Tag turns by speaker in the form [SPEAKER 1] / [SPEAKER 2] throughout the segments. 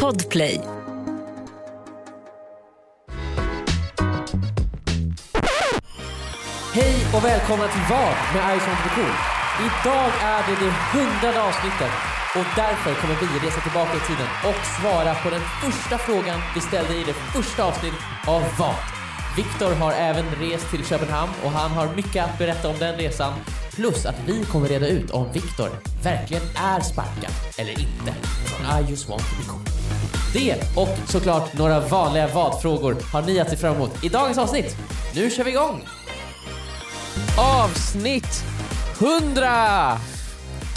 [SPEAKER 1] Podplay.
[SPEAKER 2] Hej och välkomna till Vad med Ice on Produktion. Idag är det det hundrade avsnittet och därför kommer vi resa tillbaka i tiden och svara på den första frågan vi ställde i det första avsnittet av Vad. Viktor har även rest till Köpenhamn och han har mycket att berätta om den resan. Plus att vi kommer reda ut om Viktor verkligen är sparkad eller inte från I just want to be cool. Det och såklart några vanliga vad-frågor har ni att se fram emot i dagens avsnitt. Nu kör vi igång! avsnitt 100!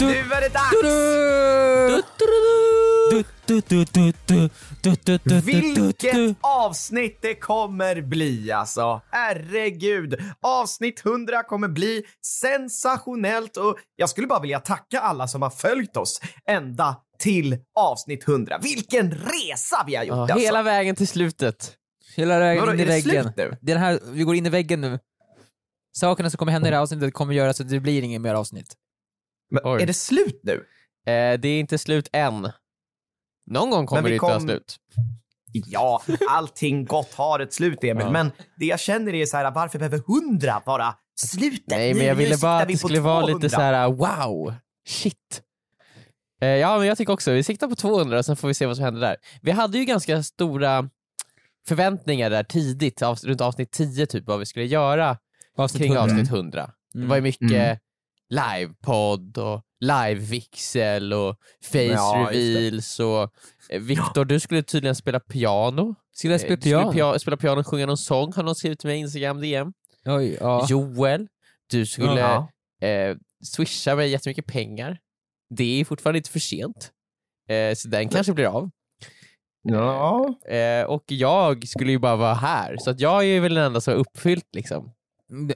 [SPEAKER 3] Nu är det dags! Vilket avsnitt det kommer bli alltså. Herregud. Avsnitt 100 kommer bli sensationellt och jag skulle bara vilja tacka alla som har följt oss ända till avsnitt 100. Vilken resa vi har gjort
[SPEAKER 4] Ja,
[SPEAKER 3] alltså.
[SPEAKER 4] Hela vägen till slutet. Hela vägen
[SPEAKER 3] Vadå,
[SPEAKER 4] in i
[SPEAKER 3] är det
[SPEAKER 4] väggen.
[SPEAKER 3] slut nu?
[SPEAKER 4] Det är den här, vi går in i väggen nu. Sakerna som kommer hända i det här avsnittet kommer göra så att det blir inget mer avsnitt.
[SPEAKER 3] Men
[SPEAKER 5] Oj.
[SPEAKER 3] är det slut nu?
[SPEAKER 5] Eh, det är inte slut än. Någon gång kommer
[SPEAKER 3] vi
[SPEAKER 5] det inte vara
[SPEAKER 3] kom-
[SPEAKER 5] slut.
[SPEAKER 3] Ja, allting gott har ett slut Emil,
[SPEAKER 5] Ja.
[SPEAKER 3] men det jag känner är så här, varför behöver 100 vara slutet?
[SPEAKER 5] Nej, men
[SPEAKER 3] Nu-
[SPEAKER 5] jag
[SPEAKER 3] nu
[SPEAKER 5] ville bara
[SPEAKER 3] siktar
[SPEAKER 5] att
[SPEAKER 3] vi
[SPEAKER 5] det
[SPEAKER 3] på
[SPEAKER 5] skulle vara lite
[SPEAKER 3] 200.
[SPEAKER 5] så här: wow, shit. Eh, ja, men jag tycker också, vi siktar på 200 och sen får vi se vad som händer där. Vi hade ju ganska stora förväntningar där tidigt, av, runt avsnitt 10 typ, vad vi skulle göra
[SPEAKER 4] Avsnitt
[SPEAKER 5] kring
[SPEAKER 4] 100.
[SPEAKER 5] avsnitt 100. Det
[SPEAKER 4] Mm.
[SPEAKER 5] var ju mycket livepodd och live-vixel och face
[SPEAKER 3] Ja, just det.
[SPEAKER 5] reveals och eh, Viktor, du skulle tydligen spela piano.
[SPEAKER 4] Skulle jag
[SPEAKER 5] Eh,
[SPEAKER 4] spela
[SPEAKER 5] du skulle
[SPEAKER 4] piano?
[SPEAKER 5] pia- spela piano och sjunga någon sång, har någon skrivit till mig i Instagram DM.
[SPEAKER 4] Oj, ja.
[SPEAKER 5] Joel, du skulle
[SPEAKER 3] Ja.
[SPEAKER 5] eh, swisha mig jättemycket pengar. Det är fortfarande inte för sent. Eh, så den kanske blir av.
[SPEAKER 3] Ja.
[SPEAKER 5] Eh, och jag skulle ju bara vara här, så att jag är väl den enda som har uppfyllt liksom.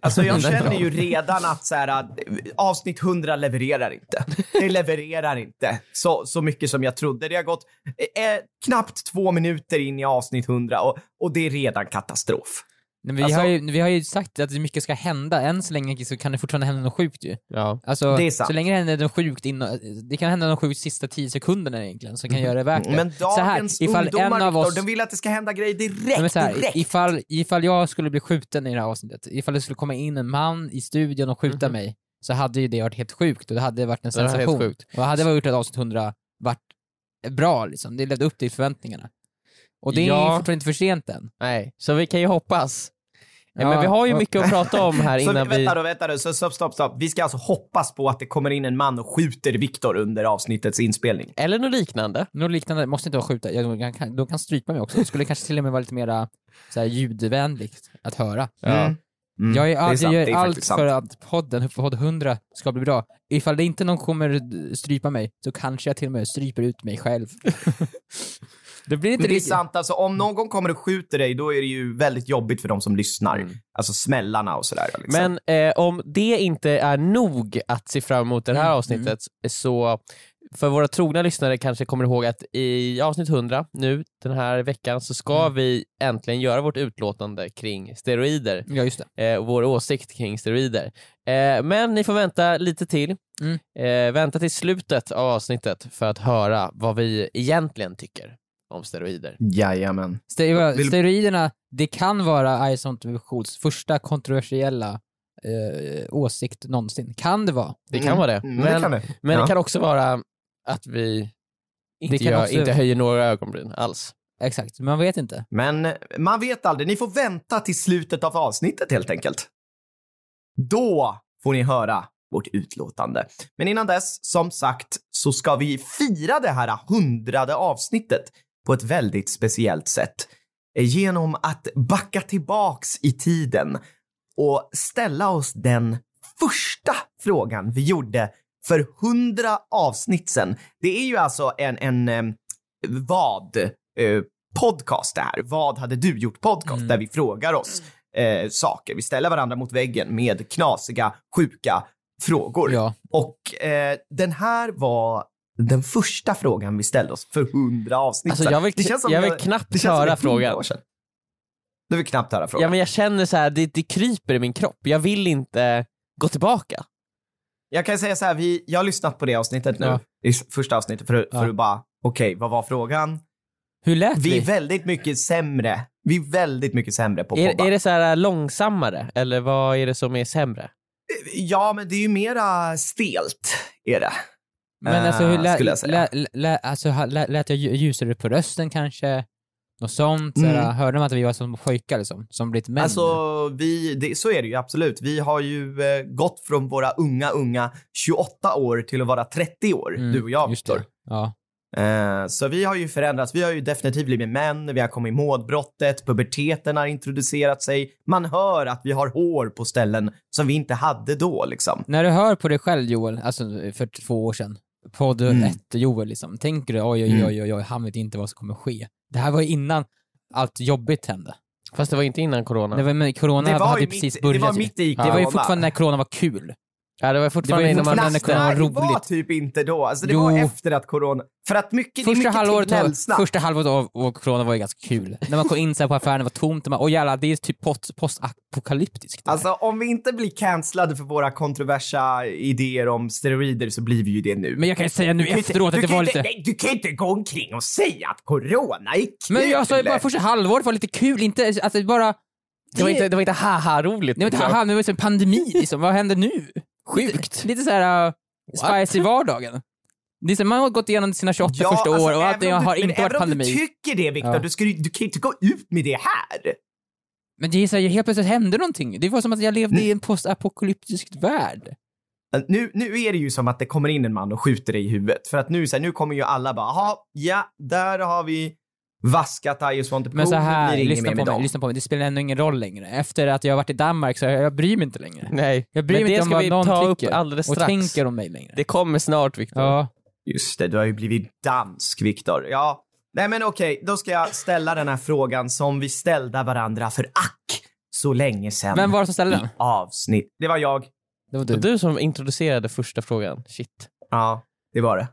[SPEAKER 3] Alltså jag
[SPEAKER 5] Den är
[SPEAKER 3] känner
[SPEAKER 5] bra.
[SPEAKER 3] ju redan att så här, att avsnitt 100 levererar inte. Det levererar inte så, så mycket som jag trodde. Det har gått eh, knappt två minuter in i avsnitt 100 och, och det är redan katastrof.
[SPEAKER 4] Nej, men vi,
[SPEAKER 3] Alltså-
[SPEAKER 4] har ju, vi har ju sagt att mycket ska hända, än så länge så kan det fortfarande hända något sjukt ju.
[SPEAKER 5] Ja.
[SPEAKER 4] Alltså,
[SPEAKER 3] Det är sant.
[SPEAKER 4] så länge det händer något sjukt, innan, det kan hända något sjukt sista 10 sekunderna egentligen, som kan göra det värt det.
[SPEAKER 3] Men
[SPEAKER 4] Så här,
[SPEAKER 3] dagens
[SPEAKER 4] ifall
[SPEAKER 3] ungdomar,
[SPEAKER 4] en av oss-
[SPEAKER 3] Viktor, de vill att det ska hända grejer
[SPEAKER 4] Nej, men
[SPEAKER 3] direkt.
[SPEAKER 4] så här,
[SPEAKER 3] direkt.
[SPEAKER 4] ifall, ifall jag skulle bli skjuten i det här avsnittet, ifall det skulle komma in en man i studion och skjuta mig, så hade ju det varit helt sjukt och det hade varit en
[SPEAKER 5] Det hade varit helt
[SPEAKER 4] sensation.
[SPEAKER 5] sjukt.
[SPEAKER 4] Och hade jag gjort ett avsnitt 100 varit bra liksom, det levde upp till förväntningarna. Och det är
[SPEAKER 5] Ja.
[SPEAKER 4] ju fortfarande inte för sent än.
[SPEAKER 5] Nej, så vi kan ju hoppas. Eh,
[SPEAKER 4] Ja,
[SPEAKER 5] men vi har ju
[SPEAKER 4] och-
[SPEAKER 5] mycket att prata om här
[SPEAKER 3] Så,
[SPEAKER 5] innan vi...
[SPEAKER 3] vänta då, vänta då. Så, stopp, stopp, stopp. Vi ska alltså hoppas på att det kommer in en man och skjuter Viktor under avsnittets inspelning.
[SPEAKER 5] Eller något liknande.
[SPEAKER 4] Något liknande, måste inte vara skjuta, ja, de, kan, de kan strypa mig också. Det skulle kanske till och med vara lite mera så här, ljudvänligt att höra.
[SPEAKER 3] Mm. Mm.
[SPEAKER 4] Jag, är, alltså,
[SPEAKER 3] Det är sant,
[SPEAKER 4] jag gör
[SPEAKER 3] det är
[SPEAKER 4] allt
[SPEAKER 3] faktiskt sant.
[SPEAKER 4] för att podden, podd 100, ska bli bra. Ifall det inte någon kommer strypa mig, så kanske jag till och med stryper ut mig själv. det blir inte
[SPEAKER 3] Men det är
[SPEAKER 4] riktigt...
[SPEAKER 3] sant, alltså om någon kommer och skjuter dig, då är det ju väldigt jobbigt för de som lyssnar. Alltså smällarna och sådär. Liksom.
[SPEAKER 5] Men eh, om det inte är nog att se fram emot det här
[SPEAKER 4] Mm,
[SPEAKER 5] avsnittet så för våra trogna lyssnare kanske kommer ihåg att i avsnitt 100 nu den här veckan så ska vi äntligen göra vårt utlåtande kring steroider
[SPEAKER 4] Ja, just det.
[SPEAKER 5] eh, och vår åsikt kring steroider. Eh, men ni får vänta lite till.
[SPEAKER 4] Mm.
[SPEAKER 5] Eh, vänta till slutet av avsnittet för att höra vad vi egentligen tycker om steroider.
[SPEAKER 3] Jajamän.
[SPEAKER 4] Stero-
[SPEAKER 3] Vill-
[SPEAKER 4] Steroiderna, det kan vara Ison Tobishools första kontroversiella eh, åsikt någonsin. Kan det vara.
[SPEAKER 5] Det kan
[SPEAKER 3] Mm.
[SPEAKER 5] vara det.
[SPEAKER 3] Mm,
[SPEAKER 5] men
[SPEAKER 3] det kan det.
[SPEAKER 5] men
[SPEAKER 3] Ja.
[SPEAKER 5] det kan också vara att vi inte,
[SPEAKER 4] kan
[SPEAKER 5] gör,
[SPEAKER 4] också-
[SPEAKER 5] inte höjer några ögonbryn alls.
[SPEAKER 4] Exakt, man vet inte.
[SPEAKER 3] Men eh, man vet aldrig. Ni får vänta till slutet av avsnittet helt enkelt. Då får ni höra vårt utlåtande. Men innan dess, som sagt, så ska vi fira det här hundrade avsnittet på ett väldigt speciellt sätt. Eh, Genom att backa tillbaks i tiden och ställa oss den första frågan vi gjorde för hundra avsnitt sen. Det är ju alltså en, en eh, vad eh, podcast det här. Vad hade du gjort podcast?
[SPEAKER 4] Mm.
[SPEAKER 3] Där vi frågar oss eh, saker. Vi ställer varandra mot väggen med knasiga, sjuka frågor.
[SPEAKER 4] Ja.
[SPEAKER 3] Och eh, den här var den första frågan vi ställde oss för hundra avsnitt
[SPEAKER 5] Alltså,
[SPEAKER 3] sen.
[SPEAKER 5] jag vill-
[SPEAKER 3] Det känns som
[SPEAKER 5] jag
[SPEAKER 3] det-
[SPEAKER 5] vill knappt
[SPEAKER 3] det känns som
[SPEAKER 5] höra
[SPEAKER 3] det är 100
[SPEAKER 5] frågan.
[SPEAKER 3] år sedan. Du vill knappt höra frågan.
[SPEAKER 5] Ja men jag känner så här, det, det kryper i min kropp. Jag vill inte gå tillbaka.
[SPEAKER 3] Jag kan säga så här, vi, jag har lyssnat på det avsnittet nu,
[SPEAKER 4] Ja.
[SPEAKER 3] i s- första avsnittet, för, för
[SPEAKER 4] Ja.
[SPEAKER 3] att bara, okej, vad var frågan?
[SPEAKER 4] Hur lät vi?
[SPEAKER 3] Vi är väldigt mycket sämre. Vi är väldigt mycket sämre på poddar.
[SPEAKER 5] Är, är det så här äh, långsammare, eller vad är det som är sämre?
[SPEAKER 3] Ja, men det är ju mera stelt, är det.
[SPEAKER 4] Men alltså, hur
[SPEAKER 3] Eh,
[SPEAKER 4] lät,
[SPEAKER 3] skulle jag säga.
[SPEAKER 4] lät, lät, alltså, ha- lät, lät jag lju- ljusare på rösten kanske? Något sånt?
[SPEAKER 3] Mm.
[SPEAKER 4] Såhär, hörde man att vi var som pojkar liksom, som blivit män?
[SPEAKER 3] Alltså, vi, det, så är det ju absolut. Vi har ju eh, gått från våra unga, unga 28 år till att vara 30 år,
[SPEAKER 4] Mm,
[SPEAKER 3] du och jag,
[SPEAKER 4] just
[SPEAKER 3] Viktor.
[SPEAKER 4] det. Ja.
[SPEAKER 3] Eh, så vi har ju förändrats. Vi har ju definitivt blivit män, vi har kommit ihåg brottet, puberteten har introducerat sig. Man hör att vi har hår på ställen som vi inte hade då liksom.
[SPEAKER 4] När du hör på dig själv Joel, alltså för två år sedan, podd
[SPEAKER 3] Mm.
[SPEAKER 4] ett Joel liksom, tänker du oj, oj,
[SPEAKER 3] Mm.
[SPEAKER 4] oj, oj, oj, han vet inte vad som kommer ske. Det här var ju innan allt jobbigt hände.
[SPEAKER 5] Fast det var inte innan corona.
[SPEAKER 4] Det var, men corona
[SPEAKER 3] Mm. Det var,
[SPEAKER 4] hade
[SPEAKER 3] ju
[SPEAKER 4] ju
[SPEAKER 3] mitt,
[SPEAKER 4] precis
[SPEAKER 3] det
[SPEAKER 4] börjat.
[SPEAKER 3] var
[SPEAKER 4] ju.
[SPEAKER 3] mitt i
[SPEAKER 4] det var ju
[SPEAKER 3] corona.
[SPEAKER 4] fortfarande när corona var kul.
[SPEAKER 5] ja, det var fortfarande
[SPEAKER 4] Det var ju
[SPEAKER 5] innan man...
[SPEAKER 4] fortfarande-
[SPEAKER 5] men-
[SPEAKER 4] när corona
[SPEAKER 3] Nej,
[SPEAKER 4] var
[SPEAKER 3] det var
[SPEAKER 4] roligt.
[SPEAKER 3] typ inte då. Alltså, det
[SPEAKER 4] Jo.
[SPEAKER 3] var efter att corona... För att mycket, det är
[SPEAKER 4] Första
[SPEAKER 3] mycket
[SPEAKER 4] halvåret, var,
[SPEAKER 3] knällsnack.
[SPEAKER 4] första halvåret av av corona var ju ganska kul. när man kom in så här på affären, det var tomt, och man, åh jävlar, det är typ post- postapokalyptiskt.
[SPEAKER 3] Alltså om vi inte blir cancellade för våra kontroversa idéer om steroider så blir vi ju det nu.
[SPEAKER 4] Men jag kan ju säga nu
[SPEAKER 3] Du kan inte-
[SPEAKER 4] efteråt
[SPEAKER 3] du
[SPEAKER 4] att det
[SPEAKER 3] kan
[SPEAKER 4] var
[SPEAKER 3] inte,
[SPEAKER 4] lite...
[SPEAKER 3] Nej, du kan inte gå omkring och säga att corona är kul!
[SPEAKER 4] Men jag sa ju bara första halvåret var lite kul, inte alltså bara...
[SPEAKER 5] Det var inte, det var inte haha-roligt.
[SPEAKER 4] Nej men
[SPEAKER 5] liksom.
[SPEAKER 4] haha, nu är det som en pandemi liksom, vad händer nu?
[SPEAKER 5] Sjukt.
[SPEAKER 4] Lite, lite såhär uh,
[SPEAKER 5] What?
[SPEAKER 4] spice i vardagen. Det är så, man har gått igenom sina 28
[SPEAKER 3] Ja,
[SPEAKER 4] första
[SPEAKER 3] alltså,
[SPEAKER 4] år och
[SPEAKER 3] även
[SPEAKER 4] att det
[SPEAKER 3] om du-
[SPEAKER 4] har
[SPEAKER 3] men
[SPEAKER 4] inte varit pandemi.
[SPEAKER 3] Även om du tycker det Viktor,
[SPEAKER 4] Ja.
[SPEAKER 3] du, skulle- du kan ju inte gå ut med det här.
[SPEAKER 4] Men det är så här, helt plötsligt hände någonting. Det var som att jag levde
[SPEAKER 3] Mm.
[SPEAKER 4] i en postapokalyptisk värld.
[SPEAKER 3] Nu, nu är det ju som att det kommer in en man och skjuter dig i huvudet. För att nu, så här, nu kommer ju alla bara, "Jaha, ja, där har vi vaskat Ios Montepoo,
[SPEAKER 4] Men så
[SPEAKER 3] nu
[SPEAKER 4] här,
[SPEAKER 3] blir det
[SPEAKER 4] lyssna
[SPEAKER 3] inget mer
[SPEAKER 4] på
[SPEAKER 3] med
[SPEAKER 4] mig,
[SPEAKER 3] dem.
[SPEAKER 4] lyssna på mig, det spelar ändå ingen roll längre. Efter att jag har varit i Danmark så jag, jag bryr mig inte längre.
[SPEAKER 5] Nej.
[SPEAKER 4] Jag bryr
[SPEAKER 5] Men
[SPEAKER 4] mig
[SPEAKER 5] det
[SPEAKER 4] inte om
[SPEAKER 5] ska
[SPEAKER 4] vad
[SPEAKER 5] vi
[SPEAKER 4] någon
[SPEAKER 5] ta upp
[SPEAKER 4] tycker
[SPEAKER 5] alldeles
[SPEAKER 4] och
[SPEAKER 5] strax.
[SPEAKER 4] tänker om mig längre.
[SPEAKER 5] Det kommer snart, Viktor.
[SPEAKER 4] Ja.
[SPEAKER 3] Just det, du har ju blivit dansk, Viktor. Ja. Nej, men okej, då ska jag ställa den här frågan som vi ställde varandra för ack så länge sedan.
[SPEAKER 4] Vem var det som ställde den?
[SPEAKER 3] I avsnitt. Det var jag.
[SPEAKER 4] Det var du.
[SPEAKER 5] Du. du som introducerade första frågan. Shit.
[SPEAKER 3] Ja, det var det.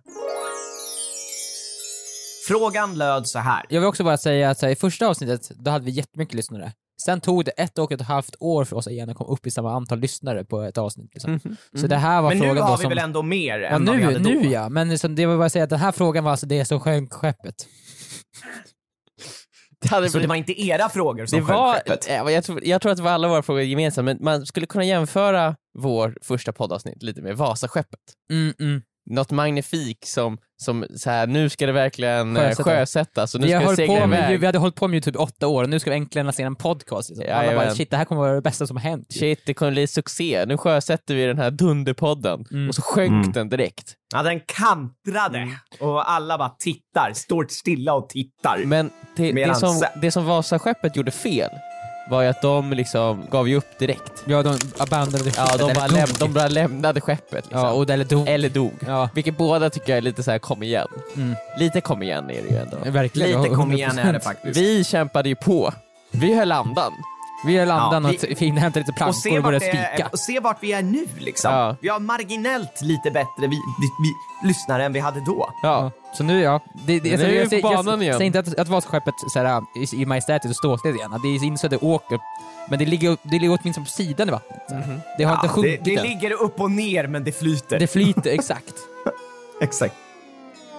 [SPEAKER 3] Frågan löd så här.
[SPEAKER 4] Jag vill också bara säga att så här, i första avsnittet, då hade vi jättemycket lyssnare. Sen tog det ett och ett halvt år för oss igen att komma upp i samma antal lyssnare på ett avsnitt. Liksom. Så det här
[SPEAKER 3] Mhm.
[SPEAKER 4] var
[SPEAKER 3] Men nu
[SPEAKER 4] frågan då
[SPEAKER 3] har vi
[SPEAKER 4] som...
[SPEAKER 3] väl ändå mer
[SPEAKER 4] ja,
[SPEAKER 3] än vad vi
[SPEAKER 4] nu,
[SPEAKER 3] hade då?
[SPEAKER 4] nu ja, men liksom, det var bara att säga att den här frågan var alltså det som sjönk skeppet.
[SPEAKER 5] Det, hade
[SPEAKER 3] Så det var inte era frågor som
[SPEAKER 5] det var,
[SPEAKER 3] sjönk skeppet?
[SPEAKER 5] eh, jag, tror, jag tror att det var alla våra frågor gemensamma, men man skulle kunna jämföra vår första poddavsnitt lite med Vasaskeppet.
[SPEAKER 4] Mm, mm.
[SPEAKER 5] Något magnifik som, som så här, nu ska det verkligen eh,
[SPEAKER 4] Sjösätta.
[SPEAKER 5] sjösättas och nu
[SPEAKER 4] Vi,
[SPEAKER 5] ska
[SPEAKER 4] har
[SPEAKER 5] det
[SPEAKER 4] hållit
[SPEAKER 5] segla
[SPEAKER 4] på med,
[SPEAKER 5] iväg.
[SPEAKER 4] vi hade hållit på med YouTube i åtta år och nu ska vi äntligen lansera en podcast. Liksom. Alla bara,
[SPEAKER 5] Jajamän.
[SPEAKER 4] shit, det här kommer vara det bästa som har hänt.
[SPEAKER 5] Shit, det kommer bli succé. Nu sjösätter vi den här dunderpodden.
[SPEAKER 4] Mm.
[SPEAKER 5] Och så sjönk
[SPEAKER 3] Mm.
[SPEAKER 5] den direkt.
[SPEAKER 3] Ja, den kantrade och alla bara tittar, står stilla och tittar.
[SPEAKER 5] Men det, det,
[SPEAKER 3] Medan
[SPEAKER 5] som,
[SPEAKER 3] sen-
[SPEAKER 5] det som Vasaskeppet gjorde fel var ju att de liksom gav ju upp direkt.
[SPEAKER 4] Ja, de abandonade
[SPEAKER 5] Ja, de bara, läm,
[SPEAKER 4] liksom.
[SPEAKER 5] de bara lämnade skeppet. Liksom.
[SPEAKER 4] Ja, och eller dog.
[SPEAKER 5] Eller dog.
[SPEAKER 4] Ja,
[SPEAKER 5] Vilket båda tycker jag är lite så här kom igen.
[SPEAKER 4] Mm.
[SPEAKER 5] Lite kom igen är det ju ändå.
[SPEAKER 4] verkligen.
[SPEAKER 3] Lite kom igen är det
[SPEAKER 4] 100%.
[SPEAKER 3] faktiskt.
[SPEAKER 5] Vi kämpade ju på. Vi höll andan.
[SPEAKER 4] Vi har landat
[SPEAKER 3] Ja,
[SPEAKER 4] och t- inhämtat lite
[SPEAKER 3] och
[SPEAKER 4] plankor
[SPEAKER 3] se,
[SPEAKER 4] och
[SPEAKER 3] vart
[SPEAKER 4] börjat
[SPEAKER 3] det är,
[SPEAKER 4] spika.
[SPEAKER 3] och se vart vi är nu liksom.
[SPEAKER 5] Ja.
[SPEAKER 3] Vi har marginellt lite bättre vi, vi, vi, lyssnare än vi hade då.
[SPEAKER 5] Ja.
[SPEAKER 4] Så nu, ja. Det, det,
[SPEAKER 5] Men nu är
[SPEAKER 4] jag,
[SPEAKER 5] vi på banan
[SPEAKER 4] jag, jag,
[SPEAKER 5] igen.
[SPEAKER 4] säger inte att, att Vasaskeppet så här, i, i majestätet och ståtligt igen. Det är inte så att det åker. Men det ligger, det ligger åtminstone på sidan i vattnet. så här.
[SPEAKER 5] Mhm.
[SPEAKER 4] Det har
[SPEAKER 3] Ja,
[SPEAKER 4] inte
[SPEAKER 3] det,
[SPEAKER 4] sjunkit
[SPEAKER 3] det
[SPEAKER 4] än.
[SPEAKER 3] ligger upp och ner men det flyter.
[SPEAKER 4] Det flyter, exakt.
[SPEAKER 3] Exakt.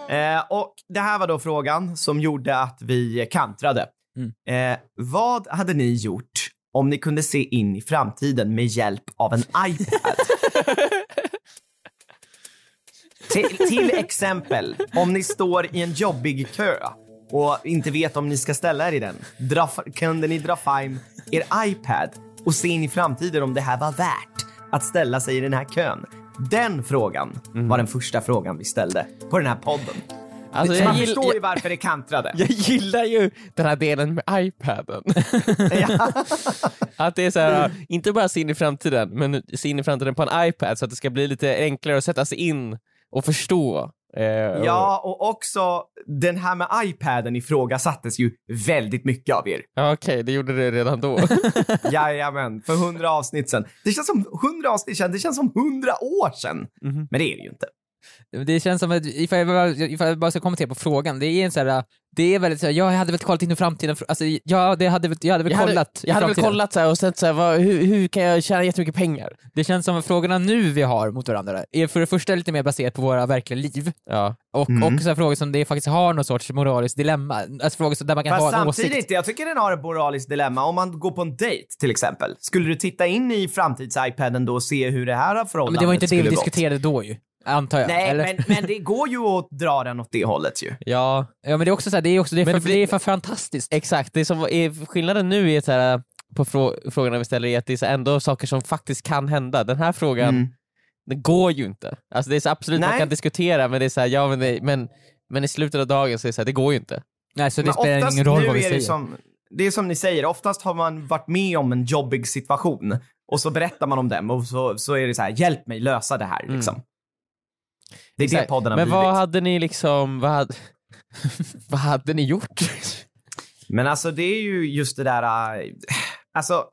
[SPEAKER 3] Eh, och det här var då frågan som gjorde att vi kantrade. Eh, vad hade ni gjort om ni kunde se in i framtiden med hjälp av en iPad? till, till exempel, om ni står i en jobbig kö och inte vet om ni ska ställa er i den, dra, kunde ni dra fram er iPad och se in i framtiden om det här var värt att ställa sig i den här kön? Den frågan var den första frågan vi ställde på den här podden.
[SPEAKER 5] Alltså,
[SPEAKER 3] Så
[SPEAKER 5] jag,
[SPEAKER 3] man
[SPEAKER 5] gill,
[SPEAKER 3] förstår ju
[SPEAKER 5] jag,
[SPEAKER 3] varför det kantrade.
[SPEAKER 5] jag gillar ju den här delen med iPaden.
[SPEAKER 3] Ja.
[SPEAKER 5] Att det är så här, inte bara se in i framtiden, men se in i framtiden på en iPad så att det ska bli lite enklare att sätta sig in och förstå. Eh, och-
[SPEAKER 3] Ja, och också den här med iPaden ifrågasattes ju väldigt mycket av er.
[SPEAKER 5] Ja, Okej, det gjorde det redan då.
[SPEAKER 3] Jajamän, för
[SPEAKER 4] Mhm.
[SPEAKER 3] hundra avsnitt sedan. Det känns som hundra avsnitt sedan, det känns som hundra år sedan. Men det är det ju inte.
[SPEAKER 4] Det känns som att, ifall jag bara, ifall jag bara ska kommentera på frågan, det är en så här, det är väldigt så här, ja, jag hade väl kollat in i framtiden, alltså, ja, det hade, väl- jag hade väl
[SPEAKER 5] Jag hade,
[SPEAKER 4] kollat i
[SPEAKER 5] jag hade väl
[SPEAKER 4] framtiden.
[SPEAKER 5] kollat så här och sett så här, vad, hur, hur kan jag tjäna jättemycket pengar?
[SPEAKER 4] Det känns som att frågorna nu vi har mot varandra är för det första lite mer baserat på våra verkliga liv,
[SPEAKER 5] Ja.
[SPEAKER 4] och
[SPEAKER 3] Mm.
[SPEAKER 4] också frågor som det faktiskt har någon sorts moraliskt dilemma, alltså frågor som- där man kan
[SPEAKER 3] Fast
[SPEAKER 4] ha en
[SPEAKER 3] samtidigt,
[SPEAKER 4] åsikt.
[SPEAKER 3] jag tycker den har ett moraliskt dilemma. Om man går på en dejt till exempel, skulle du titta in i framtids-iPaden då och se hur det här
[SPEAKER 4] Ja,
[SPEAKER 3] förhållandet
[SPEAKER 4] Men det var inte det
[SPEAKER 3] skulle
[SPEAKER 4] vi
[SPEAKER 3] gått?
[SPEAKER 4] diskuterade då ju, antar jag.
[SPEAKER 3] Nej,
[SPEAKER 4] eller?
[SPEAKER 3] men, men det går ju att dra den åt det hållet ju.
[SPEAKER 5] ja,
[SPEAKER 4] Ja men det är också så här, det är, också, det är,
[SPEAKER 5] Men
[SPEAKER 4] för,
[SPEAKER 5] det
[SPEAKER 4] det,
[SPEAKER 5] blir-
[SPEAKER 4] är för fantastiskt.
[SPEAKER 5] exakt. Det som är skillnaden nu är så här, äh, på frå- frågorna vi ställer är att det är så här ändå saker som faktiskt kan hända. Den här frågan,
[SPEAKER 3] Mm.
[SPEAKER 5] det går ju inte. Alltså det är så absolut man
[SPEAKER 3] Nej.
[SPEAKER 5] kan diskutera men det är så här, ja men, det, men, men i slutet av dagen så är det så här, det går ju inte.
[SPEAKER 4] Nej så det
[SPEAKER 3] Men
[SPEAKER 4] spelar
[SPEAKER 3] oftast
[SPEAKER 4] ingen roll
[SPEAKER 3] nu
[SPEAKER 4] vad vi
[SPEAKER 3] är det
[SPEAKER 4] säger.
[SPEAKER 3] ju Som, det är som ni säger, oftast har man varit med om en jobbig situation och så berättar man om den och så, så är det så här, hjälp mig lösa det
[SPEAKER 4] Mm.
[SPEAKER 3] här liksom. Det är
[SPEAKER 5] Exakt.
[SPEAKER 3] det podden har
[SPEAKER 5] Men
[SPEAKER 3] blivit.
[SPEAKER 5] vad hade ni liksom, vad hade, vad hade ni gjort?
[SPEAKER 3] Men alltså det är ju just det där, äh, alltså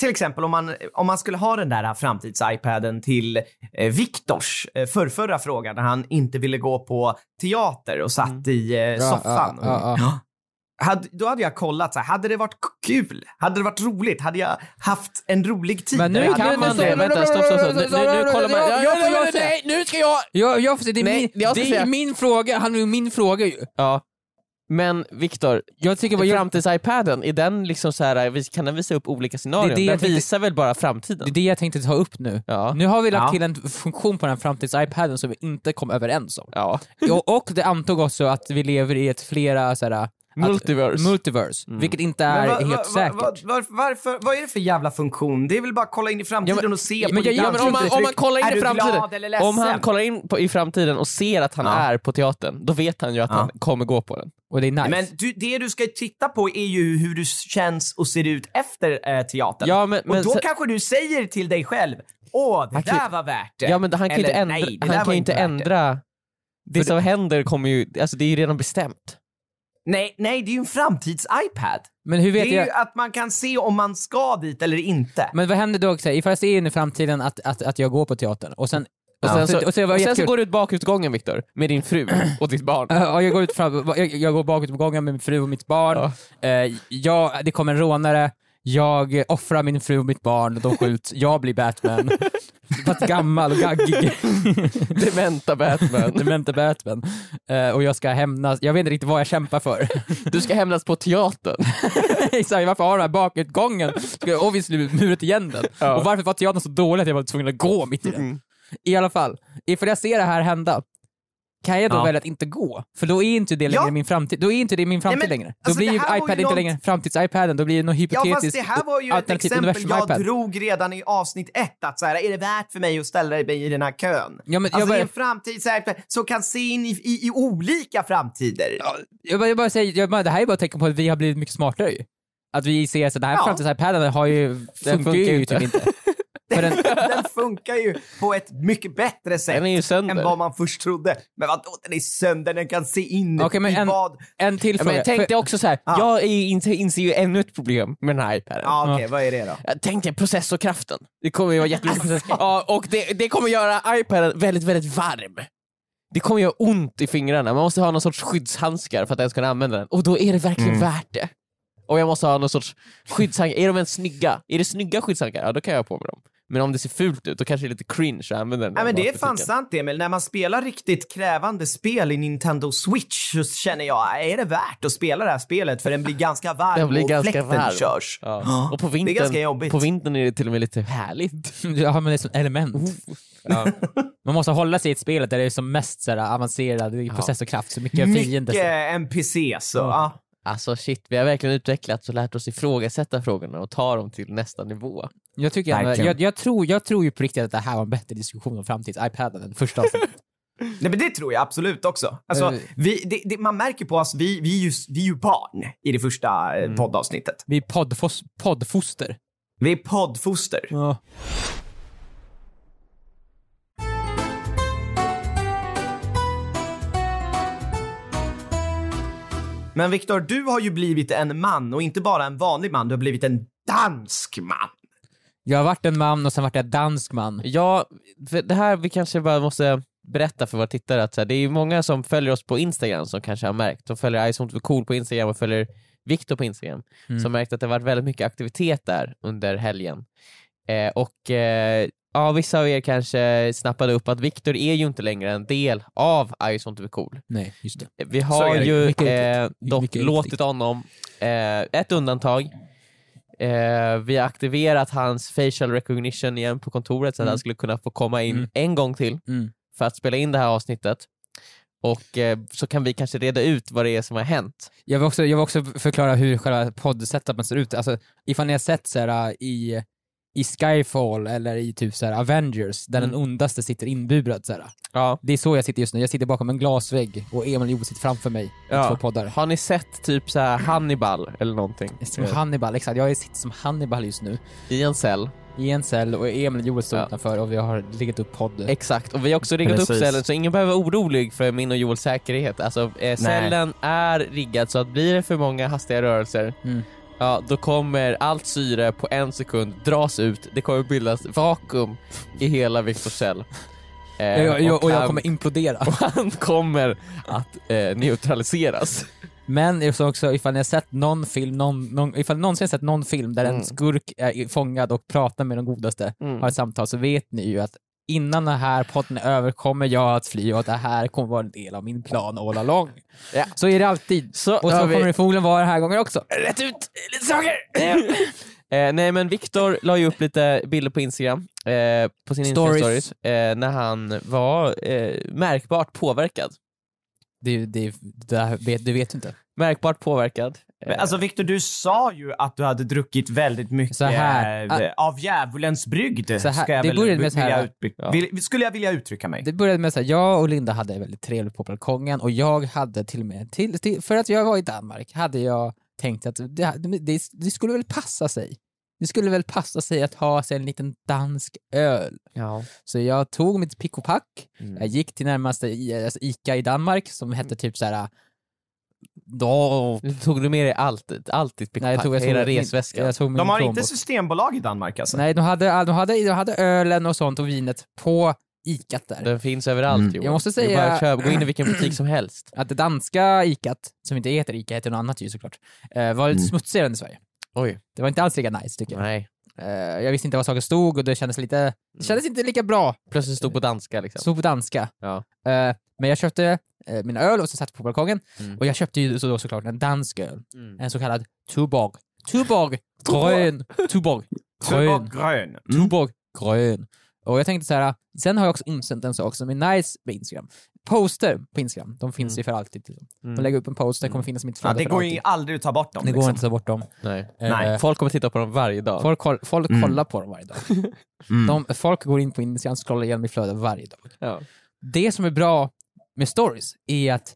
[SPEAKER 3] till exempel om man, om man skulle ha den där här framtids-iPaden till eh, Viktors eh, förrförra fråga när han inte ville gå på teater och satt i eh, soffan.
[SPEAKER 4] Mm. ja, ja,
[SPEAKER 3] Ja. Hade, då hade jag kollat så här, hade det varit kul? Hade det varit roligt? Hade jag haft en rolig tid?
[SPEAKER 4] Men nu
[SPEAKER 3] där jag hade-
[SPEAKER 5] kan man det? Vänta, stopp, stopp, stopp. Nu, nu, nu kollar man. Ja, jag får göra det.
[SPEAKER 4] Nej, nu ska jag! Jag, jag får säga, det är,
[SPEAKER 5] Nej,
[SPEAKER 4] min,
[SPEAKER 5] jag ska
[SPEAKER 4] det
[SPEAKER 5] säga.
[SPEAKER 4] är min fråga, han är ju min fråga ju.
[SPEAKER 5] Ja. Men Viktor,
[SPEAKER 4] Jag tycker vad jag,
[SPEAKER 5] framtids-iPaden, är den liksom så här, vi- kan den visa upp olika
[SPEAKER 4] Det
[SPEAKER 5] scenarion?
[SPEAKER 4] är det jag
[SPEAKER 5] den
[SPEAKER 4] tänkte-
[SPEAKER 5] visar väl bara
[SPEAKER 4] det är
[SPEAKER 5] framtiden?
[SPEAKER 4] det jag tänkte ta upp nu.
[SPEAKER 5] Ja.
[SPEAKER 4] Nu har vi lagt
[SPEAKER 3] Ja.
[SPEAKER 4] till en funktion på den här framtids-iPaden som vi inte kom överens om.
[SPEAKER 5] ja.
[SPEAKER 4] Och, och det antog också att vi lever i ett flera så här,
[SPEAKER 5] Multiverse. Mm.
[SPEAKER 4] Att, multiverse Vilket inte är
[SPEAKER 3] Men vad-
[SPEAKER 4] helt
[SPEAKER 3] vad-
[SPEAKER 4] säkert.
[SPEAKER 3] Vad, vad, varför, vad är det för jävla funktion? Det är väl bara att kolla in i framtiden
[SPEAKER 4] Ja, men-
[SPEAKER 3] och se
[SPEAKER 4] ja,
[SPEAKER 3] på
[SPEAKER 4] men jag-
[SPEAKER 3] ditt
[SPEAKER 4] ja, men om man- om man
[SPEAKER 3] ansiktsuttryck.
[SPEAKER 5] kollar in
[SPEAKER 3] är
[SPEAKER 5] i
[SPEAKER 3] Är du
[SPEAKER 5] framtiden-
[SPEAKER 3] glad eller ledsen?
[SPEAKER 5] Om han kollar in på, i framtiden och ser att han
[SPEAKER 3] Ja.
[SPEAKER 5] är på teatern, då vet han ju att
[SPEAKER 3] Ja.
[SPEAKER 5] han kommer gå på den.
[SPEAKER 4] Och det är nice.
[SPEAKER 3] Men du, det du ska titta på är ju hur du känns och ser ut efter eh, teatern.
[SPEAKER 5] Ja, men, men,
[SPEAKER 3] och då
[SPEAKER 5] så-
[SPEAKER 3] kanske du säger till dig själv, åh det
[SPEAKER 5] Han kan ju-
[SPEAKER 3] där var värt det.
[SPEAKER 5] ja, men han kan ju inte
[SPEAKER 3] Eller,
[SPEAKER 5] ändra...
[SPEAKER 3] "Nej, det där
[SPEAKER 5] han
[SPEAKER 3] var
[SPEAKER 5] kan ju inte
[SPEAKER 3] inte värt det."
[SPEAKER 5] ändra det som händer kommer ju, alltså det är ju redan bestämt.
[SPEAKER 3] Nej, nej, det är ju en framtids-iPad.
[SPEAKER 4] Men hur
[SPEAKER 3] Det
[SPEAKER 4] vet
[SPEAKER 3] är
[SPEAKER 4] jag?
[SPEAKER 3] ju att man kan se om man ska dit eller inte.
[SPEAKER 4] Men vad händer då också? Ifall jag ser in i framtiden att, att, att jag går på teatern och sen...
[SPEAKER 5] Och sen, så, och
[SPEAKER 4] jag,
[SPEAKER 5] sen, så går du ut bakutgången Viktor, med din fru och ditt barn.
[SPEAKER 4] Ja, jag går ut fram, jag, jag går bakåt på gången med min fru och mitt barn. Eh, jag, det kommer en rånare. Jag offrar min fru och mitt barn. De skjuts. jag blir Batman. Fast gammal och gaggig.
[SPEAKER 5] Dementa Batman.
[SPEAKER 4] Dementa Batman. Eh, och jag ska hämnas. Jag vet inte riktigt vad jag kämpar för.
[SPEAKER 5] Du ska hämnas på teatern.
[SPEAKER 4] Exakt, varför har den här bakutgången? Ska jag obviously murat igen den.
[SPEAKER 5] Ja.
[SPEAKER 4] Och varför var teatern så dålig att jag var tvungen att gå mitt i den?
[SPEAKER 3] Mm.
[SPEAKER 4] I alla fall, ifall jag ser det här hända, kan jag då
[SPEAKER 3] Ja.
[SPEAKER 4] välja att inte gå? För då är inte det längre
[SPEAKER 3] Ja.
[SPEAKER 4] min framtid. Då är inte det min framtid
[SPEAKER 3] men,
[SPEAKER 4] längre. Då
[SPEAKER 3] alltså,
[SPEAKER 4] blir
[SPEAKER 3] det
[SPEAKER 4] ju
[SPEAKER 3] här var ju
[SPEAKER 4] iPad inte
[SPEAKER 3] något-
[SPEAKER 4] längre framtids-iPaden, då blir det något
[SPEAKER 3] Ja
[SPEAKER 4] hypotetiskt
[SPEAKER 3] fast det här var ju ett
[SPEAKER 4] alternativt
[SPEAKER 3] exempel
[SPEAKER 4] universum
[SPEAKER 3] jag
[SPEAKER 4] iPad.
[SPEAKER 3] drog redan i avsnitt ett att så här, är det värt för mig att ställa mig i den här kön?
[SPEAKER 4] Ja, men jag
[SPEAKER 3] alltså det är
[SPEAKER 4] bara-
[SPEAKER 3] en framtids-iPad som kan se in i, i, i olika framtider.
[SPEAKER 4] Jag bara, jag bara säger, jag bara, det här är bara ett tecken på att vi har blivit mycket smartare ju. Att vi ser att den här
[SPEAKER 3] Ja.
[SPEAKER 4] framtids-iPaden har ju, funkar,
[SPEAKER 5] funkar
[SPEAKER 4] ju
[SPEAKER 5] inte.
[SPEAKER 4] typ inte. För den,
[SPEAKER 3] Den funkar ju på ett mycket bättre sätt
[SPEAKER 5] Den är ju
[SPEAKER 3] än
[SPEAKER 5] sönder.
[SPEAKER 3] vad man först trodde. Men vadå, den är sönder, den kan se in
[SPEAKER 4] Okej, men
[SPEAKER 3] i
[SPEAKER 4] en-
[SPEAKER 3] vad...
[SPEAKER 4] en till
[SPEAKER 5] Ja,
[SPEAKER 4] fråga.
[SPEAKER 5] men jag tänkte
[SPEAKER 4] För-
[SPEAKER 5] också så här,
[SPEAKER 3] Ja.
[SPEAKER 5] jag är ju inte, inser ju ännu ett problem med den här iPaden.
[SPEAKER 3] Ja, okej, vad är det då?
[SPEAKER 5] Jag tänkte processorkraften. Det kommer ju vara jätteroligt. ja, och det, det kommer göra iPaden väldigt, väldigt varm. Det kommer göra ont i fingrarna. Man måste ha någon sorts skyddshandskar för att ens kunna använda den. Och då är det verkligen värt det. Och jag måste ha någon sorts skyddshandskar. Är de ens snygga? Är det snygga skyddshandskar? Ja, då kan jag ha på mig dem. Men om det ser fult ut, då kanske det är lite cringe att använda den.
[SPEAKER 3] Ja, men
[SPEAKER 5] bara
[SPEAKER 3] det är
[SPEAKER 5] för
[SPEAKER 3] fan
[SPEAKER 5] tyckan.
[SPEAKER 3] sant Emil, när man spelar riktigt krävande spel i Nintendo Switch så känner jag, är det värt att spela det här spelet? För den blir ganska varm
[SPEAKER 5] Den blir
[SPEAKER 3] och
[SPEAKER 5] ganska
[SPEAKER 3] fläkten
[SPEAKER 5] varm.
[SPEAKER 3] körs.
[SPEAKER 5] Ja. Och på
[SPEAKER 3] Det är
[SPEAKER 5] vintern,
[SPEAKER 3] ganska jobbigt.
[SPEAKER 5] på vintern är det till och med lite härligt.
[SPEAKER 4] Ja, men det är som element. Man måste hålla sig i ett spel där det är som mest så här, avancerad i processorkraft, så mycket fiender.
[SPEAKER 3] Mycket NPC så. Ja.
[SPEAKER 5] Alltså shit, vi har verkligen utvecklats och lärt oss ifrågasätta frågorna och ta dem till nästa nivå.
[SPEAKER 4] Jag, tycker jag,
[SPEAKER 3] Verkligen.
[SPEAKER 4] jag, jag, tror, jag tror ju på riktigt att det här var en bättre diskussion om framtids-iPaden än första avsnittet.
[SPEAKER 3] Nej men det tror jag absolut också. Alltså,
[SPEAKER 4] Eh.
[SPEAKER 3] vi, det, det, man märker på oss, vi, vi, är ju, vi är ju barn i det första
[SPEAKER 5] Mm.
[SPEAKER 3] eh, poddavsnittet.
[SPEAKER 4] Vi är poddfos, poddfoster.
[SPEAKER 3] Vi är poddfoster. Men Viktor, du har ju blivit en man och inte bara en vanlig man, du har blivit en dansk man.
[SPEAKER 4] Jag har varit en man och sen vart jag dansk man.
[SPEAKER 5] Ja, för det här vi kanske bara måste berätta för våra tittare att så här, det är ju många som följer oss på Instagram som kanske har märkt. De följer Ice Hot Cool på Instagram och följer Viktor på Instagram.
[SPEAKER 4] Mm.
[SPEAKER 5] Som märkt att det har varit väldigt mycket aktivitet där under helgen. Eh, och eh, ja, vissa av er kanske snappade upp att Viktor är ju inte längre en del av Ice Hot Cool.
[SPEAKER 4] Nej, just det.
[SPEAKER 5] Vi har
[SPEAKER 3] är det.
[SPEAKER 5] ju
[SPEAKER 4] Mycket riktigt.
[SPEAKER 5] eh, dock
[SPEAKER 4] Mycket
[SPEAKER 5] låtit
[SPEAKER 4] riktigt.
[SPEAKER 5] honom, eh, ett undantag, eh, vi har aktiverat hans facial recognition igen på kontoret så att
[SPEAKER 4] Mm.
[SPEAKER 5] han skulle kunna få komma in
[SPEAKER 4] Mm.
[SPEAKER 5] en gång till
[SPEAKER 4] Mm.
[SPEAKER 5] för att spela in det här avsnittet. Och eh, så kan vi kanske reda ut vad det är som har hänt.
[SPEAKER 4] Jag vill, också, jag vill också förklara hur själva poddsetupet ser ut. Alltså, ifall ni har sett så här, äh, i, i Skyfall eller i typ så här, Avengers, där den
[SPEAKER 5] Mm.
[SPEAKER 4] ondaste sitter inburad. Så här.
[SPEAKER 5] Ja.
[SPEAKER 4] Det är så jag sitter just nu. Jag sitter bakom en glasvägg och Emil och Joel sitter framför mig med
[SPEAKER 5] Ja.
[SPEAKER 4] två poddar.
[SPEAKER 5] Har ni sett typ så här Hannibal eller någonting?
[SPEAKER 4] Som
[SPEAKER 5] Eh,
[SPEAKER 4] Hannibal, exakt. Jag sitter som Hannibal just nu.
[SPEAKER 5] I en cell.
[SPEAKER 4] I en cell och Emil och Joel står
[SPEAKER 5] Ja. Eh,
[SPEAKER 4] utanför och vi har legat upp podd.
[SPEAKER 5] Exakt, och vi har också riggat upp
[SPEAKER 3] Precis.
[SPEAKER 5] cellen så ingen behöver vara orolig för min och Joels säkerhet. Alltså, eh, cellen är riggad så att blir det för många hastiga rörelser,
[SPEAKER 4] Mm.
[SPEAKER 5] ja, då kommer allt syre på en sekund dras ut. Det kommer bildas vakuum i hela Viktors cell. Eh,
[SPEAKER 4] Jag, jag, och jag
[SPEAKER 5] han-
[SPEAKER 4] kommer implodera.
[SPEAKER 5] och han kommer att eh, neutraliseras.
[SPEAKER 4] Men jag sa också ifall ni har sett någon film, någon, någon, ifall ni någonsin har sett någon film där
[SPEAKER 5] Mm.
[SPEAKER 4] en skurk är i- fångad och pratar med de godaste,
[SPEAKER 5] Mm.
[SPEAKER 4] har ett samtal, så vet ni ju att innan den här podden är över kommer jag att fly och att det här kommer vara en del av min plan all along.
[SPEAKER 5] Ja.
[SPEAKER 4] Så är det alltid.
[SPEAKER 5] Så,
[SPEAKER 4] Och så
[SPEAKER 5] har vi-
[SPEAKER 4] kommer det förmodligen vara den här gången också.
[SPEAKER 5] rätt ut lite saker. eh, nej men Viktor la ju upp lite bilder på Instagram, eh, på sin
[SPEAKER 4] Stories.
[SPEAKER 5] Insta-stories, eh, när han var eh, märkbart påverkad.
[SPEAKER 4] Det, det, det här vet, du vet ju inte.
[SPEAKER 5] Märkbart påverkad.
[SPEAKER 4] Eh.
[SPEAKER 5] Eh,
[SPEAKER 3] Men Alltså Viktor, du sa ju att du hade druckit väldigt mycket
[SPEAKER 4] Så här, ah.
[SPEAKER 3] eh, av djävulens brygd.
[SPEAKER 4] Så här,
[SPEAKER 3] ska jag
[SPEAKER 4] det
[SPEAKER 3] väl
[SPEAKER 4] började med
[SPEAKER 3] vilja
[SPEAKER 4] så här,
[SPEAKER 3] utby-
[SPEAKER 5] ja.
[SPEAKER 3] vill- skulle jag vilja uttrycka mig.
[SPEAKER 4] Det började med att jag och Linda hade väldigt trevligt på balkongen och jag hade till och med, till, till, för att jag var i Danmark, hade jag tänkt att det, det, det skulle väl passa sig. Det skulle väl passa sig att ha sig en liten dansk öl.
[SPEAKER 5] Ja.
[SPEAKER 4] Så jag tog mitt pick och pack,
[SPEAKER 5] Mm.
[SPEAKER 4] jag gick till närmaste I- alltså ICA i Danmark som hette typ såhär då,
[SPEAKER 5] Nu Tog du med dig allt? Allt ditt pick
[SPEAKER 4] Nej, jag tog, jag tog
[SPEAKER 5] hela
[SPEAKER 4] min-
[SPEAKER 5] resväskan?
[SPEAKER 4] Jag tog min
[SPEAKER 3] De har inte
[SPEAKER 4] plånbok.
[SPEAKER 3] systembolag i Danmark alltså?
[SPEAKER 4] Nej, de hade, de, hade, de hade ölen och sånt och vinet på ICAt där.
[SPEAKER 5] Den finns överallt
[SPEAKER 3] Mm.
[SPEAKER 5] Joel.
[SPEAKER 4] Jag måste
[SPEAKER 5] Det är
[SPEAKER 4] säga-
[SPEAKER 5] bara att köpa, gå in i vilken butik som helst.
[SPEAKER 4] att det danska ikat, som inte heter Ica, heter något annat ju såklart, eh, var lite
[SPEAKER 3] Mm.
[SPEAKER 4] smutsigare än i Sverige.
[SPEAKER 5] Oj.
[SPEAKER 4] Det var inte alls lika nice tycker jag.
[SPEAKER 5] Nej.
[SPEAKER 4] Eh, jag visste inte vad saker stod och det kändes lite, det kändes inte lika bra.
[SPEAKER 5] Plötsligt stod på danska liksom.
[SPEAKER 4] Stod på danska.
[SPEAKER 5] Mm. Ja.
[SPEAKER 4] Eh, men jag köpte eh, min öl och så satt jag på balkongen.
[SPEAKER 5] Mm.
[SPEAKER 4] Och jag köpte ju så då såklart en dansk öl.
[SPEAKER 5] Mm.
[SPEAKER 4] En så kallad Tuborg. Tuborg! Grön! Tuborg! Grön!
[SPEAKER 3] Tuborg grön. Mm.
[SPEAKER 4] Tuborg grön. Och jag tänkte så här, sen har jag också insett en sak som är nice med Instagram. Poster på Instagram, de finns ju för alltid. Liksom. De lägger upp en post, den kommer finnas i mitt
[SPEAKER 3] Mm. Ja,
[SPEAKER 4] flöde
[SPEAKER 3] det
[SPEAKER 4] för
[SPEAKER 3] går
[SPEAKER 4] alltid.
[SPEAKER 3] ju aldrig att ta bort dem.
[SPEAKER 4] Det går
[SPEAKER 3] liksom.
[SPEAKER 4] inte att ta bort dem.
[SPEAKER 5] Nej.
[SPEAKER 3] Nej.
[SPEAKER 4] Eh,
[SPEAKER 5] Folk kommer titta på dem varje dag.
[SPEAKER 4] Folk, koll- folk
[SPEAKER 3] Mm.
[SPEAKER 4] kollar på dem varje dag.
[SPEAKER 3] Mm.
[SPEAKER 4] De, folk går in på Instagram och scrollar igenom mitt flöde varje dag.
[SPEAKER 5] Ja.
[SPEAKER 4] Det som är bra med stories är att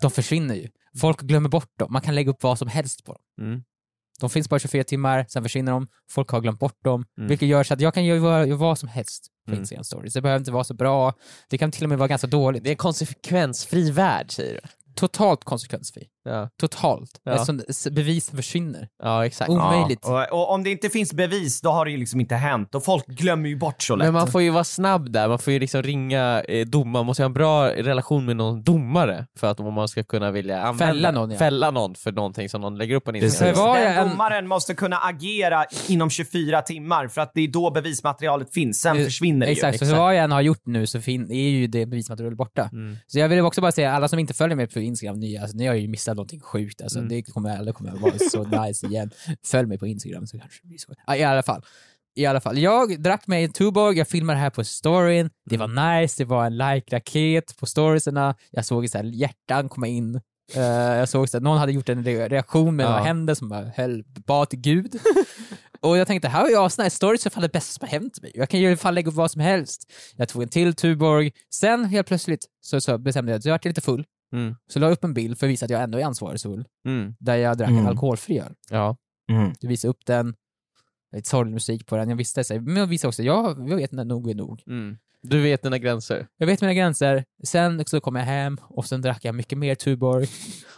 [SPEAKER 4] de försvinner ju. Folk glömmer bort dem. Man kan lägga upp vad som helst på dem.
[SPEAKER 5] Mm.
[SPEAKER 4] De finns bara 24 timmar, sen försvinner de. Folk har glömt bort dem.
[SPEAKER 5] Mm.
[SPEAKER 4] Vilket gör så att jag kan göra göra vad som helst på
[SPEAKER 5] Mm.
[SPEAKER 4] Instagram stories. Det behöver inte vara så bra. Det kan till och med vara ganska dåligt.
[SPEAKER 5] Det är en konsekvensfri värld säger du.
[SPEAKER 4] Totalt konsekvensfri.
[SPEAKER 5] Ja,
[SPEAKER 4] Totalt.
[SPEAKER 5] Ja.
[SPEAKER 4] Eftersom s- bevisen försvinner.
[SPEAKER 5] ja exakt.
[SPEAKER 4] Oh.
[SPEAKER 3] Ja.
[SPEAKER 4] Omöjligt.
[SPEAKER 3] Och, och om det inte finns bevis, då har det ju liksom inte hänt. Och folk glömmer ju bort så lätt.
[SPEAKER 5] Men man får ju vara snabb där, man får ju liksom ringa eh, domaren, man måste ju ha en bra relation med någon domare för att om man ska kunna vilja använda,
[SPEAKER 4] Fälla någon, ja.
[SPEAKER 5] fälla någon för någonting som någon lägger upp på en
[SPEAKER 3] Precis.
[SPEAKER 5] Instagram.
[SPEAKER 4] För vad jag
[SPEAKER 3] Den
[SPEAKER 4] än-
[SPEAKER 3] domaren måste kunna agera inom 24 timmar för att det är då bevismaterialet finns. Sen
[SPEAKER 4] Eh,
[SPEAKER 3] försvinner det
[SPEAKER 4] Exakt,
[SPEAKER 3] ju. liksom.
[SPEAKER 4] så vad jag än har gjort nu så fin- är ju det bevismaterialet borta.
[SPEAKER 5] Mm.
[SPEAKER 4] Så jag vill också bara säga, alla som inte följer mig på Instagram, ni, alltså, ni har ju missat någonting sjukt. Alltså,
[SPEAKER 5] Mm.
[SPEAKER 4] Det kommer aldrig kommer att vara så nice igen. Följ mig på Instagram så kanske det blir så. Ja, I alla fall. I alla fall. Jag drack mig en Tuborg, jag filmade det här på storyn. Det
[SPEAKER 5] Mm.
[SPEAKER 4] var nice, det var en like-raket på storiesarna. Jag såg så här, hjärtan komma in. Eh, jag såg att någon hade gjort en re- reaktion med
[SPEAKER 5] Ja.
[SPEAKER 4] vad hände som bara höll, bad till Gud. och jag tänkte, här har jag såna här stories i fall det bästa som har hänt mig. Jag kan ju i alla fall lägga upp vad som helst. Jag tog en till Tuborg. Sen helt plötsligt så, så bestämde jag att jag var lite full.
[SPEAKER 5] Mm.
[SPEAKER 4] Så la jag upp en bild för att visa att jag ändå är ansvarsfull.
[SPEAKER 5] Mm.
[SPEAKER 4] Där jag drack
[SPEAKER 3] Mm.
[SPEAKER 4] en alkoholfri öl.
[SPEAKER 5] Ja.
[SPEAKER 3] Mm.
[SPEAKER 4] Jag visade upp den. Lite sorglig musik på den. Jag visste så här, men jag visade också, jag, jag vet när nog är nog.
[SPEAKER 5] Mm. Du vet dina gränser.
[SPEAKER 4] Jag vet mina gränser. Sen så kom jag hem och sen drack jag mycket mer Tuborg.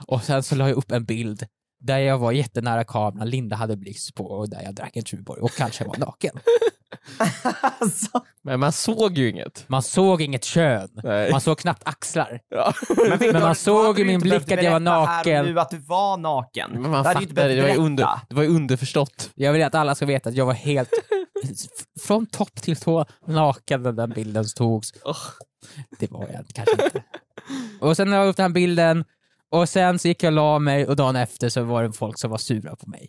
[SPEAKER 4] Och sen så la jag upp en bild där jag var jättenära kameran, Linda hade blixt på och där jag drack en Tuborg och kanske var naken.
[SPEAKER 3] Alltså.
[SPEAKER 5] Men man såg ju inget.
[SPEAKER 4] Man såg inget kön.
[SPEAKER 5] Nej.
[SPEAKER 4] Man såg knappt axlar.
[SPEAKER 5] Ja.
[SPEAKER 4] Men man såg
[SPEAKER 3] hade
[SPEAKER 4] i
[SPEAKER 3] du
[SPEAKER 4] min
[SPEAKER 3] inte
[SPEAKER 4] blick
[SPEAKER 3] behövt
[SPEAKER 4] att jag var
[SPEAKER 3] berätta här och
[SPEAKER 4] naken.
[SPEAKER 3] nu att du var naken.
[SPEAKER 5] Men man
[SPEAKER 3] Det hade du inte
[SPEAKER 5] fattade, det var ju
[SPEAKER 3] behövt
[SPEAKER 5] under,
[SPEAKER 3] berätta.
[SPEAKER 5] det var ju underförstått.
[SPEAKER 4] Jag vill att alla ska veta att jag var helt f- från topp till tå naken när den bilden togs. Det var jag kanske inte. Och sen la jag upp den här bilden och sen så gick jag och la mig och dagen efter så var det folk som var sura på mig.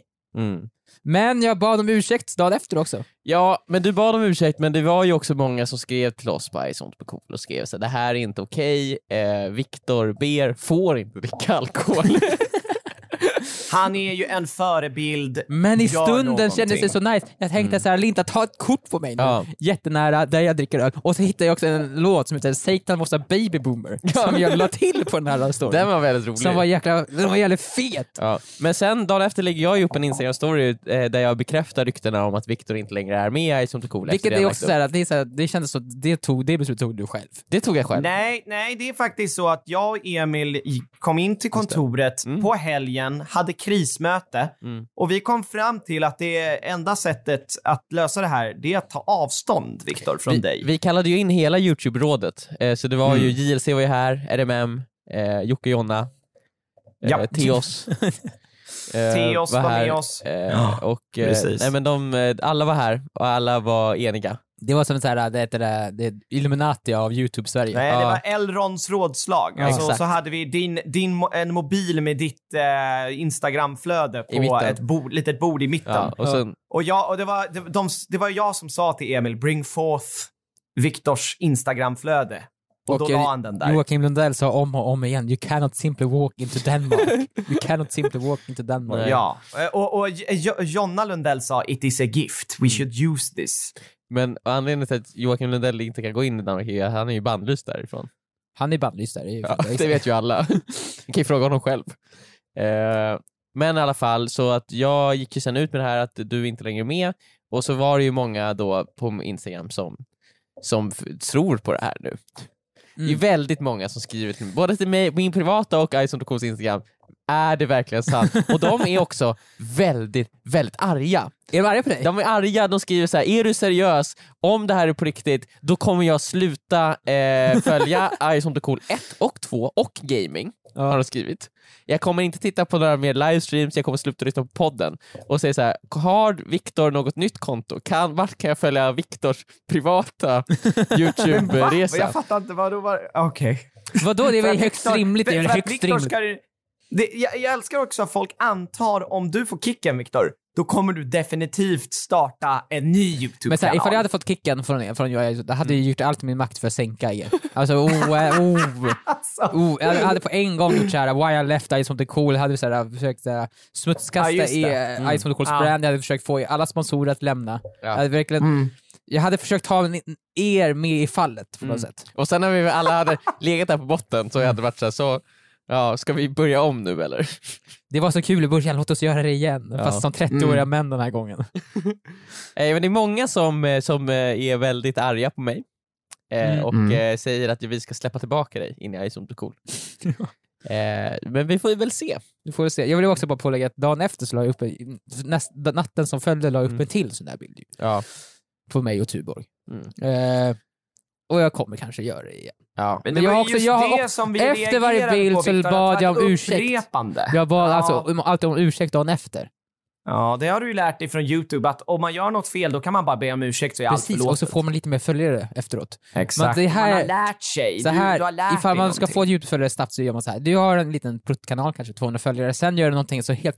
[SPEAKER 4] Men jag bad om ursäkt dagen efter också.
[SPEAKER 5] Ja, men du bad om ursäkt, men det var ju också många som skrev till oss på sånt på cool och skrev så här, det här är inte okej, eh, Viktor ber får inte dricka alkohol.
[SPEAKER 3] Han är ju en förebild.
[SPEAKER 4] Men i
[SPEAKER 3] Gör
[SPEAKER 4] stunden
[SPEAKER 3] någonting.
[SPEAKER 4] kändes det så nice. Jag tänkte så här, Linda ta ett kort på mig nu.
[SPEAKER 5] Ja.
[SPEAKER 4] Jättenära, där jag dricker öl. Och så hittade jag också en låt som heter Satan was a baby boomer. Som jag la till på den här storyn.
[SPEAKER 5] Den var väldigt rolig.
[SPEAKER 4] Som var jäkla, den var jävligt fet.
[SPEAKER 5] Ja. Men sen dagen efter lägger jag ju upp en Instagram-story eh, där jag bekräftar ryktena om att Viktor inte längre är med i Sånt och cool. efter
[SPEAKER 4] Vilket
[SPEAKER 5] det jag
[SPEAKER 4] är
[SPEAKER 5] lagt
[SPEAKER 4] också
[SPEAKER 5] upp.
[SPEAKER 4] såhär, att det, är såhär, det kändes så, det, tog, det beslutet tog du själv.
[SPEAKER 5] Det tog jag själv.
[SPEAKER 3] Nej, nej, det är faktiskt så att jag och Emil i- kom in till kontoret
[SPEAKER 5] Mm.
[SPEAKER 3] på helgen, hade krismöte och vi kom fram till att det enda sättet att lösa det här, det är att ta avstånd, Viktor, från
[SPEAKER 5] vi,
[SPEAKER 3] dig. Mm.
[SPEAKER 5] vi kallade ju in hela Youtube-rådet, eh, så det var ju JLC var ju här, RMM, eh, Jocke och Jonna, eh,
[SPEAKER 3] Ja.
[SPEAKER 5] Teos. eh,
[SPEAKER 3] Teos var med
[SPEAKER 5] här,
[SPEAKER 3] oss.
[SPEAKER 5] eh,
[SPEAKER 3] Ja,
[SPEAKER 5] och, eh,
[SPEAKER 3] precis.
[SPEAKER 5] nej, men de, eh, alla var här och alla var eniga.
[SPEAKER 4] Det var som såhär, det heter det, det Illuminati av YouTube-Sverige.
[SPEAKER 3] Nej, det
[SPEAKER 5] Ja.
[SPEAKER 3] var Elrons rådslag. alltså,
[SPEAKER 5] exakt.
[SPEAKER 3] så hade vi din, din, mo- en mobil med ditt eh, Instagramflöde
[SPEAKER 5] I
[SPEAKER 3] på
[SPEAKER 5] mitten.
[SPEAKER 3] ett bo, litet bord i mitten.
[SPEAKER 5] Ja, och sen,
[SPEAKER 3] Och, jag, och det, var, det, de, det var jag som sa till Emil, bring forth Viktors Instagramflöde. Och, då
[SPEAKER 4] Och,
[SPEAKER 3] la
[SPEAKER 4] eh,
[SPEAKER 3] han den där.
[SPEAKER 4] Joakim Lundell sa om och om igen, you cannot simply walk into Denmark. You cannot simply walk into Denmark.
[SPEAKER 5] Nej.
[SPEAKER 3] Ja, Eh, och, och Jo- Jonna Lundell sa “It is a gift, we should use this”.
[SPEAKER 5] men anledningen till att Joakim Lundell inte kan gå in i Danmark är att han är ju bannlyst därifrån.
[SPEAKER 4] Han är bannlyst där. det är ju
[SPEAKER 5] Ja,
[SPEAKER 4] fan-
[SPEAKER 5] det vet ju alla. Ni kan ju fråga honom själv. Eh, men i alla fall, så att jag gick ju sen ut med det här att du inte längre är med och så var det ju många då på Instagram som, som f- tror på det här nu. Det är
[SPEAKER 4] Mm.
[SPEAKER 5] väldigt många som skriver till mig, både till mig, min privata och Ison.coms Instagram. Är det verkligen sant? Och de är också väldigt, väldigt arga.
[SPEAKER 4] Är de arga på dig?
[SPEAKER 5] De är arga, de skriver så här: är du seriös? Om det här är på riktigt, då kommer jag sluta eh, följa Ice on the Cool 1 och 2 och gaming. Har de skrivit. Jag kommer inte titta på några mer livestreams, jag kommer sluta lyssna på podden. Och säger så här: har Viktor något nytt konto? Kan, vart kan jag följa Viktors privata
[SPEAKER 3] Och jag
[SPEAKER 5] YouTube-resa?
[SPEAKER 3] fattar inte, vad då var Okej.
[SPEAKER 4] Vadå, det är väl
[SPEAKER 3] För att
[SPEAKER 4] högst
[SPEAKER 3] Viktor-
[SPEAKER 4] rimligt? Det är
[SPEAKER 3] för
[SPEAKER 4] väl
[SPEAKER 3] att
[SPEAKER 4] högst
[SPEAKER 3] Viktor
[SPEAKER 4] rimligt?
[SPEAKER 3] ska ju- det, jag, jag älskar också att folk antar om du får kicken, Viktor, då kommer du definitivt starta en ny
[SPEAKER 4] Men såhär, ifall jag
[SPEAKER 3] YouTube-kanal.
[SPEAKER 4] hade fått kicken från er, från jag, jag hade jag
[SPEAKER 3] Mm.
[SPEAKER 4] gjort allt i min makt för att sänka er. Alltså, oh, eh, oh.
[SPEAKER 3] Alltså,
[SPEAKER 4] Oh, jag hade på en gång gjort såhär, why I left Ice on the cool, jag hade såhär, försökt såhär, smutskasta
[SPEAKER 3] Ja, just det.
[SPEAKER 4] i mm. Ice on the cools
[SPEAKER 3] Ja.
[SPEAKER 4] brand, jag hade försökt få alla sponsorer att lämna. Jag, hade verkligen,
[SPEAKER 3] Mm.
[SPEAKER 4] jag hade försökt ha en- er med i fallet
[SPEAKER 3] Mm.
[SPEAKER 4] på något sätt.
[SPEAKER 5] Och sen när vi alla hade legat där på botten så jag hade varit så här, så, ja, ska vi börja om nu eller?
[SPEAKER 4] Det var så kul i början, låt oss göra det igen.
[SPEAKER 5] Ja.
[SPEAKER 4] Fast som 30-åriga
[SPEAKER 3] Mm.
[SPEAKER 4] män den här gången.
[SPEAKER 5] Eh, men det är många som, eh, som eh, är väldigt arga på mig eh,
[SPEAKER 4] Mm.
[SPEAKER 5] och
[SPEAKER 3] Mm.
[SPEAKER 5] eh, säger att vi ska släppa tillbaka dig in i Ice on the Cool. eh, men vi får ju väl se.
[SPEAKER 4] Du får se. Jag vill också bara pålägga att dagen efter så la jag upp, en- näst, natten som följde la jag upp
[SPEAKER 3] Mm.
[SPEAKER 4] en till sån där bild ju,
[SPEAKER 5] Ja.
[SPEAKER 4] på mig och Tuborg.
[SPEAKER 3] Mm.
[SPEAKER 4] Eh, och jag kommer kanske göra det igen.
[SPEAKER 5] Ja.
[SPEAKER 3] Men
[SPEAKER 4] Men jag
[SPEAKER 3] det var
[SPEAKER 4] har
[SPEAKER 3] ju
[SPEAKER 4] också-
[SPEAKER 3] just
[SPEAKER 4] jag har
[SPEAKER 3] det
[SPEAKER 4] också-
[SPEAKER 3] som vi
[SPEAKER 4] efter varje
[SPEAKER 3] reagerade
[SPEAKER 4] bild
[SPEAKER 3] på,
[SPEAKER 4] så
[SPEAKER 3] Viktor, att
[SPEAKER 4] bad jag om
[SPEAKER 3] det var
[SPEAKER 4] ursäkt.
[SPEAKER 3] Upprepande.
[SPEAKER 4] Jag bad
[SPEAKER 3] Ja.
[SPEAKER 4] alltså om- alltid om ursäkt dagen efter.
[SPEAKER 3] Ja, det har du ju lärt dig från YouTube att om man gör något fel då kan man bara be om ursäkt så är allt
[SPEAKER 4] Precis, och så
[SPEAKER 3] förlåtet.
[SPEAKER 4] får man lite mer följare efteråt.
[SPEAKER 3] Exakt.
[SPEAKER 4] Men det här-
[SPEAKER 3] man har lärt sig.
[SPEAKER 4] Så här,
[SPEAKER 3] du, du har lärt
[SPEAKER 4] ifall
[SPEAKER 3] dig
[SPEAKER 4] man ska
[SPEAKER 3] någonting.
[SPEAKER 4] få en YouTube-följare snabbt så gör man så här. Du har en liten pruttkanal, kanske 200 följare, sen gör du någonting så helt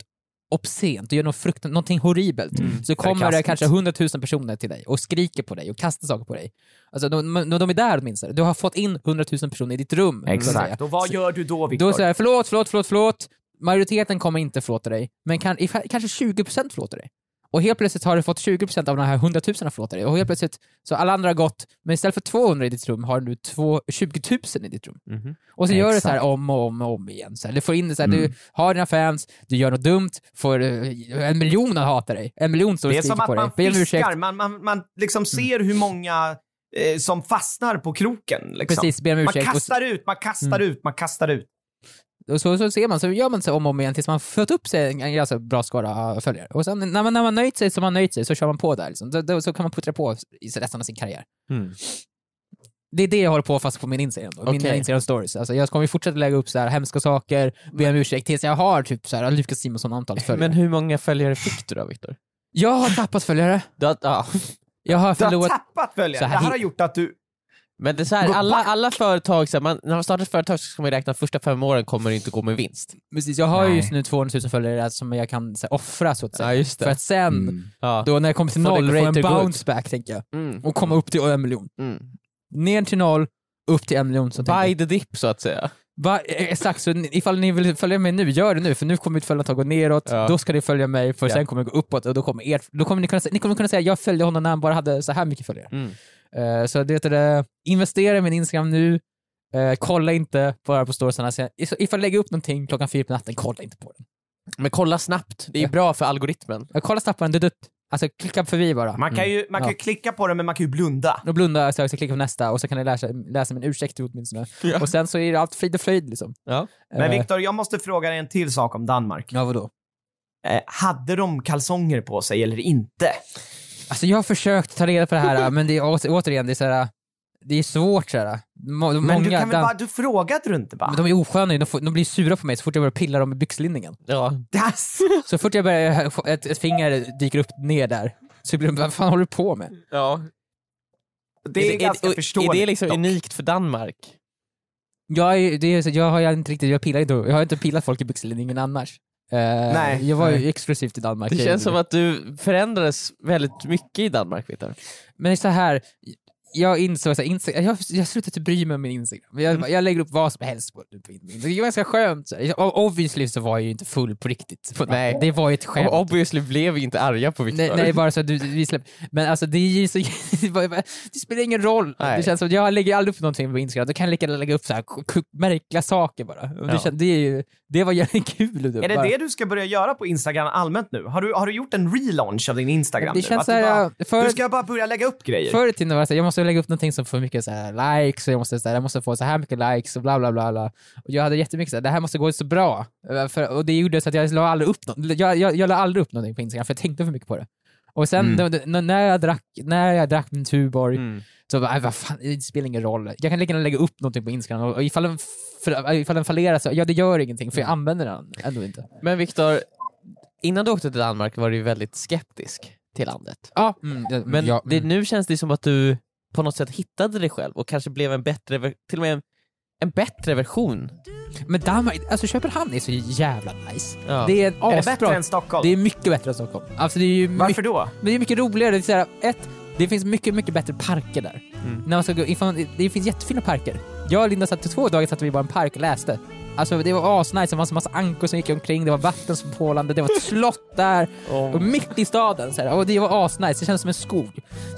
[SPEAKER 4] obscent, du gör något, frukt, någonting horribelt. så kommer det
[SPEAKER 3] sarkastiskt.
[SPEAKER 4] kanske 100 000 personer till dig och skriker på dig och kastar saker på dig. Alltså, de, de de är där åtminstone. Du har fått in 100 000 personer i ditt rum. så att säga.
[SPEAKER 3] Exakt. Och vad gör du då, Viktor?
[SPEAKER 4] Då säger jag förlåt, förlåt, förlåt, förlåt. Majoriteten kommer inte förlåta dig, men kan, ifall, kanske 20% förlåter dig. Och helt plötsligt har du fått 20% av de här 100 000 att förlåta dig. Och helt plötsligt, så alla andra har gått, men istället för 200 i ditt rum har du två, 20 000 i ditt rum.
[SPEAKER 5] Mhm.
[SPEAKER 4] Och så gör du så här
[SPEAKER 3] Exakt. Mm.
[SPEAKER 4] om och om och om igen. Så här, du får in det så här, du har dina fans, du gör något dumt, får eh, en miljon att hata dig. En miljon står och
[SPEAKER 3] Det är
[SPEAKER 4] skriker
[SPEAKER 3] som att
[SPEAKER 4] på dig.
[SPEAKER 3] man
[SPEAKER 4] Be om ursäkt. Mm.
[SPEAKER 3] fiskar. Man, man, man liksom ser hur många eh, som fastnar på kroken. Liksom.
[SPEAKER 4] Precis, be om
[SPEAKER 3] Man
[SPEAKER 4] ursäkt. Och så- Mm.
[SPEAKER 3] kastar ut, man kastar ut, man kastar ut.
[SPEAKER 4] Och så, så ser man, så gör man så om och om igen tills man fått upp sig en, en ganska bra skara äh, följare. Och sen när man, när man nöjt sig så har man nöjt sig, så kör man på där. Liksom. Då, då, så kan man puttra på i resten av sin karriär.
[SPEAKER 5] Mm.
[SPEAKER 4] Det är det jag håller på fast på min Instagram då. Mina
[SPEAKER 5] Okej.
[SPEAKER 4] Instagram-stories. Alltså, jag kommer ju fortsätta lägga upp så här hemska saker, be om ursäkt, tills jag har typ så här Lukas Simonsson antal följare.
[SPEAKER 5] Men hur många följare fick du då, Viktor?
[SPEAKER 4] Jag har tappat följare.
[SPEAKER 5] Du- Ja.
[SPEAKER 4] Jag har
[SPEAKER 3] Du har
[SPEAKER 4] förlorat...
[SPEAKER 3] tappat följare.
[SPEAKER 4] Så
[SPEAKER 3] Det
[SPEAKER 4] här
[SPEAKER 3] här
[SPEAKER 4] hit.
[SPEAKER 3] har gjort att du...
[SPEAKER 5] Men det är så här, alla, alla företag, så här, man, när man startar ett företag så ska man ju räkna att första fem åren kommer det inte gå med vinst.
[SPEAKER 4] Precis, jag har ju
[SPEAKER 3] Nej.
[SPEAKER 4] just nu 200 000 följare som jag kan så här, offra så att säga.
[SPEAKER 5] just
[SPEAKER 4] För att sen,
[SPEAKER 5] Ja.
[SPEAKER 4] då när jag kommer till
[SPEAKER 5] Får mm. det
[SPEAKER 4] noll, få en
[SPEAKER 5] greater good.
[SPEAKER 4] bounce back tänker jag.
[SPEAKER 5] Mm.
[SPEAKER 4] Och komma upp till en miljon.
[SPEAKER 5] Mm.
[SPEAKER 4] Ner till noll, upp till en miljon. Så tänker jag.
[SPEAKER 5] Buy the dip så att säga.
[SPEAKER 4] Va, E- exakt, så ni- ifall ni vill följa mig nu, gör det nu. För nu kommer mitt följande gå neråt,
[SPEAKER 5] Ja.
[SPEAKER 4] då ska ni följa mig, för
[SPEAKER 5] Ja.
[SPEAKER 4] sen kommer det gå uppåt och då kommer, ert, då kommer ni, kunna, sä- ni kommer kunna säga jag följde honom när han bara hade så här mycket följare.
[SPEAKER 5] Mm.
[SPEAKER 4] Eh, så det heter det, investera i min Instagram nu, Eh, kolla inte bara på storiesarna. Så if- Ifall jag lägger upp någonting klockan fyra på natten, kolla inte på den. Eh,
[SPEAKER 5] Men kolla snabbt, det är
[SPEAKER 4] Ja.
[SPEAKER 5] bra för algoritmen.
[SPEAKER 4] Jag kollar snabbt på den, dutt, dutt. Alltså klicka förbi bara.
[SPEAKER 3] Man kan ju, man kan ju klicka på det, men man kan ju blunda.
[SPEAKER 4] Då blundar jag strax och klickar på nästa och så kan jag läsa, läsa min ursäkt åtminstone.
[SPEAKER 5] Ja.
[SPEAKER 4] Och sen så är det allt frid och fröjd liksom.
[SPEAKER 5] Ja.
[SPEAKER 3] Men
[SPEAKER 4] Eh,
[SPEAKER 3] Viktor, jag måste fråga dig en till sak om Danmark.
[SPEAKER 4] Ja, vadå?
[SPEAKER 3] Eh, hade de kalsonger på sig eller inte?
[SPEAKER 4] Alltså jag har försökt ta reda på det här men det är, å- återigen, det är, så här, det är svårt. Så här. Må,
[SPEAKER 3] Men
[SPEAKER 4] många,
[SPEAKER 3] du kan väl
[SPEAKER 4] dan-
[SPEAKER 3] bara, du frågade du inte bara?
[SPEAKER 4] men de är osköna, de, får, de blir sura på mig så fort jag börjar pilla dem i byxlinningen.
[SPEAKER 5] Ja.
[SPEAKER 3] Das!
[SPEAKER 4] Så fort jag börjar, ett, ett finger dyker upp ner där, så blir de, vad fan håller du på med?
[SPEAKER 5] Ja.
[SPEAKER 3] Det är, ganska
[SPEAKER 5] och-
[SPEAKER 3] förståeligt.
[SPEAKER 5] Är det liksom
[SPEAKER 3] dock.
[SPEAKER 5] unikt för Danmark?
[SPEAKER 4] Jag, är, det är, så- jag har ju inte riktigt, jag pillar inte, jag har inte pillat folk i byxlinningen annars. Eh,
[SPEAKER 3] Nej,
[SPEAKER 4] jag var ju
[SPEAKER 3] nej.
[SPEAKER 4] exklusivt i Danmark.
[SPEAKER 5] Det
[SPEAKER 4] Jag
[SPEAKER 5] känns som
[SPEAKER 4] gjorde
[SPEAKER 5] att du förändrades väldigt mycket i Danmark, Viktor.
[SPEAKER 4] Men det är så här, jag insåg så här, Instagram, jag, jag har slutat bry mig om min Instagram. Jag,
[SPEAKER 3] Mm.
[SPEAKER 4] jag lägger upp vad som helst på, på min Instagram. Det är ganska skönt. Så här. Jag- Obviously så var jag ju inte full på riktigt.
[SPEAKER 5] Nej.
[SPEAKER 4] Det var ju ett skämt.
[SPEAKER 5] Och obviously blev vi inte arga på Viktor.
[SPEAKER 4] Nej, nej, bara så att du, vi släpper. Men alltså det är ju så, det spelar ingen roll.
[SPEAKER 5] Nej.
[SPEAKER 4] Det känns som att jag lägger aldrig upp någonting på Instagram, då kan jag lika gärna lägga upp så här k- k- märkliga saker bara. Och Det,
[SPEAKER 5] Ja.
[SPEAKER 4] känns, det, är ju, det var jävligt kul. att
[SPEAKER 3] Är det
[SPEAKER 4] bara-
[SPEAKER 3] det du ska börja göra på Instagram allmänt nu? Har du, har du gjort en relaunch av din Instagram
[SPEAKER 4] Det
[SPEAKER 3] nu?
[SPEAKER 4] känns
[SPEAKER 3] Att du
[SPEAKER 4] såhär,
[SPEAKER 3] bara,
[SPEAKER 4] för-
[SPEAKER 3] Du ska bara börja lägga upp grejer.
[SPEAKER 4] Förr i tiden var det så här, jag måste lägga upp någonting som får mycket så här likes och jag måste, så här, jag måste få så här mycket likes och bla bla bla. bla. Och jag hade jättemycket så här, det här måste gå så bra. Eh, För, och det gjorde så att jag la aldrig upp, nå- jag, jag, jag la aldrig upp någonting på Instagram för jag tänkte för mycket på det. Och sen
[SPEAKER 3] Mm.
[SPEAKER 4] då- då- när, jag drack, när jag drack min Tuborg
[SPEAKER 5] Mm.
[SPEAKER 4] så bara, "Aj, vad fan, det spelar ingen roll. Jag kan lika gärna lägga upp någonting på Instagram och, och ifall, den, f- äh, ifall den fallerar så, ja det gör ingenting för jag använder den ändå inte.
[SPEAKER 5] Men Viktor, innan du åkte till Danmark var du ju väldigt skeptisk till landet.
[SPEAKER 4] Ja, mm, ja,
[SPEAKER 5] Men
[SPEAKER 4] ja,
[SPEAKER 5] det, nu känns det som att du på något sätt hittade dig själv och kanske blev en bättre, ver- till och med en, en bättre version.
[SPEAKER 4] men Danmark, alltså Köpenhamn är så jävla nice.
[SPEAKER 5] Ja.
[SPEAKER 4] Det är en
[SPEAKER 3] är det bättre
[SPEAKER 4] asbra
[SPEAKER 3] än Stockholm?
[SPEAKER 4] Det är mycket bättre än Stockholm. Alltså det är ju mycket,
[SPEAKER 3] Varför då?
[SPEAKER 4] men det är mycket roligare. Det, är så här, ett, det finns mycket, mycket bättre parker där. När man ska gå, ifall, det finns jättefina parker. Jag och Linda satt i två dagar satt vi bara i en park och läste. Alltså det var asnice, det var en massa ankor som gick omkring, det var vatten som pålande, det var ett slott där. Och mitt i staden. Så här, och det var asnice, det kändes som en skog.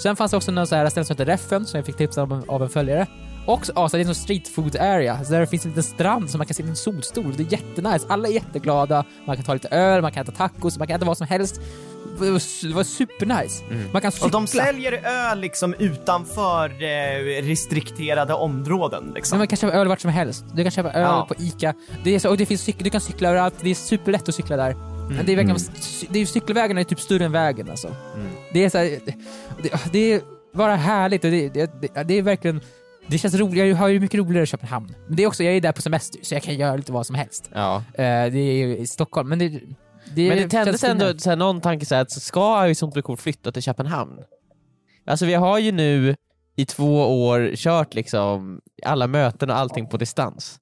[SPEAKER 4] Sen fanns det också någon så här ställe som hette Reffen som jag fick tips av, av en följare. Också asnice, det är en sån street food area. Så där finns en liten strand som man kan sitta i en solstol. Det är jättenice, alla är jätteglada. Man kan ta lite öl, man kan äta tacos, man kan äta vad som helst. Det var, det var supernice. Man kan cykla.
[SPEAKER 3] Och de säljer öl liksom utanför eh, restrikterade områden liksom.
[SPEAKER 4] Nej, man kan köpa öl vart som helst. Du kan köpa öl
[SPEAKER 3] Ja.
[SPEAKER 4] på ICA. Det är så, och det finns cykel, du kan cykla överallt. Det är superlätt att cykla där.
[SPEAKER 5] Mm.
[SPEAKER 4] Men det är verkligen, det är, cykelvägarna är typ större än vägen alltså.
[SPEAKER 5] Mm.
[SPEAKER 4] Det är så här, det, det är bara härligt och det, det, det, det är verkligen det känns roligt, jag har ju mycket roligare i Köpenhamn. Men det är också, jag är där på semester så jag kan göra lite vad som helst.
[SPEAKER 5] Ja.
[SPEAKER 4] Eh, det är ju i Stockholm, men det... det
[SPEAKER 5] Men det tändes
[SPEAKER 4] känns
[SPEAKER 5] ändå
[SPEAKER 4] finare.
[SPEAKER 5] så här, någon tanke så här, att ska Arizona Cool flytta till Köpenhamn? Alltså vi har ju nu i två år kört liksom alla möten och allting på distans.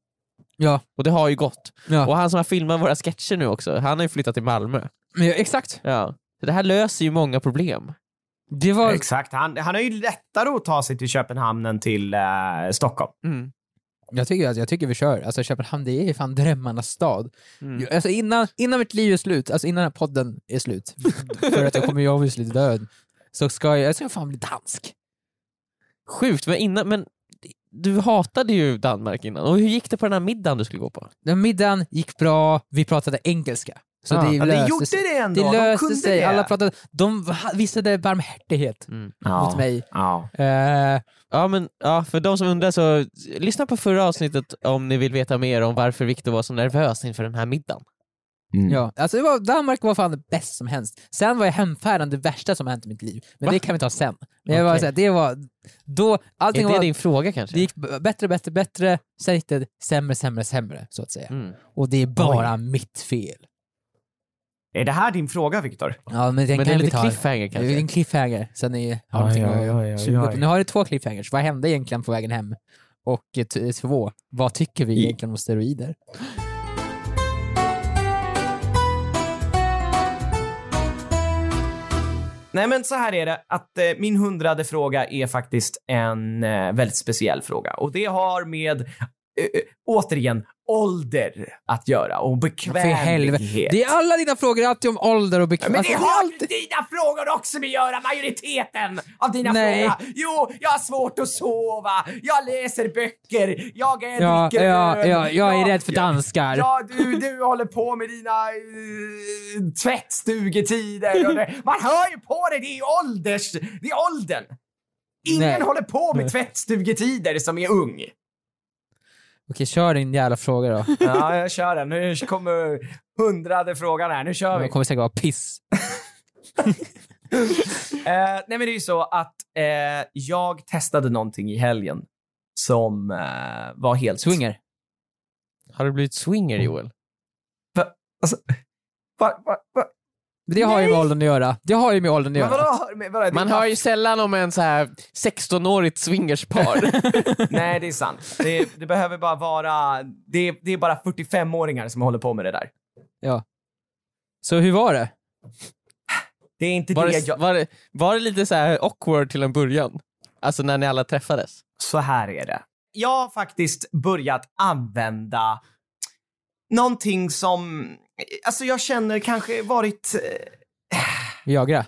[SPEAKER 4] Ja,
[SPEAKER 5] Och det har ju gått.
[SPEAKER 4] ja.
[SPEAKER 5] Och han som har filmat våra sketcher nu också, han har ju flyttat till Malmö.
[SPEAKER 4] Men, ja, exakt.
[SPEAKER 5] Ja. Så det här löser ju många problem.
[SPEAKER 4] Det var...
[SPEAKER 3] Exakt, han, han har ju lättare att ta sig till Köpenhamn än till eh, Stockholm.
[SPEAKER 5] Mm.
[SPEAKER 4] Jag tycker, alltså, jag tycker vi kör. Alltså Köpenhamn, det är ju fan drömmarnas stad.
[SPEAKER 5] Mm.
[SPEAKER 3] Mm.
[SPEAKER 4] Jag- Alltså innan, innan mitt liv är slut, alltså innan den här podden är slut, för att jag kommer ju obviously död, så ska jag, jag ska fan bli dansk.
[SPEAKER 5] Sjukt, men, innan, men du hatade ju Danmark innan. Och hur gick det på den här middagen du skulle gå på?
[SPEAKER 4] Den middagen gick bra, vi pratade engelska. Så
[SPEAKER 5] Ah.
[SPEAKER 4] det
[SPEAKER 3] Ja, det
[SPEAKER 4] löste
[SPEAKER 3] gjorde
[SPEAKER 4] sig.
[SPEAKER 3] det ändå.
[SPEAKER 4] Det
[SPEAKER 3] de
[SPEAKER 4] löste
[SPEAKER 3] kunde
[SPEAKER 4] sig,
[SPEAKER 3] det.
[SPEAKER 4] alla pratade, de ha- visade barmhärtighet
[SPEAKER 5] Mm.
[SPEAKER 3] ja.
[SPEAKER 4] mot mig.
[SPEAKER 3] Ja.
[SPEAKER 4] Eh,
[SPEAKER 5] Ja, men, ja, för de som undrar så lyssna på förra avsnittet om ni vill veta mer om varför Viktor var så nervös inför den här middagen.
[SPEAKER 3] Mm.
[SPEAKER 4] Ja, alltså det var, Danmark var fan det bästa som helst. Sen var jag hemfärden det värsta som hänt i mitt liv. Men
[SPEAKER 5] Va?
[SPEAKER 4] det kan vi ta sen. Men jag
[SPEAKER 5] Okej.
[SPEAKER 4] bara, så här, det var... Då, allting
[SPEAKER 5] Är det
[SPEAKER 4] var,
[SPEAKER 5] din fråga kanske?
[SPEAKER 4] det gick b- bättre, bättre, bättre. Sen gick det sämre, sämre, sämre, så att säga.
[SPEAKER 5] Mm.
[SPEAKER 4] Och det är bara mitt fel.
[SPEAKER 3] Är det här din fråga, Viktor?
[SPEAKER 4] Ja, men
[SPEAKER 5] Men
[SPEAKER 4] den
[SPEAKER 5] det
[SPEAKER 4] kan
[SPEAKER 5] är
[SPEAKER 4] vi
[SPEAKER 5] lite
[SPEAKER 4] ta.
[SPEAKER 5] cliffhanger
[SPEAKER 4] Det är
[SPEAKER 5] kanske?
[SPEAKER 4] en cliffhanger. Sen är, har någonting att- suga upp. Nu har du två cliffhangers. Vad hände egentligen på vägen hem? Och eh, t- två, vad tycker vi egentligen om steroider?
[SPEAKER 3] Nej, men så här är det att eh, min hundrade fråga är faktiskt en eh, väldigt speciell fråga och det har med eh, eh, återigen ålder att göra och
[SPEAKER 4] För i helvete.
[SPEAKER 3] bekvämlighet.
[SPEAKER 4] Det är Alltså, alla dina frågor alltid om ålder och
[SPEAKER 3] Men
[SPEAKER 4] bekvämlighet.
[SPEAKER 3] det har alltid... dina frågor också med att göra, majoriteten av dina
[SPEAKER 4] Nej.
[SPEAKER 3] frågor. Jo, jag har svårt att sova, jag läser böcker, jag är
[SPEAKER 4] Ja,
[SPEAKER 3] dricker
[SPEAKER 4] ja,
[SPEAKER 3] öl,
[SPEAKER 4] ja, jag är rädd för danskar.
[SPEAKER 3] Ja, du, du håller på med dina uh, tvättstugetider. Och det. Man hör ju på dig, det är ju ålders... Det är åldern. Ingen
[SPEAKER 4] Nej.
[SPEAKER 3] håller på med tvättstugetider som är ung.
[SPEAKER 4] Okej, kör din jävla fråga då.
[SPEAKER 3] Ja, jag kör den. Nu kommer hundrade frågan här. Nu kör vi.
[SPEAKER 4] Det kommer säkert vara piss.
[SPEAKER 3] Eh, nej, men det är ju så att eh, jag testade någonting i helgen som eh, var helt...
[SPEAKER 4] Swinger.
[SPEAKER 5] Har du blivit swinger Joel?
[SPEAKER 3] Va, va, va?
[SPEAKER 4] Men det har ju med åldern att göra. Det har ju med åldern att
[SPEAKER 3] Men vadå?
[SPEAKER 4] göra.
[SPEAKER 3] Men vadå? Det är
[SPEAKER 5] Man hör ju sällan om en så här 16-årigt swingerspar.
[SPEAKER 3] Nej, det är sant. Det, det behöver bara vara... Det, det är bara 45-åringar som håller på med det där.
[SPEAKER 4] Så hur var det?
[SPEAKER 3] Det är inte
[SPEAKER 5] Var
[SPEAKER 3] det
[SPEAKER 5] det,
[SPEAKER 3] jag...
[SPEAKER 5] var, det, var det lite så här awkward till en början? Alltså när ni alla träffades?
[SPEAKER 3] Så här är det. Jag har faktiskt börjat använda någonting som... Alltså jag känner kanske varit... eh,
[SPEAKER 4] Viagra?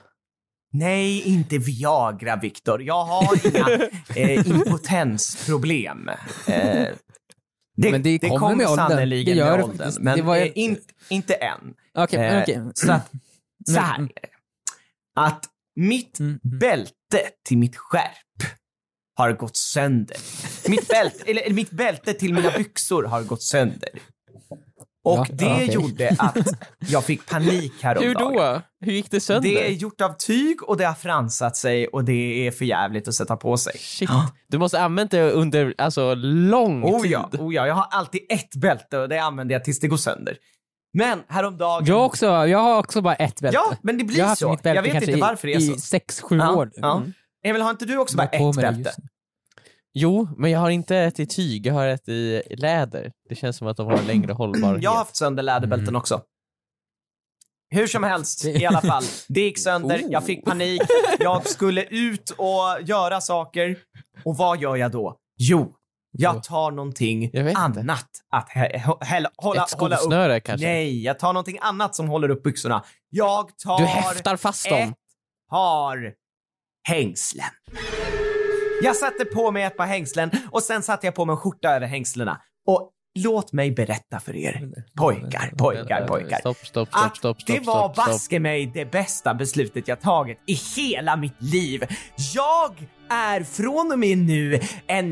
[SPEAKER 3] Nej, inte Viagra, Viktor. Jag har inga eh, impotensproblem. Eh, det,
[SPEAKER 4] Men det kommer med åldern.
[SPEAKER 3] sannerligen
[SPEAKER 4] Det gör
[SPEAKER 3] med
[SPEAKER 4] det
[SPEAKER 3] åldern.
[SPEAKER 4] faktiskt.
[SPEAKER 3] Men
[SPEAKER 4] Det var ju-
[SPEAKER 3] eh, in, inte än.
[SPEAKER 4] Okej,
[SPEAKER 3] Eh,
[SPEAKER 4] okej.
[SPEAKER 3] Så, att, så här är
[SPEAKER 4] Mm.
[SPEAKER 3] det. Att mitt
[SPEAKER 4] Mm.
[SPEAKER 3] bälte till mitt skärp har gått sönder. Mitt bälte, eller mitt bälte till mina byxor har gått sönder. Och
[SPEAKER 4] Ja,
[SPEAKER 3] det
[SPEAKER 4] ja, okej.
[SPEAKER 3] gjorde att jag fick panik
[SPEAKER 5] Hur
[SPEAKER 3] häromdagen.
[SPEAKER 5] då? Hur gick det sönder?
[SPEAKER 3] Det är gjort av tyg och det har fransat sig och det är för jävligt att sätta på sig.
[SPEAKER 5] Shit. Du måste ha använt det under alltså, lång
[SPEAKER 3] Oh
[SPEAKER 5] tid.
[SPEAKER 3] ja, oh ja, jag har alltid ett bälte och det använder jag tills det går sönder. Men häromdagen...
[SPEAKER 4] Jag, också, jag har också bara ett bälte.
[SPEAKER 3] ja men det
[SPEAKER 4] jag har
[SPEAKER 3] blir
[SPEAKER 4] haft
[SPEAKER 3] så.
[SPEAKER 4] mitt bälte
[SPEAKER 3] Jag vet
[SPEAKER 4] kanske
[SPEAKER 3] inte varför det är så.
[SPEAKER 4] i, i sex, sju
[SPEAKER 3] Ja,
[SPEAKER 4] år Mm. nu.
[SPEAKER 3] ja. Emil, har inte du också bara
[SPEAKER 4] Jag har på
[SPEAKER 3] ett
[SPEAKER 4] mig det
[SPEAKER 3] bälte?
[SPEAKER 4] just nu.
[SPEAKER 5] Jo, men jag har inte ett i tyg, jag har ett i läder. Det känns som att de har längre hållbarhet.
[SPEAKER 3] Jag har haft sönder läderbälten
[SPEAKER 4] Mm.
[SPEAKER 3] också. Hur som helst, i alla fall. Det gick
[SPEAKER 5] Oh.
[SPEAKER 3] sönder, jag fick panik, jag skulle ut och göra saker. Och vad gör jag då? Jo, jag tar någonting
[SPEAKER 5] Jag vet inte.
[SPEAKER 3] annat att hä- hä- hälla- hålla,
[SPEAKER 5] ett
[SPEAKER 3] hålla upp.
[SPEAKER 5] skosnöre kanske.
[SPEAKER 3] Nej, jag tar någonting annat som håller upp byxorna. Jag tar
[SPEAKER 5] Du häftar fast dem.
[SPEAKER 3] ett par hängslen. Jag satte på mig ett par hängslen och sen satte jag på mig en skjorta över hängslena. Och låt mig berätta för er, pojkar, pojkar, pojkar.
[SPEAKER 5] Stopp, stopp, stopp,
[SPEAKER 3] Att
[SPEAKER 5] stopp, stopp,
[SPEAKER 3] det var
[SPEAKER 5] stopp, stopp.
[SPEAKER 3] baske mig det bästa beslutet jag tagit i hela mitt liv. Jag är från och med nu en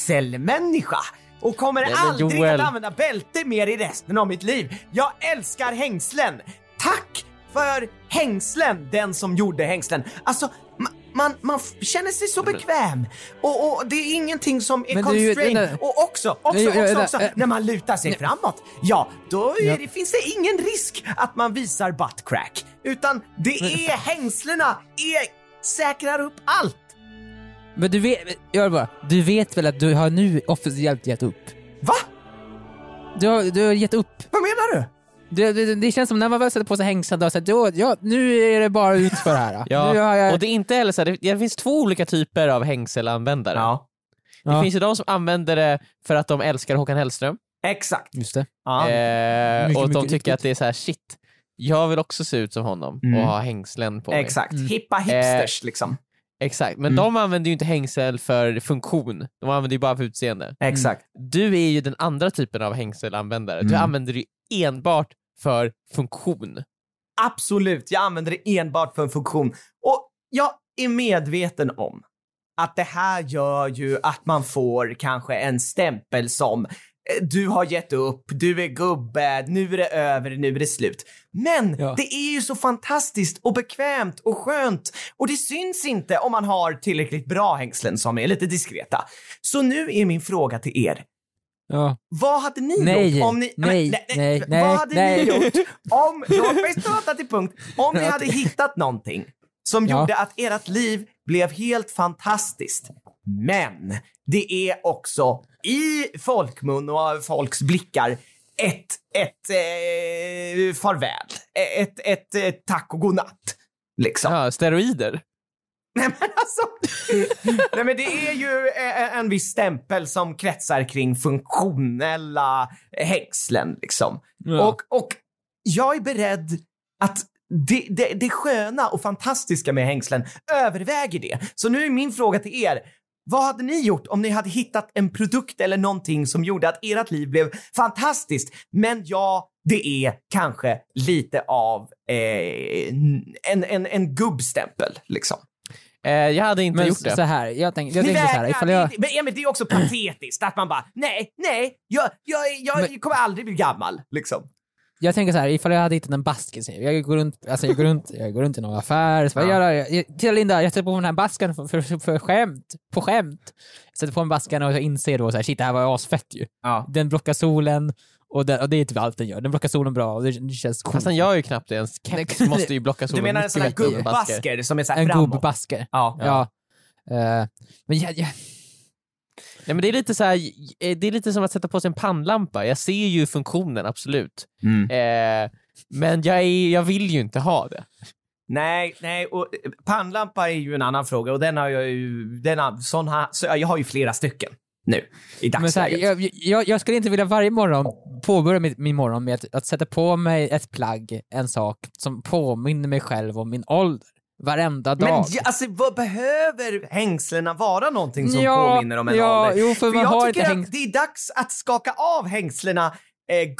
[SPEAKER 3] hängselmänniska och kommer
[SPEAKER 5] Nej, men
[SPEAKER 3] aldrig
[SPEAKER 5] Joel.
[SPEAKER 3] att använda bälte mer i resten av mitt liv. Jag älskar hängslen. Tack för hängslen, den som gjorde hängslen. Alltså, ma- man, man f- känner sig så bekväm och, och det är ingenting som är
[SPEAKER 4] Men du,
[SPEAKER 3] constrained.
[SPEAKER 4] vänta.
[SPEAKER 3] Och också, också,
[SPEAKER 4] Nej, jag-
[SPEAKER 3] också,
[SPEAKER 4] jag-
[SPEAKER 3] också,
[SPEAKER 4] jag-
[SPEAKER 3] när man lutar sig framåt, ja, då är,
[SPEAKER 4] Ja.
[SPEAKER 3] det finns det ingen risk att man visar butt crack. Utan det är hängslena, är, säkrar upp allt.
[SPEAKER 4] Men du vet, gör bara. Du vet väl att du har nu officiellt gett upp?
[SPEAKER 3] Va?
[SPEAKER 4] Du har, du har gett upp.
[SPEAKER 3] Vad menar du?
[SPEAKER 4] Det, det, det känns som när man väl sätter på sig hängslen, då, så att, då, ja, nu är det bara ut för här. nu har
[SPEAKER 5] Ja,
[SPEAKER 4] jag,
[SPEAKER 5] och det är inte heller så här, det, det finns två olika typer av hängselanvändare.
[SPEAKER 3] Ja,
[SPEAKER 5] Det
[SPEAKER 4] Ja.
[SPEAKER 5] finns ju de som använder det för att de älskar Håkan Hellström
[SPEAKER 3] exakt.
[SPEAKER 4] Just det.
[SPEAKER 3] Ja.
[SPEAKER 5] eh,
[SPEAKER 4] Mycket,
[SPEAKER 5] och de
[SPEAKER 4] mycket
[SPEAKER 5] tycker att det är så här shit, jag vill också se ut som honom
[SPEAKER 3] Mm.
[SPEAKER 5] och ha hängslen på mig.
[SPEAKER 3] Exakt.
[SPEAKER 4] Eh,
[SPEAKER 3] Hippa hipsters liksom.
[SPEAKER 5] Exakt, men
[SPEAKER 4] Mm.
[SPEAKER 5] de använder ju inte hängsel för funktion, de använder ju bara för utseende.
[SPEAKER 3] Exakt.
[SPEAKER 5] Du är ju den andra typen av hängselanvändare, du
[SPEAKER 3] Mm.
[SPEAKER 5] använder det ju enbart för funktion.
[SPEAKER 3] Absolut, jag använder det enbart för en funktion. Och jag är medveten om att det här gör ju att man får kanske en stämpel som eh, du har gett upp, du är gubbe, nu är det över, nu är det slut. Men
[SPEAKER 4] Ja.
[SPEAKER 3] det är ju så fantastiskt och bekvämt och skönt och det syns inte om man har tillräckligt bra hängslen som är lite diskreta. Så nu är min fråga till er.
[SPEAKER 4] Ja.
[SPEAKER 3] Vad hade ni
[SPEAKER 4] Nej,
[SPEAKER 3] gjort om ni...
[SPEAKER 4] nej,
[SPEAKER 3] men,
[SPEAKER 4] nej, nej,
[SPEAKER 3] Vad hade
[SPEAKER 4] nej.
[SPEAKER 3] ni gjort om... Låt mig prata till punkt. Om ni hade hittat någonting som
[SPEAKER 4] Ja.
[SPEAKER 3] gjorde att ert liv blev helt fantastiskt. Men det är också i folkmun och av folks blickar ett, ett eh, farväl. Ett, ett, eh, tack och godnatt. Liksom.
[SPEAKER 5] Ja, steroider.
[SPEAKER 3] Nej men alltså. Nej men det är ju eh, en viss stämpel som kretsar kring funktionella hängslen liksom.
[SPEAKER 4] Ja.
[SPEAKER 3] Och, och jag är beredd att det, det, det sköna och fantastiska med hängslen överväger det. Så nu är min fråga till er. Vad hade ni gjort om ni hade hittat en produkt eller någonting som gjorde att ert liv blev fantastiskt? Men ja, det är kanske lite av eh, en, en, en gubbstämpel liksom.
[SPEAKER 5] Eh, jag hade inte
[SPEAKER 4] Men
[SPEAKER 5] gjort det.
[SPEAKER 4] så här, jag tänkte jag
[SPEAKER 3] Ni
[SPEAKER 4] tänker så här,
[SPEAKER 3] vägrar,
[SPEAKER 4] ifall jag...
[SPEAKER 3] det, men, ja, men det är också patetiskt att man bara nej, nej, jag, jag, jag,
[SPEAKER 4] Men-
[SPEAKER 3] kommer aldrig bli gammal liksom.
[SPEAKER 4] Jag tänker så här, ifall jag hade hittat en basken, säger jag. jag går runt, alltså jag går runt, jag går runt i någon affär, så bara,
[SPEAKER 3] Ja.
[SPEAKER 4] ja. jag, jag, Titta Linda, jag sätter på mig den här basken för, för, för, skämt, på skämt. Jag sätter på mig basken och jag inser då så här, shit det här var ju asfett ju.
[SPEAKER 3] Ja.
[SPEAKER 4] Den blockar solen och, den, och det är typ allt den gör. Den blockar solen bra och det, det känns coolt.
[SPEAKER 5] Fast han gör ju knappt det. Ens keps måste ju blocka
[SPEAKER 3] Du
[SPEAKER 5] solen.
[SPEAKER 3] menar en
[SPEAKER 5] mycket
[SPEAKER 3] sån här
[SPEAKER 5] bättre än basker.
[SPEAKER 3] gubbasker som är så här
[SPEAKER 4] en
[SPEAKER 3] framåt?
[SPEAKER 4] gubbasker.
[SPEAKER 3] Ja.
[SPEAKER 4] Ja. Eh, men jag, jag,
[SPEAKER 5] Nej, men det, är lite så här, eh, det är lite som att sätta på sig en pannlampa. Jag ser ju funktionen, absolut.
[SPEAKER 4] Mm.
[SPEAKER 5] Eh, men jag, är, jag vill ju inte ha det.
[SPEAKER 3] Nej, nej, och eh, pannlampa är ju en annan fråga och den har jag ju, den har, sån här, så jag har ju flera stycken nu i
[SPEAKER 4] men så här,
[SPEAKER 3] dagsläget.
[SPEAKER 4] jag, jag, jag skulle inte vilja varje morgon påbörja min, min morgon med att, att sätta på mig ett plagg, en sak, som påminner mig själv om min ålder. Varenda dag.
[SPEAKER 3] Men ja, alltså, vad behöver hängslena vara någonting som
[SPEAKER 4] Ja,
[SPEAKER 3] påminner om en
[SPEAKER 4] ja,
[SPEAKER 3] ålder?
[SPEAKER 4] Jo, för,
[SPEAKER 3] För
[SPEAKER 4] man har
[SPEAKER 3] jag
[SPEAKER 4] inte
[SPEAKER 3] tycker
[SPEAKER 4] hängt...
[SPEAKER 3] att det är dags att skaka av hängslena, eh,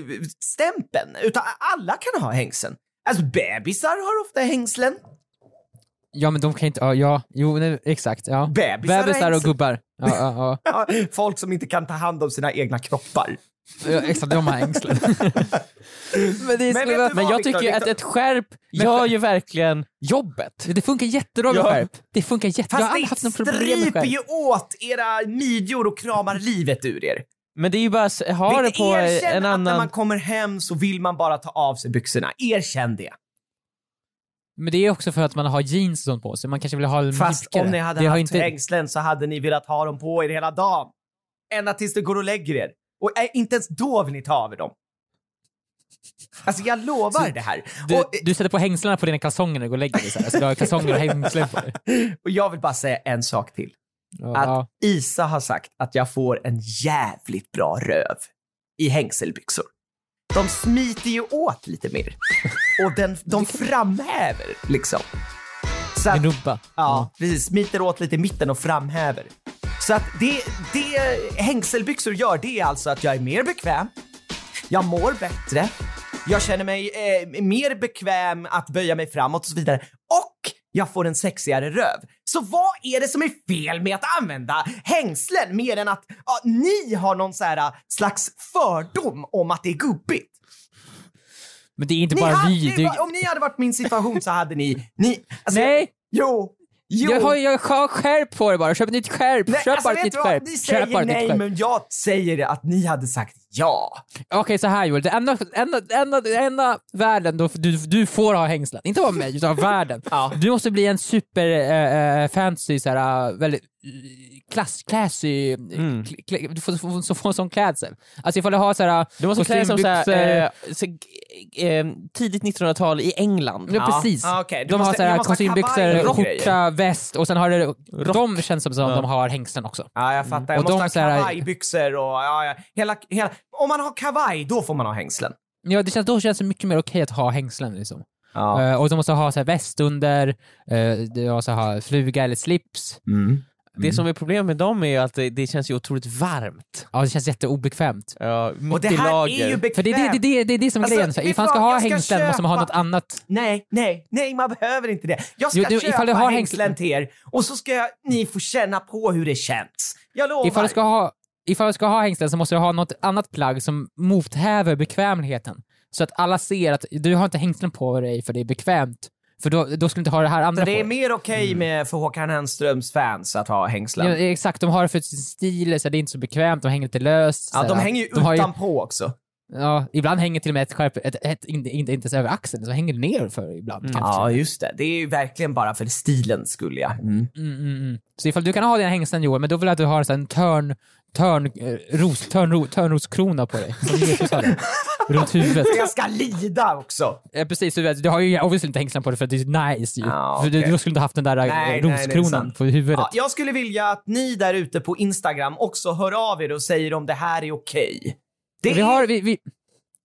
[SPEAKER 3] gubbstämpeln. Utan alla kan ha hängseln. Alltså bebisar har ofta hängslen.
[SPEAKER 4] Ja, men de kan inte... Ja, ja jo, nej, exakt. Ja.
[SPEAKER 3] Bebisar har
[SPEAKER 4] Bebisar och
[SPEAKER 3] hängslen.
[SPEAKER 4] gubbar. Ja, ja,
[SPEAKER 3] Ja, Folk som inte kan ta hand om sina egna kroppar.
[SPEAKER 4] ja. ja exakt, de har hängslen. men det,
[SPEAKER 3] Men
[SPEAKER 4] skulle
[SPEAKER 3] vet du
[SPEAKER 4] vara,
[SPEAKER 5] Men
[SPEAKER 3] Ja,
[SPEAKER 5] jag
[SPEAKER 3] Viktor,
[SPEAKER 5] tycker ju att
[SPEAKER 3] Viktor.
[SPEAKER 5] ett skärp gör ju verkligen jobbet.
[SPEAKER 4] det funkar jättebra med
[SPEAKER 5] Ja.
[SPEAKER 4] skärp. Det funkar jättebra. Jag har aldrig haft
[SPEAKER 3] Fast det
[SPEAKER 4] något problem med
[SPEAKER 3] stryper
[SPEAKER 4] skärp.
[SPEAKER 3] ju åt era midjor och kramar livet ur er.
[SPEAKER 5] Men det är ju bara att ha det
[SPEAKER 3] Vet,
[SPEAKER 5] på en
[SPEAKER 3] erkänn att när man
[SPEAKER 5] annan...
[SPEAKER 3] kommer hem så vill man bara ta av sig byxorna. Erkänn det.
[SPEAKER 4] Men det är också för att man har jeans och sånt på sig. Man kanske vill ha en
[SPEAKER 3] Fast
[SPEAKER 4] mjukare.
[SPEAKER 3] om ni hade
[SPEAKER 4] det har
[SPEAKER 3] haft
[SPEAKER 4] inte...
[SPEAKER 3] hängslen så hade ni velat ha dem på er hela dagen. Ända tills du går och lägger er. Och eh, inte ens då vill ni ta av er dem. Alltså jag lovar det här.
[SPEAKER 4] Du,
[SPEAKER 3] Och, eh,
[SPEAKER 4] du sätter på hängslarna på dina kalsonger när du går och lägger dig. Så, här. så du har kalsonger och hängslen på dig.
[SPEAKER 3] eh, och jag vill bara säga en sak till.
[SPEAKER 4] Ja,
[SPEAKER 3] Att
[SPEAKER 4] ja.
[SPEAKER 3] Isa har sagt att jag får en jävligt bra röv i hängselbyxor. De smiter ju åt lite mer. Och den, de framhäver liksom. Så att,
[SPEAKER 4] Din rumpa.
[SPEAKER 3] Ja, precis. Smiter åt lite i mitten och framhäver. Så att det, det hängselbyxor gör, det är alltså att jag är mer bekväm, jag mår bättre, jag känner mig eh, mer bekväm att böja mig framåt och så vidare. Och jag får en sexigare röv. Så vad är det som är fel med att använda hängslen mer än att ja, ni har någon så här, ah, slags fördom om att det är gubbigt?
[SPEAKER 4] Men det är inte
[SPEAKER 3] Ni
[SPEAKER 4] bara
[SPEAKER 3] hade,
[SPEAKER 4] vi. Du...
[SPEAKER 3] Om ni hade varit min situation så hade ni... ni alltså,
[SPEAKER 4] Nej.
[SPEAKER 3] Jo! Jo!
[SPEAKER 4] Jag har, jag har skärp på dig bara. Köp ett nytt skärp.
[SPEAKER 3] Nej,
[SPEAKER 4] Köp
[SPEAKER 3] alltså,
[SPEAKER 4] bara ett
[SPEAKER 3] vet
[SPEAKER 4] nytt
[SPEAKER 3] du vad?
[SPEAKER 4] skärp.
[SPEAKER 3] Ni säger
[SPEAKER 4] Köp bara ett nytt
[SPEAKER 3] nej,
[SPEAKER 4] skärp.
[SPEAKER 3] men jag säger att ni hade sagt ja.
[SPEAKER 4] Okej, så här Joel. Det enda, enda, enda, det enda världen då du, du får ha hängslen, inte av mig, utan av världen. Du måste bli en super eh, eh, fancy, så här, eh, väldigt eh, klass, classy, mm. du får, får, får, får en sån klädsel. Alltså ifall du har så här,
[SPEAKER 5] Du måste klä dig som så här,
[SPEAKER 4] kostymbyxor-
[SPEAKER 5] eh, så, eh, tidigt 1900-tal i England.
[SPEAKER 4] Ja, precis.
[SPEAKER 3] Ja, Ah, okej. Du
[SPEAKER 4] De har
[SPEAKER 3] måste-
[SPEAKER 4] så här
[SPEAKER 3] jag måste ha kavaj
[SPEAKER 4] kostymbyxor,
[SPEAKER 3] och
[SPEAKER 4] skjorta, väst och sen har det, de känns som att de har hängslen också.
[SPEAKER 3] Ja, jag fattar. Jag
[SPEAKER 4] Och de
[SPEAKER 3] måste
[SPEAKER 4] så här-
[SPEAKER 3] ha kavajbyxor och ja, ja, hela, hela... Om man har kavaj, då får man ha hängslen.
[SPEAKER 4] Ja, det känns, då känns det mycket mer okej att ha hängslen liksom.
[SPEAKER 3] Ja.
[SPEAKER 4] Eh, och de måste ha så här väst under, eh, de måste ha fluga eller slips.
[SPEAKER 3] Mm.
[SPEAKER 5] Det som är problemet med dem är ju att det, det känns ju otroligt varmt.
[SPEAKER 4] Ja, det känns jätteobekvämt.
[SPEAKER 5] Ja, mitt
[SPEAKER 3] Och det
[SPEAKER 5] i
[SPEAKER 3] här
[SPEAKER 5] lager.
[SPEAKER 3] är ju
[SPEAKER 4] För
[SPEAKER 3] bekvämt.
[SPEAKER 4] det är det, det, det, det, är det som är
[SPEAKER 3] Alltså,
[SPEAKER 4] grejen. Så här,
[SPEAKER 3] vet
[SPEAKER 4] ifall
[SPEAKER 3] du
[SPEAKER 4] man ska
[SPEAKER 3] vad?
[SPEAKER 4] ha
[SPEAKER 3] Jag ska
[SPEAKER 4] hängslen måste man ha
[SPEAKER 3] köpa-
[SPEAKER 4] något annat.
[SPEAKER 3] Nej, nej, nej, man behöver inte det. Jag ska
[SPEAKER 4] Jo, du,
[SPEAKER 3] köpa
[SPEAKER 4] ifall du har
[SPEAKER 3] hängslen
[SPEAKER 4] hängslen-
[SPEAKER 3] till er och så ska jag, ni få känna på hur det känns. Jag lovar.
[SPEAKER 4] Ifall du ska ha, ifall du ska ha hängslen så måste du ha något annat plagg som mothäver bekvämligheten. Så att alla ser att du har inte hängslen på dig för det är bekvämt. För då, då skulle du inte ha det här andra
[SPEAKER 3] Så det är
[SPEAKER 4] på
[SPEAKER 3] mer okej med för Håkan Hennströms fans att ha hängslen.
[SPEAKER 4] dig. Ja, exakt, de har det för sin stil, så det är inte så bekvämt, de hänger lite löst.
[SPEAKER 3] ja,
[SPEAKER 4] så
[SPEAKER 3] de
[SPEAKER 4] här.
[SPEAKER 3] hänger ju
[SPEAKER 4] har
[SPEAKER 3] utanpå också.
[SPEAKER 4] ja, ibland hänger till och med ett skärp, ett, ett, inte, inte ens över axeln, så hänger ner för ibland. kanske.
[SPEAKER 3] Mm. Ja, just det. Det är ju verkligen bara för stilen skulle jag.
[SPEAKER 4] Mm, mm, mm. Så ifall du kan ha dina hängslen Joel, men då vill jag att du har en sån här törn, törn, eh, ros, törnro, törnroskrona på dig. Som Jesus hade. Runt huvudet.
[SPEAKER 3] Jag ska lida också!
[SPEAKER 4] Eh, precis, du, vet, du har ju obviously inte hängslen på dig för att det är nice ju.
[SPEAKER 3] Ja,
[SPEAKER 4] För
[SPEAKER 3] okej.
[SPEAKER 4] du, då skulle du haft den där eh,
[SPEAKER 3] Nej, nej, det är
[SPEAKER 4] roskronan
[SPEAKER 3] sant.
[SPEAKER 4] på huvudet.
[SPEAKER 3] Ja, jag skulle vilja att ni där ute på Instagram också hör av er och säger om det här är okej. Det
[SPEAKER 4] vi
[SPEAKER 3] är...
[SPEAKER 4] har, vi, vi,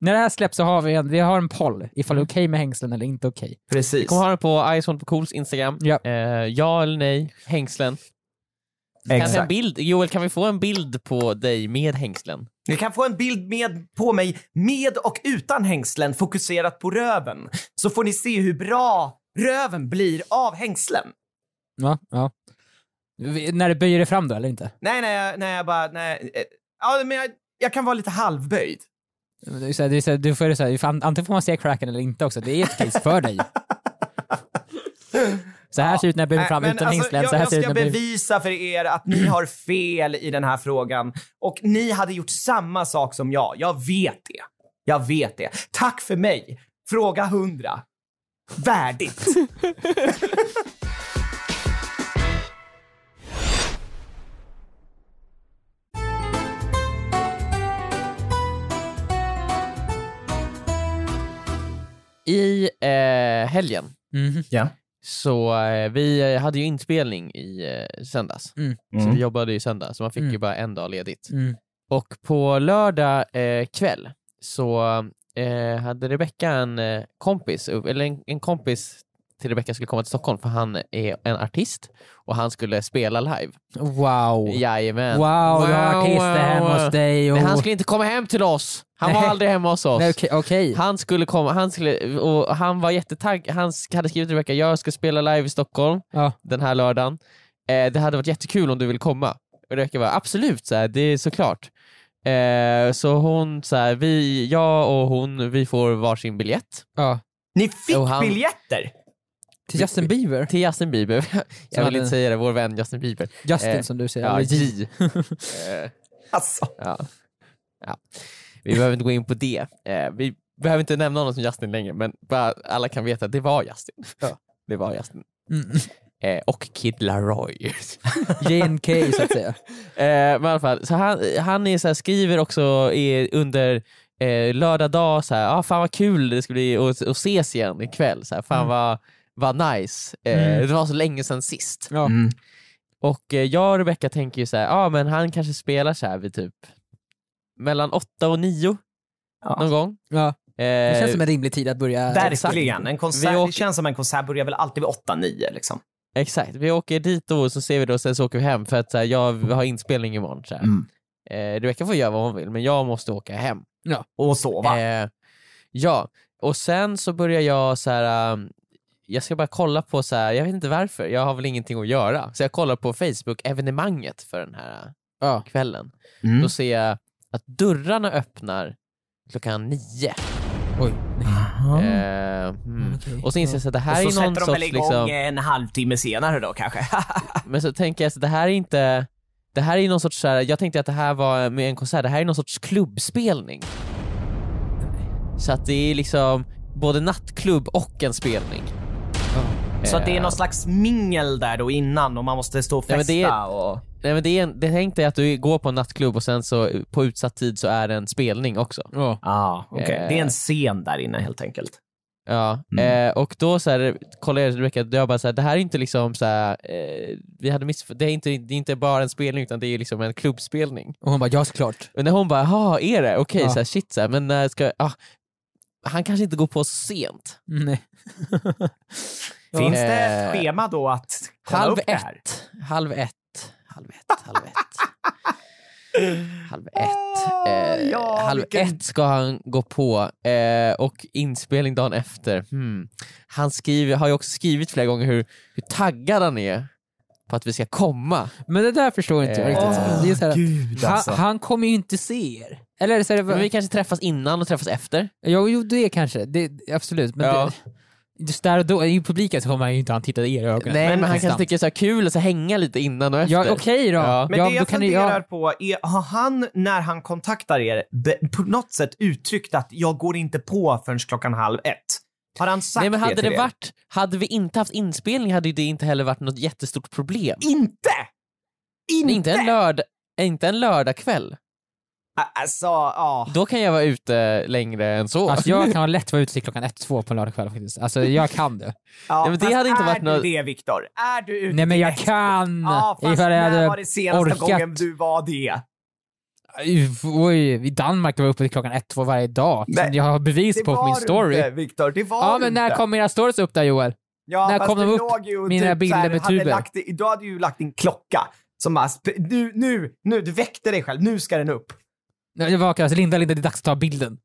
[SPEAKER 4] när det här släpps så har vi en, vi har en poll ifall det är okej med hängslen eller inte okej.
[SPEAKER 3] Precis.
[SPEAKER 5] Kommer ha den på Ison på Cools Instagram.
[SPEAKER 4] Ja.
[SPEAKER 5] Eh, ja eller nej, hängslen. Kanske en
[SPEAKER 3] Exakt.
[SPEAKER 5] bild. Joel, kan vi få en bild på dig med hängslen?
[SPEAKER 3] Ni kan få en bild med, på mig med och utan hängslen fokuserat på röven. Så får ni se hur bra röven blir av hängslen.
[SPEAKER 4] Ja, ja. Vi, när du böjer dig fram då, eller inte?
[SPEAKER 3] Nej, nej, jag- nej, jag bara... Nej. eh, Ja, men jag, jag kan vara lite halvböjd.
[SPEAKER 4] Det är så här, det är så här, du får, det så här, ifall- antingen får man se cracken eller inte också. Det är ett case för dig. Så här ser det ut när jag böjer
[SPEAKER 3] Nej,
[SPEAKER 4] fram
[SPEAKER 3] men
[SPEAKER 4] utan
[SPEAKER 3] alltså,
[SPEAKER 4] hängslen.
[SPEAKER 3] jag,
[SPEAKER 4] Så här
[SPEAKER 3] jag
[SPEAKER 4] ser det ut
[SPEAKER 3] ska
[SPEAKER 4] när jag böjer...
[SPEAKER 3] bevisa för er att ni har fel i den här frågan och ni hade gjort samma sak som jag. Jag vet det. Jag vet det. Tack för mig. Fråga 100. Värdigt.
[SPEAKER 5] I eh, helgen
[SPEAKER 4] Mhm.
[SPEAKER 5] Så eh, vi eh, hade ju inspelning i eh, söndags.
[SPEAKER 4] Mm.
[SPEAKER 5] Så
[SPEAKER 3] Mm.
[SPEAKER 5] vi jobbade ju söndag, så man fick
[SPEAKER 4] Mm.
[SPEAKER 5] ju bara en dag ledigt.
[SPEAKER 4] Mm.
[SPEAKER 5] Och på lördag eh, kväll så eh, hade Rebecka en eh, kompis, eller en, en kompis till Rebecka skulle komma till Stockholm för han är en artist och han skulle spela live.
[SPEAKER 4] Wow.
[SPEAKER 5] Jajamän.
[SPEAKER 4] Wow, du har artister hemma hos dig. Och...
[SPEAKER 5] Men han skulle inte komma hem till oss! Han var
[SPEAKER 4] Nej.
[SPEAKER 5] aldrig hemma hos oss.
[SPEAKER 4] Nej, okej. okej.
[SPEAKER 5] Han skulle komma, han, skulle, och han var jättetagg, han sk- hade skrivit till Rebecka, jag ska spela live i Stockholm
[SPEAKER 4] Ja.
[SPEAKER 5] den här lördagen. Eh, det hade varit jättekul om du vill komma. Och Rebecka bara, absolut, så här, det är såklart. Eh, så hon, så här, vi, jag och hon, vi får varsin biljett
[SPEAKER 4] Ja.
[SPEAKER 3] Ni fick
[SPEAKER 5] Och han-
[SPEAKER 3] biljetter.
[SPEAKER 4] Till Justin Bieber.
[SPEAKER 5] till Justin Bieber. jag vill
[SPEAKER 4] hade-
[SPEAKER 5] inte säga det, vår vän Justin Bieber.
[SPEAKER 4] Justin
[SPEAKER 5] Eh,
[SPEAKER 4] som du säger.
[SPEAKER 5] Ja,
[SPEAKER 4] Eller J.
[SPEAKER 5] J. eh,
[SPEAKER 3] Alltså.
[SPEAKER 5] ja. Ja. Vi behöver inte gå in på det. Eh, vi behöver inte nämna honom som Justin längre, men bara alla kan veta att det var Justin. Det var Justin.
[SPEAKER 4] Mm.
[SPEAKER 5] Eh, och Kid Laroi.
[SPEAKER 4] JNK så att säga.
[SPEAKER 5] eh, men i alla fall, så han, han är så här, skriver också i, under eh, lördag dag, så här, ah, fan vad kul det ska bli att att ses igen ikväll. Så här, fan vad, vad nice. Eh,
[SPEAKER 4] Mm.
[SPEAKER 5] Det var så länge sedan sist.
[SPEAKER 4] Ja.
[SPEAKER 3] Mm.
[SPEAKER 5] Och eh, jag och Rebecca tänker ju så här, ah, men han kanske spelar så här vid typ mellan åtta och nio
[SPEAKER 3] Ja.
[SPEAKER 5] någon gång.
[SPEAKER 4] Ja. Det
[SPEAKER 5] Eh,
[SPEAKER 4] känns som en rimlig tid att börja.
[SPEAKER 3] Verkligen. En
[SPEAKER 5] Vi
[SPEAKER 3] konsert,
[SPEAKER 5] åker-
[SPEAKER 3] Det känns som en konsert börjar väl alltid vid 8-9 liksom.
[SPEAKER 5] Eh, Exakt, vi åker dit då och så ser vi då, sen så åker vi hem för att så här, jag har inspelning imorgon. Så här.
[SPEAKER 3] Mm.
[SPEAKER 5] Eh, Rebecca får göra vad hon vill, men jag måste åka hem.
[SPEAKER 3] Och sova.
[SPEAKER 5] Eh, ja, och sen så börjar jag så här. um, jag ska bara kolla på, så här, jag vet inte varför, jag har väl ingenting att göra. Så jag kollar på Facebook-evenemanget för den här uh,
[SPEAKER 4] Ja.
[SPEAKER 5] kvällen.
[SPEAKER 3] Mm.
[SPEAKER 5] Då ser jag att dörrarna öppnar klockan nio.
[SPEAKER 4] Oj. Nej.
[SPEAKER 5] Eh, mm.
[SPEAKER 4] Okej.
[SPEAKER 5] Och så inser jag så att det
[SPEAKER 3] Ah. Och
[SPEAKER 5] här
[SPEAKER 3] så
[SPEAKER 5] är någon
[SPEAKER 3] sätter de
[SPEAKER 5] sorts...
[SPEAKER 3] väl igång
[SPEAKER 5] Liksom,
[SPEAKER 3] en halvtimme senare då kanske.
[SPEAKER 5] Men så tänker jag så det här är inte, det här är någon sorts, så här, jag tänkte att det här var med en konsert, det här är någon sorts klubbspelning. Så att det är liksom både nattklubb och en spelning.
[SPEAKER 3] så att det är någon slags mingel där då innan och man måste stå och
[SPEAKER 5] Nej,
[SPEAKER 3] festa
[SPEAKER 5] Eh. men det är-
[SPEAKER 3] och...
[SPEAKER 5] Nej men det, är en, det tänkte jag att du går på en nattklubb och sen så på utsatt tid så är det en spelning också.
[SPEAKER 4] Ja.
[SPEAKER 3] Ah, okej.
[SPEAKER 5] Eh.
[SPEAKER 3] Det är en scen där inne helt enkelt.
[SPEAKER 5] Ja, eh, och då så här, kollade jag Rebecca, jag bara så här, det här är inte liksom så här, eh, vi hade miss, det är inte, det är inte bara en spelning utan det är liksom en klubbspelning.
[SPEAKER 4] Och hon bara, ja såklart.
[SPEAKER 5] Och när hon bara, jaha, är det? Okej,
[SPEAKER 4] Ja.
[SPEAKER 5] så här, shit, så här, men när ska ah, Han kanske inte går på så sent.
[SPEAKER 4] Mm, Nej.
[SPEAKER 3] Finns det
[SPEAKER 5] Eh,
[SPEAKER 3] ett schema då att kolla
[SPEAKER 5] Halv
[SPEAKER 3] upp det här?
[SPEAKER 5] ett, halv ett, halv ett, halv ett. Halv ett. Eh,
[SPEAKER 3] ja,
[SPEAKER 5] halv
[SPEAKER 3] vilken-
[SPEAKER 5] ett ska han gå på eh, och inspelning dagen efter. Hmm. Han skriver, har ju också skrivit flera gånger hur, hur taggad han är på att vi ska komma.
[SPEAKER 4] Men det där förstår inte jag
[SPEAKER 5] Eh,
[SPEAKER 4] riktigt. det är så här,
[SPEAKER 3] Gud alltså.
[SPEAKER 4] han, han kommer ju inte se er. Eller så är
[SPEAKER 5] Men vi
[SPEAKER 4] det,
[SPEAKER 5] kanske träffas innan och träffas efter.
[SPEAKER 4] jo, jo, det kanske. Det, absolut. Men
[SPEAKER 5] Ja.
[SPEAKER 4] det, just där och då, i publiken så kommer han ju inte han titta er i
[SPEAKER 5] Nej,
[SPEAKER 4] ögonen.
[SPEAKER 5] men, han
[SPEAKER 4] konstant.
[SPEAKER 5] kanske tycker det är så här kul att så här hänga lite innan och efter.
[SPEAKER 4] Ja, okej då.
[SPEAKER 5] Ja.
[SPEAKER 4] Ja.
[SPEAKER 3] Men det
[SPEAKER 4] då
[SPEAKER 3] jag
[SPEAKER 4] kan ni- ja.
[SPEAKER 3] funderar på är, har han när han kontaktar er be- på något sätt uttryckt att jag går inte på förrän klockan halv ett? Har han sagt
[SPEAKER 5] Nej, men hade
[SPEAKER 3] det till
[SPEAKER 5] det
[SPEAKER 3] er?
[SPEAKER 5] varit, hade vi inte haft inspelning hade ju det inte heller varit något jättestort problem.
[SPEAKER 3] Inte! Inte!
[SPEAKER 5] Inte en, lördag, inte en lördagkväll.
[SPEAKER 3] Ah, Alltså, ja.
[SPEAKER 5] Då kan jag vara ute längre än så.
[SPEAKER 4] Alltså jag kan ha lätt vara ute till klockan ett, två på en lördagkväll faktiskt. Alltså jag kan det.
[SPEAKER 3] ja
[SPEAKER 5] Nej, men det
[SPEAKER 3] fast
[SPEAKER 5] hade inte
[SPEAKER 3] är
[SPEAKER 5] varit
[SPEAKER 3] du
[SPEAKER 5] något-
[SPEAKER 3] det, Viktor? Är du ute
[SPEAKER 4] Nej men
[SPEAKER 3] i
[SPEAKER 4] jag
[SPEAKER 3] ett-
[SPEAKER 4] kan!
[SPEAKER 3] Ja, fast
[SPEAKER 4] Ifall jag
[SPEAKER 3] när
[SPEAKER 4] hade
[SPEAKER 3] var det senaste
[SPEAKER 4] orkat.
[SPEAKER 3] gången du var det?
[SPEAKER 4] Uff, Oj, i Danmark var jag uppe till klockan ett, två varje dag.
[SPEAKER 3] Nej,
[SPEAKER 4] Som jag har bevis
[SPEAKER 3] Det
[SPEAKER 4] på på
[SPEAKER 3] var
[SPEAKER 4] min
[SPEAKER 3] du
[SPEAKER 4] story.
[SPEAKER 3] inte, Viktor. Det var
[SPEAKER 4] Ja
[SPEAKER 3] du
[SPEAKER 4] men när
[SPEAKER 3] inte.
[SPEAKER 4] kom era stories upp där Joel?
[SPEAKER 3] Ja,
[SPEAKER 4] När
[SPEAKER 3] fast
[SPEAKER 4] kom de
[SPEAKER 3] du
[SPEAKER 4] upp,
[SPEAKER 3] låg ju och
[SPEAKER 4] mina
[SPEAKER 3] typ
[SPEAKER 4] bilder
[SPEAKER 3] så här,
[SPEAKER 4] med
[SPEAKER 3] hade
[SPEAKER 4] tuben?
[SPEAKER 3] Lagt, då hade du ju lagt din klocka som bara, sp- nu, nu, nu, du väckte dig själv, nu ska den upp.
[SPEAKER 4] Nej, Jag vaknade alltså, Linda, Linda det är dags att ta bilden.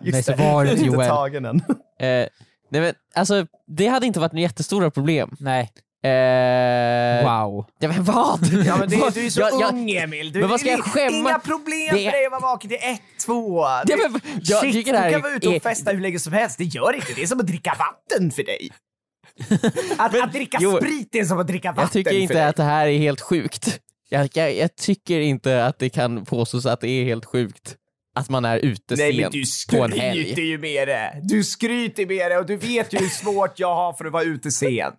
[SPEAKER 3] Just
[SPEAKER 4] Nej, så var det
[SPEAKER 3] Du är inte
[SPEAKER 4] Joel.
[SPEAKER 3] tagen än.
[SPEAKER 5] Eh, nej, men, alltså, det hade inte varit några jättestora problem.
[SPEAKER 4] Nej,
[SPEAKER 5] Eh,
[SPEAKER 4] wow.
[SPEAKER 5] ja, men vad?
[SPEAKER 3] Ja, men det,
[SPEAKER 5] Vad-
[SPEAKER 3] du är så
[SPEAKER 5] jag- jag-
[SPEAKER 3] ung Emil. Du,
[SPEAKER 5] Men vad ska jag
[SPEAKER 3] det är
[SPEAKER 5] skämma?
[SPEAKER 3] Inga problem
[SPEAKER 5] Det är-
[SPEAKER 3] för dig att vara vaken till ett, två.
[SPEAKER 5] Ja, men, jag
[SPEAKER 3] Shit,
[SPEAKER 5] tycker det här
[SPEAKER 3] du kan vara ute och
[SPEAKER 5] är-
[SPEAKER 3] festa hur länge som helst. Det gör inte. Det är som att dricka vatten för dig. Att, att dricka
[SPEAKER 5] jo.
[SPEAKER 3] sprit är som att dricka vatten
[SPEAKER 5] Jag tycker
[SPEAKER 3] för dig.
[SPEAKER 5] inte att det här är helt sjukt. Jag, jag, jag tycker inte att det kan påstås att det är helt sjukt att man är ute
[SPEAKER 3] Nej men
[SPEAKER 5] sent
[SPEAKER 3] du
[SPEAKER 5] på en helg.
[SPEAKER 3] skryter ju med det. Du skryter med det och du vet ju hur svårt jag har för att vara ute sent.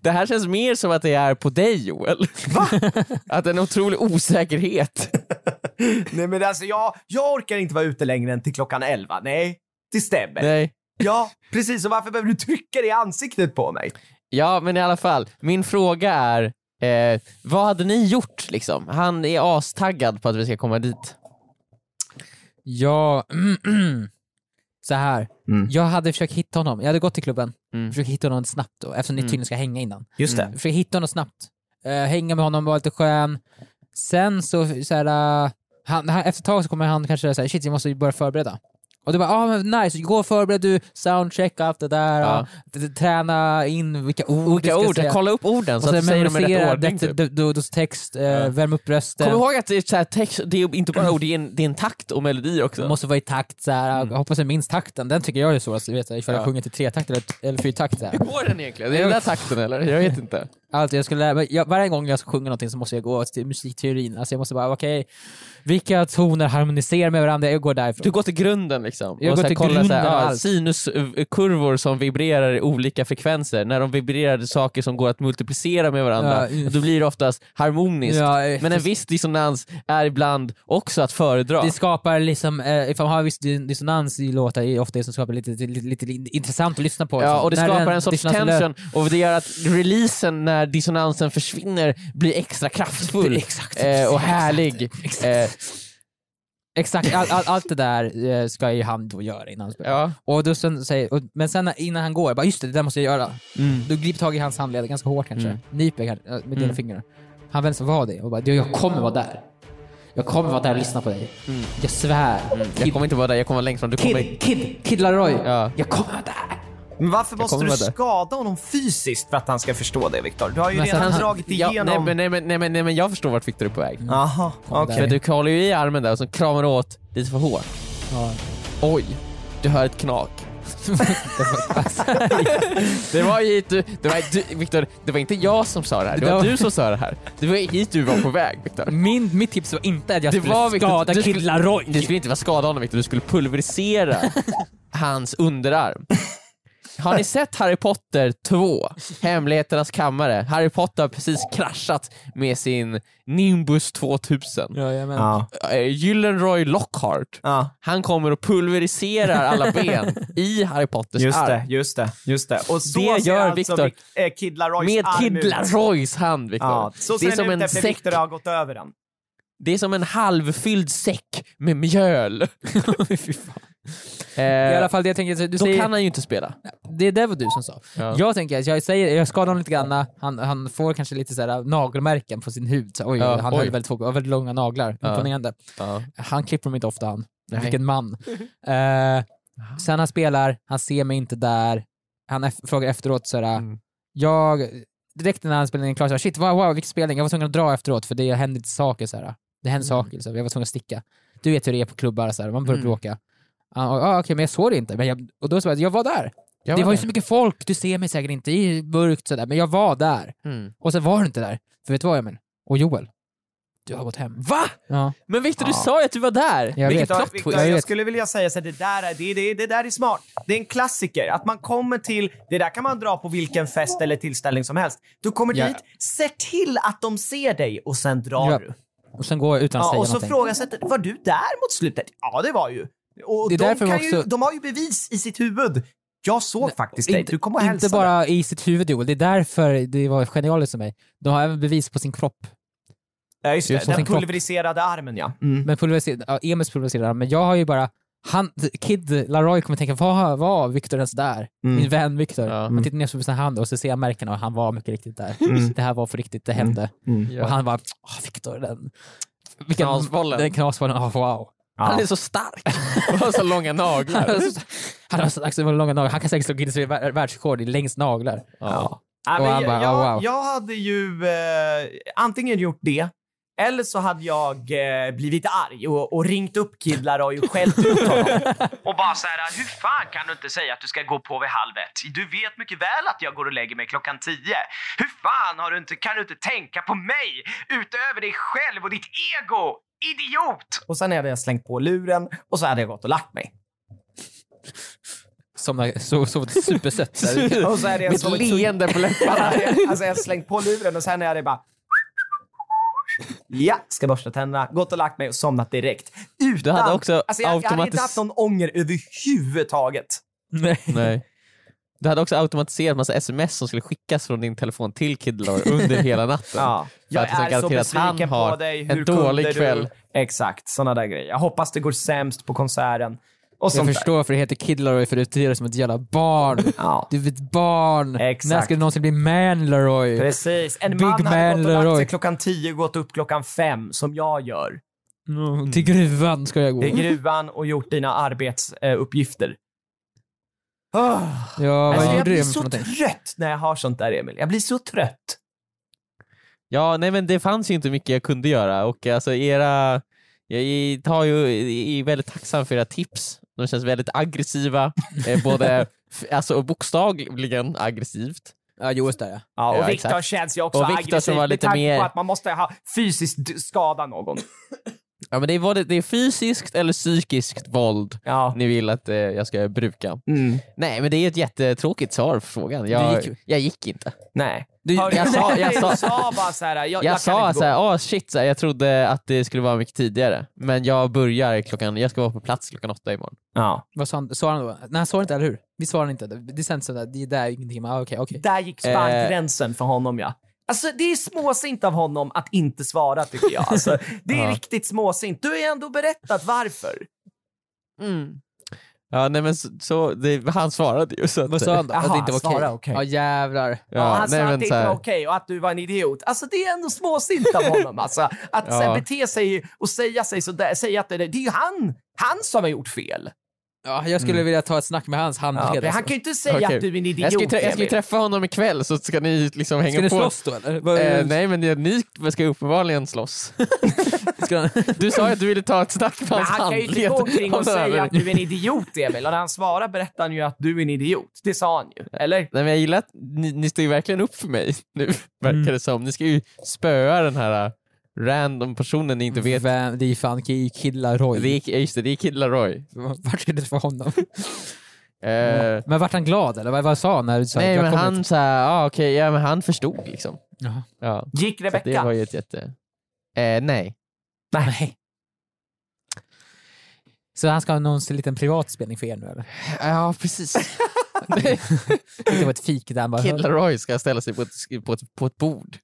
[SPEAKER 5] Det här känns mer som att det är på dig Joel.
[SPEAKER 3] Va?
[SPEAKER 5] Att en otrolig osäkerhet.
[SPEAKER 3] Nej men alltså jag, jag orkar inte vara ute längre än till klockan 11. Nej, det stämmer.
[SPEAKER 5] Nej.
[SPEAKER 3] Ja, precis. Och varför behöver du trycka det i ansiktet på mig?
[SPEAKER 5] Ja, men i alla fall. Min fråga är, eh, vad hade ni gjort liksom? Han är astaggad på att vi ska komma dit.
[SPEAKER 4] Ja, så här.
[SPEAKER 3] Mm.
[SPEAKER 4] Jag hade försökt hitta honom. Jag hade gått till klubben,
[SPEAKER 5] Mm.
[SPEAKER 4] försökt hitta honom snabbt då, eftersom ni tydligen ska hänga innan.
[SPEAKER 3] Just det.
[SPEAKER 4] Försökt hitta honom snabbt. Eh, hänga med honom, vara lite skön. Sen så, så här, eh, han, han, efter ett tag så kommer han kanske säga shit jag måste ju börja förbereda. Och du bara, ah, men nice, gå och förbered du, soundcheck, allt det där,
[SPEAKER 5] Ja.
[SPEAKER 4] ah, träna in vilka ord
[SPEAKER 5] Olika
[SPEAKER 4] du ska
[SPEAKER 5] ord,
[SPEAKER 4] säga.
[SPEAKER 5] kolla upp orden så
[SPEAKER 4] och
[SPEAKER 5] att du
[SPEAKER 4] sen
[SPEAKER 5] säger dem i rätt
[SPEAKER 4] memorisera
[SPEAKER 5] ordning.
[SPEAKER 4] det-
[SPEAKER 5] Typ.
[SPEAKER 4] det- det- det- text, eh,
[SPEAKER 5] Ja.
[SPEAKER 4] värma upp rösten.
[SPEAKER 5] Kom ihåg att det är, så här text, det är inte bara ord, det är en, det är en takt och melodier också.
[SPEAKER 4] Man måste vara i takt så här. Jag hoppas jag minns takten. Den tycker jag är svårast, vet jag, ifall jag
[SPEAKER 5] Mm. Ja.
[SPEAKER 4] sjunger till tretakt eller, eller fyrtakt. Så här.
[SPEAKER 5] Hur går den egentligen? Är det den där takten eller? Jag vet inte.
[SPEAKER 4] Allt jag skulle lära mig, jag, varje gång jag ska sjunga någonting så måste jag gå till musikteorin. Alltså jag måste bara, okej, vilka toner harmoniserar med varandra? Jag går därifrån.
[SPEAKER 5] Du går till grunden liksom?
[SPEAKER 4] Jag
[SPEAKER 5] och
[SPEAKER 4] går
[SPEAKER 5] så här
[SPEAKER 4] till
[SPEAKER 5] kollar
[SPEAKER 4] grunden
[SPEAKER 5] så här,
[SPEAKER 4] av
[SPEAKER 5] ja,
[SPEAKER 4] allt.
[SPEAKER 5] sinuskurvor som vibrerar i olika frekvenser. När de vibrerar i saker som går att multiplicera med varandra,
[SPEAKER 4] Ja,
[SPEAKER 5] då blir det oftast harmoniskt.
[SPEAKER 4] Ja, eh,
[SPEAKER 5] Men en viss dissonans är ibland också att föredra.
[SPEAKER 4] det skapar liksom, eh, ifall man har en viss dis- dissonans i låtar, är ofta det som skapar lite, lite, lite, lite intressant att lyssna på.
[SPEAKER 5] Ja,
[SPEAKER 4] Liksom.
[SPEAKER 5] och det
[SPEAKER 4] När
[SPEAKER 5] skapar
[SPEAKER 4] den
[SPEAKER 5] en sorts
[SPEAKER 4] dissonansen lö-
[SPEAKER 5] tension och det gör att releasen när dissonansen försvinner blir extra kraftfull
[SPEAKER 4] Exakt.
[SPEAKER 5] eh, och härlig. Eh,
[SPEAKER 4] Exakt, all, all, allt det där eh, ska ju han då göra innan han spelar.
[SPEAKER 5] ja.
[SPEAKER 4] Och då sen säger, och, men sen innan han går, jag bara just det, det där måste jag göra. Du griper tag i hans handled ganska hårt kanske.
[SPEAKER 5] Mm.
[SPEAKER 4] Nyper kanske, äh, med dina fingrar. Han vänder sig och var det och bara, "Du, jag kommer vara där. Jag kommer vara där och lyssna på dig. Mm. Jag svär.
[SPEAKER 5] Jag
[SPEAKER 4] Kid,
[SPEAKER 5] kommer inte vara där, jag kommer vara längst fram. Du kommer...
[SPEAKER 4] kid, kid, kid Laroi.
[SPEAKER 5] Ja.
[SPEAKER 4] Jag kommer vara där.
[SPEAKER 3] Men varför måste
[SPEAKER 5] kommer
[SPEAKER 3] du
[SPEAKER 5] vara där.
[SPEAKER 3] skada honom fysiskt för att han ska förstå det, Viktor? Du har ju
[SPEAKER 4] Men
[SPEAKER 3] redan
[SPEAKER 4] han-
[SPEAKER 3] dragit
[SPEAKER 5] Ja,
[SPEAKER 3] igenom...
[SPEAKER 5] nej, men, nej, men, nej, men, nej men jag förstår vart Viktor är på väg.
[SPEAKER 3] Aha, okej.
[SPEAKER 5] För du håller ju i armen där och så kramar du åt lite för hårt.
[SPEAKER 4] Ja.
[SPEAKER 5] Oj, du hör ett knak. det var hit du, det var, du Viktor, det var inte jag som sa det här, det var du som sa det här. Det var hit du var på väg Viktor.
[SPEAKER 4] Min, mitt tips var inte att jag
[SPEAKER 5] Det
[SPEAKER 4] skulle
[SPEAKER 5] var viktigt.
[SPEAKER 4] skada
[SPEAKER 5] Du skulle-
[SPEAKER 4] Kid Laroi.
[SPEAKER 5] Du skulle inte vara skadad honom Viktor, du skulle pulverisera hans underarm. Har ni sett Harry Potter 2, Hemligheternas kammare? Harry Potter har precis kraschat med sin Nimbus 2000.
[SPEAKER 4] Ja, jag menar.
[SPEAKER 3] Ja.
[SPEAKER 5] Eh, Gyllenroy Lockhart
[SPEAKER 3] Ja,
[SPEAKER 5] Han kommer och pulveriserar alla ben i Harry Potters
[SPEAKER 3] just det,
[SPEAKER 5] arm.
[SPEAKER 3] just det, just det. Och så
[SPEAKER 5] Det
[SPEAKER 3] ser
[SPEAKER 5] gör
[SPEAKER 3] alltså
[SPEAKER 5] Viktor.
[SPEAKER 3] Vic- eh, Kid Laroys
[SPEAKER 5] Med
[SPEAKER 3] arm
[SPEAKER 5] Kid
[SPEAKER 3] ut.
[SPEAKER 5] Laroys hand, Viktor.
[SPEAKER 3] Ja, så
[SPEAKER 5] det,
[SPEAKER 3] ser
[SPEAKER 5] är
[SPEAKER 3] den
[SPEAKER 5] som
[SPEAKER 3] ut
[SPEAKER 5] en
[SPEAKER 3] efter
[SPEAKER 5] säck,
[SPEAKER 3] Viktor har gått över den.
[SPEAKER 5] det är som en halvfylld säck med mjöl.
[SPEAKER 4] Fy fan.
[SPEAKER 5] Eh,
[SPEAKER 4] I alla fall det jag tänker, du
[SPEAKER 5] då
[SPEAKER 4] säger...
[SPEAKER 5] kan han ju inte spela.
[SPEAKER 4] det, det var du som sa.
[SPEAKER 5] Ja.
[SPEAKER 4] Jag tänker att jag, säger, jag skadar honom lite grann, han, han får kanske lite så här, äh, nagelmärken på sin hud. Så, oj,
[SPEAKER 5] Ja,
[SPEAKER 4] han
[SPEAKER 5] oj.
[SPEAKER 4] hade väldigt, få- väldigt långa naglar,
[SPEAKER 5] Ja.
[SPEAKER 4] imponerande.
[SPEAKER 5] Ja.
[SPEAKER 4] Han klipper dem inte ofta han.
[SPEAKER 5] Nej. Ah.
[SPEAKER 4] Vilken man. Eh, sen han spelar, han ser mig inte där. Han eff- frågar efteråt såhär,
[SPEAKER 5] Mm.
[SPEAKER 4] jag, direkt när han spelade in klar såhär, shit wow, wow vilken spelning, jag var tvungen att dra efteråt för det hände lite saker såhär. Det hände saker, liksom. jag var tvungen att sticka. Du vet hur det är på klubbar, såhär. man börjar
[SPEAKER 5] Mm.
[SPEAKER 4] bråka. Han, ah, Okej, men jag såg det inte. Men jag, och då sa jag, jag var där.
[SPEAKER 5] Jag
[SPEAKER 4] det var ju
[SPEAKER 5] där.
[SPEAKER 4] så mycket folk, du ser mig säkert inte, det är mörkt sådär, men jag var där.
[SPEAKER 5] Mm.
[SPEAKER 4] Och sen var du inte där. För vet du vad Emil? Och Joel, du har gått hem.
[SPEAKER 5] Va?
[SPEAKER 4] Ja,
[SPEAKER 5] Men Victor, du
[SPEAKER 3] Ja.
[SPEAKER 5] sa ju att du var där!
[SPEAKER 4] jag
[SPEAKER 5] Vilket
[SPEAKER 4] vet.
[SPEAKER 5] plot
[SPEAKER 3] Victor,
[SPEAKER 5] twist.
[SPEAKER 4] Jag
[SPEAKER 3] jag
[SPEAKER 4] vet.
[SPEAKER 3] skulle vilja säga så här, det där, är- det, det, det där är smart. Det är en klassiker. Att man kommer till, det där kan man dra på vilken fest eller tillställning som helst. Du kommer
[SPEAKER 4] Ja.
[SPEAKER 3] dit, se till att de ser dig och sen drar
[SPEAKER 4] Ja,
[SPEAKER 3] du.
[SPEAKER 4] Och sen går jag utan att
[SPEAKER 3] Ja,
[SPEAKER 4] säga
[SPEAKER 3] och så
[SPEAKER 4] någonting.
[SPEAKER 3] frågasätter, var du där mot slutet? Ja, det var ju. Och
[SPEAKER 4] Det är
[SPEAKER 3] de,
[SPEAKER 4] därför
[SPEAKER 3] kan
[SPEAKER 4] vi
[SPEAKER 3] ju,
[SPEAKER 4] också-
[SPEAKER 3] de har ju bevis i sitt huvud. Jag såg faktiskt dig,
[SPEAKER 4] Inte-
[SPEAKER 3] du kom och
[SPEAKER 4] Inte
[SPEAKER 3] hälsade.
[SPEAKER 4] bara i sitt huvud Joel, det är därför det var genialiskt för mig. De har även bevis på sin kropp.
[SPEAKER 3] Ja, just det.
[SPEAKER 4] Just det.
[SPEAKER 3] Den
[SPEAKER 4] Sin kropp.
[SPEAKER 3] pulveriserade armen ja. Mm.
[SPEAKER 4] Men pulveriser- ja, Emils pulveriserar han, men jag har ju bara han, Kid Laroy kommer tänka, vad var Victor ens där?
[SPEAKER 3] Mm.
[SPEAKER 4] Min vän Victor.
[SPEAKER 5] Ja.
[SPEAKER 4] Man tittar ner på sin hand och så ser jag märkena och han var mycket riktigt där.
[SPEAKER 3] Mm.
[SPEAKER 4] Det här var för riktigt, det hände.
[SPEAKER 3] Mm.
[SPEAKER 5] Ja.
[SPEAKER 4] Och han bara, åh Victor, den... Vilken,
[SPEAKER 5] Knasbollen.
[SPEAKER 4] Den knasbollen, åh wow.
[SPEAKER 3] Ja.
[SPEAKER 5] Han är så stark och har så långa
[SPEAKER 4] Han
[SPEAKER 5] naglar.
[SPEAKER 4] har så- han har så dags för långa naglar, han kan säkert slå Guinness vär- världsrekord i längst naglar.
[SPEAKER 5] Ja.
[SPEAKER 3] Ja,
[SPEAKER 4] Och
[SPEAKER 3] men
[SPEAKER 4] han bara,
[SPEAKER 3] jag,
[SPEAKER 4] "Oh, wow."
[SPEAKER 3] jag hade ju eh, antingen gjort det eller så hade jag eh, blivit arg och, och ringt upp Kid Laroi och skällt ut honom. och bara så här, hur fan kan du inte säga att du ska gå på vid halv ett? Du vet mycket väl att jag går och lägger mig klockan tio. Hur fan har du inte, kan du inte tänka på mig utöver dig själv och ditt ego? Idiot! Och sen hade jag slängt på luren och så hade jag gått och lagt mig.
[SPEAKER 4] Somnade, sov, sov supersött.
[SPEAKER 3] Och så hade jag
[SPEAKER 5] Med ett
[SPEAKER 3] sovit så
[SPEAKER 5] leende på läpparna.
[SPEAKER 3] Alltså jag har slängt på luren och sen är det bara... Ja, ska borsta tänderna, gått och lagt mig och somnat direkt. Utan,
[SPEAKER 5] Du hade också
[SPEAKER 3] alltså jag, jag hade inte
[SPEAKER 5] automatis-
[SPEAKER 3] haft någon ånger överhuvudtaget.
[SPEAKER 4] Nej.
[SPEAKER 5] Nej. Du hade också automatiserat massa sms som skulle skickas från din telefon till Kidlar under hela natten.
[SPEAKER 3] Ja. Jag
[SPEAKER 5] att det är
[SPEAKER 3] är så
[SPEAKER 5] garanterat han
[SPEAKER 3] besviken på
[SPEAKER 5] har
[SPEAKER 3] dig.
[SPEAKER 5] en
[SPEAKER 3] Hur
[SPEAKER 5] dålig
[SPEAKER 3] kunde
[SPEAKER 5] kväll.
[SPEAKER 3] Du? Exakt, sådana där grejer. Jag hoppas det går sämst på konserten. Och
[SPEAKER 4] Jag
[SPEAKER 3] sånt där.
[SPEAKER 4] förstår för det heter Kid Laroi för du uttrycker dig som ett jävla barn.
[SPEAKER 3] Ja.
[SPEAKER 4] Du är ett barn.
[SPEAKER 3] Exakt.
[SPEAKER 4] När ska du någonsin bli man Laroi?
[SPEAKER 3] Precis. En
[SPEAKER 4] Big
[SPEAKER 3] man hade gått
[SPEAKER 4] man,
[SPEAKER 3] och lagt sig
[SPEAKER 4] Leroy.
[SPEAKER 3] klockan tio och gått upp klockan fem, som jag gör.
[SPEAKER 4] Mm. Till gruvan ska jag gå.
[SPEAKER 3] I gruvan och gjort dina arbetsuppgifter.
[SPEAKER 4] Ja,
[SPEAKER 3] Alltså,
[SPEAKER 4] vad
[SPEAKER 3] jag
[SPEAKER 4] gjorde
[SPEAKER 3] blir
[SPEAKER 4] du för
[SPEAKER 3] så
[SPEAKER 4] någonting?
[SPEAKER 3] trött när jag har sånt där, Emil. Jag blir så trött.
[SPEAKER 5] Ja, nej men det fanns ju inte mycket jag kunde göra och alltså era... Jag i- tar ju, är väldigt tacksam för era tips. De känns väldigt aggressiva, eh, både f- alltså, och bokstavligen aggressivt.
[SPEAKER 4] Ja, Joel där ja.
[SPEAKER 3] Ja, och
[SPEAKER 5] Ja,
[SPEAKER 3] Viktor
[SPEAKER 5] exakt.
[SPEAKER 3] känns ju också
[SPEAKER 5] Och Viktor som
[SPEAKER 3] aggressiv
[SPEAKER 5] var
[SPEAKER 3] med
[SPEAKER 5] lite
[SPEAKER 3] tanke
[SPEAKER 5] mer-
[SPEAKER 3] på att man måste ha fysiskt d- skada någon.
[SPEAKER 5] Ja, men det, är både, det är fysiskt eller psykiskt våld
[SPEAKER 3] Ja.
[SPEAKER 5] ni vill att eh, jag ska bruka.
[SPEAKER 3] Mm.
[SPEAKER 5] Nej, men det är ett jättetråkigt svar på frågan.
[SPEAKER 4] Du
[SPEAKER 5] Jag
[SPEAKER 4] gick ju-
[SPEAKER 5] jag gick inte.
[SPEAKER 3] Nej.
[SPEAKER 4] Du-
[SPEAKER 3] Hörde
[SPEAKER 5] jag
[SPEAKER 3] du
[SPEAKER 5] sa-
[SPEAKER 3] det?
[SPEAKER 5] jag sa-
[SPEAKER 3] Du sa bara så här, jag, jag,
[SPEAKER 5] Jag,
[SPEAKER 3] kan
[SPEAKER 5] sa
[SPEAKER 3] inte
[SPEAKER 5] så
[SPEAKER 3] gå.
[SPEAKER 5] här, ah shit, så här, jag trodde att det skulle vara mycket tidigare. Men jag börjar klockan, jag ska vara på plats klockan åtta imorgon.
[SPEAKER 3] Ja.
[SPEAKER 4] Vad sa han, sa han då? Nej, han sa inte, eller hur? Vi svarade inte. Det det känns sådär, det är där ingenting. Men, ah, okej, okej.
[SPEAKER 3] Där gick
[SPEAKER 5] Eh.
[SPEAKER 3] gränsen för honom, ja. Alltså, det är småsint av honom att inte svara, tycker jag. Alltså, det är
[SPEAKER 5] Ja.
[SPEAKER 3] riktigt småsint. Du har ju ändå berättat varför. Mm.
[SPEAKER 5] Ja, nej men så, så det, han svarade ju. Så att,
[SPEAKER 4] Vad sa han då?
[SPEAKER 3] Jaha,
[SPEAKER 4] att det inte var
[SPEAKER 3] han svarade okej.
[SPEAKER 4] okej? Ja, jävlar.
[SPEAKER 5] Ja,
[SPEAKER 3] Ja, han
[SPEAKER 5] nej,
[SPEAKER 3] sa att
[SPEAKER 5] men
[SPEAKER 3] det
[SPEAKER 5] så
[SPEAKER 3] inte
[SPEAKER 5] här,
[SPEAKER 3] var okej och att du var en idiot. Alltså det är ändå småsint av honom. Alltså, att
[SPEAKER 5] Ja.
[SPEAKER 3] ja. bete sig och säga sig sådär, säga att det, det är ju han, han som har gjort fel.
[SPEAKER 4] Ja, jag skulle vilja ta ett snack med hans
[SPEAKER 3] Mm. Ja,
[SPEAKER 4] handledare.
[SPEAKER 3] men han kan ju inte säga
[SPEAKER 5] Okej.
[SPEAKER 3] att du är en idiot.
[SPEAKER 5] jag ska, ju trä, jag ska ju
[SPEAKER 3] Emil.
[SPEAKER 5] träffa honom ikväll så ska ni liksom hänga
[SPEAKER 4] Ska ni
[SPEAKER 5] på.
[SPEAKER 4] slåss då eller? Vad-
[SPEAKER 5] Eh, nej men det- ni ska ju uppenbarligen slåss.
[SPEAKER 4] Ska han-
[SPEAKER 5] Du sa ju att du ville ta ett snack med
[SPEAKER 3] men
[SPEAKER 5] hans
[SPEAKER 3] han kan ju inte gå
[SPEAKER 5] handled
[SPEAKER 3] omkring
[SPEAKER 5] om
[SPEAKER 3] och
[SPEAKER 5] den här
[SPEAKER 3] säga att
[SPEAKER 5] videon.
[SPEAKER 3] du är en idiot, Emil. Och när han svarar berättar han ju att du är en idiot. Det sa han ju, eller?
[SPEAKER 5] Nej, men jag gillar att ni, ni står ju verkligen upp för mig nu, verkar
[SPEAKER 4] Mm.
[SPEAKER 5] det som. Ni ska ju spöa den här äh, random personen ni inte vet.
[SPEAKER 4] Vem, det är fan Ki- Kid
[SPEAKER 5] Det
[SPEAKER 4] Laroi.
[SPEAKER 5] är, ja, just det, det är Kid Laroi.
[SPEAKER 4] Vart ska du träffa honom?
[SPEAKER 5] Eh,
[SPEAKER 4] Men vart han glad eller? Vad, vad sa han när du sa
[SPEAKER 5] nej,
[SPEAKER 4] jag
[SPEAKER 5] men
[SPEAKER 4] kommer
[SPEAKER 5] han, så här, ah, okej, ja, men han förstod liksom.
[SPEAKER 4] Jaha.
[SPEAKER 5] Ja,
[SPEAKER 3] Gick
[SPEAKER 5] så att det var
[SPEAKER 3] Rebecka?
[SPEAKER 5] ju ett jätte... Eh, nej.
[SPEAKER 4] Nej. Så han ska ha någon sån liten privatspelning för er nu eller?
[SPEAKER 5] Ja, precis.
[SPEAKER 4] Det var ett fik där han bara...
[SPEAKER 5] Kid Laroi ska ställa sig på ett, på ett, på ett bord.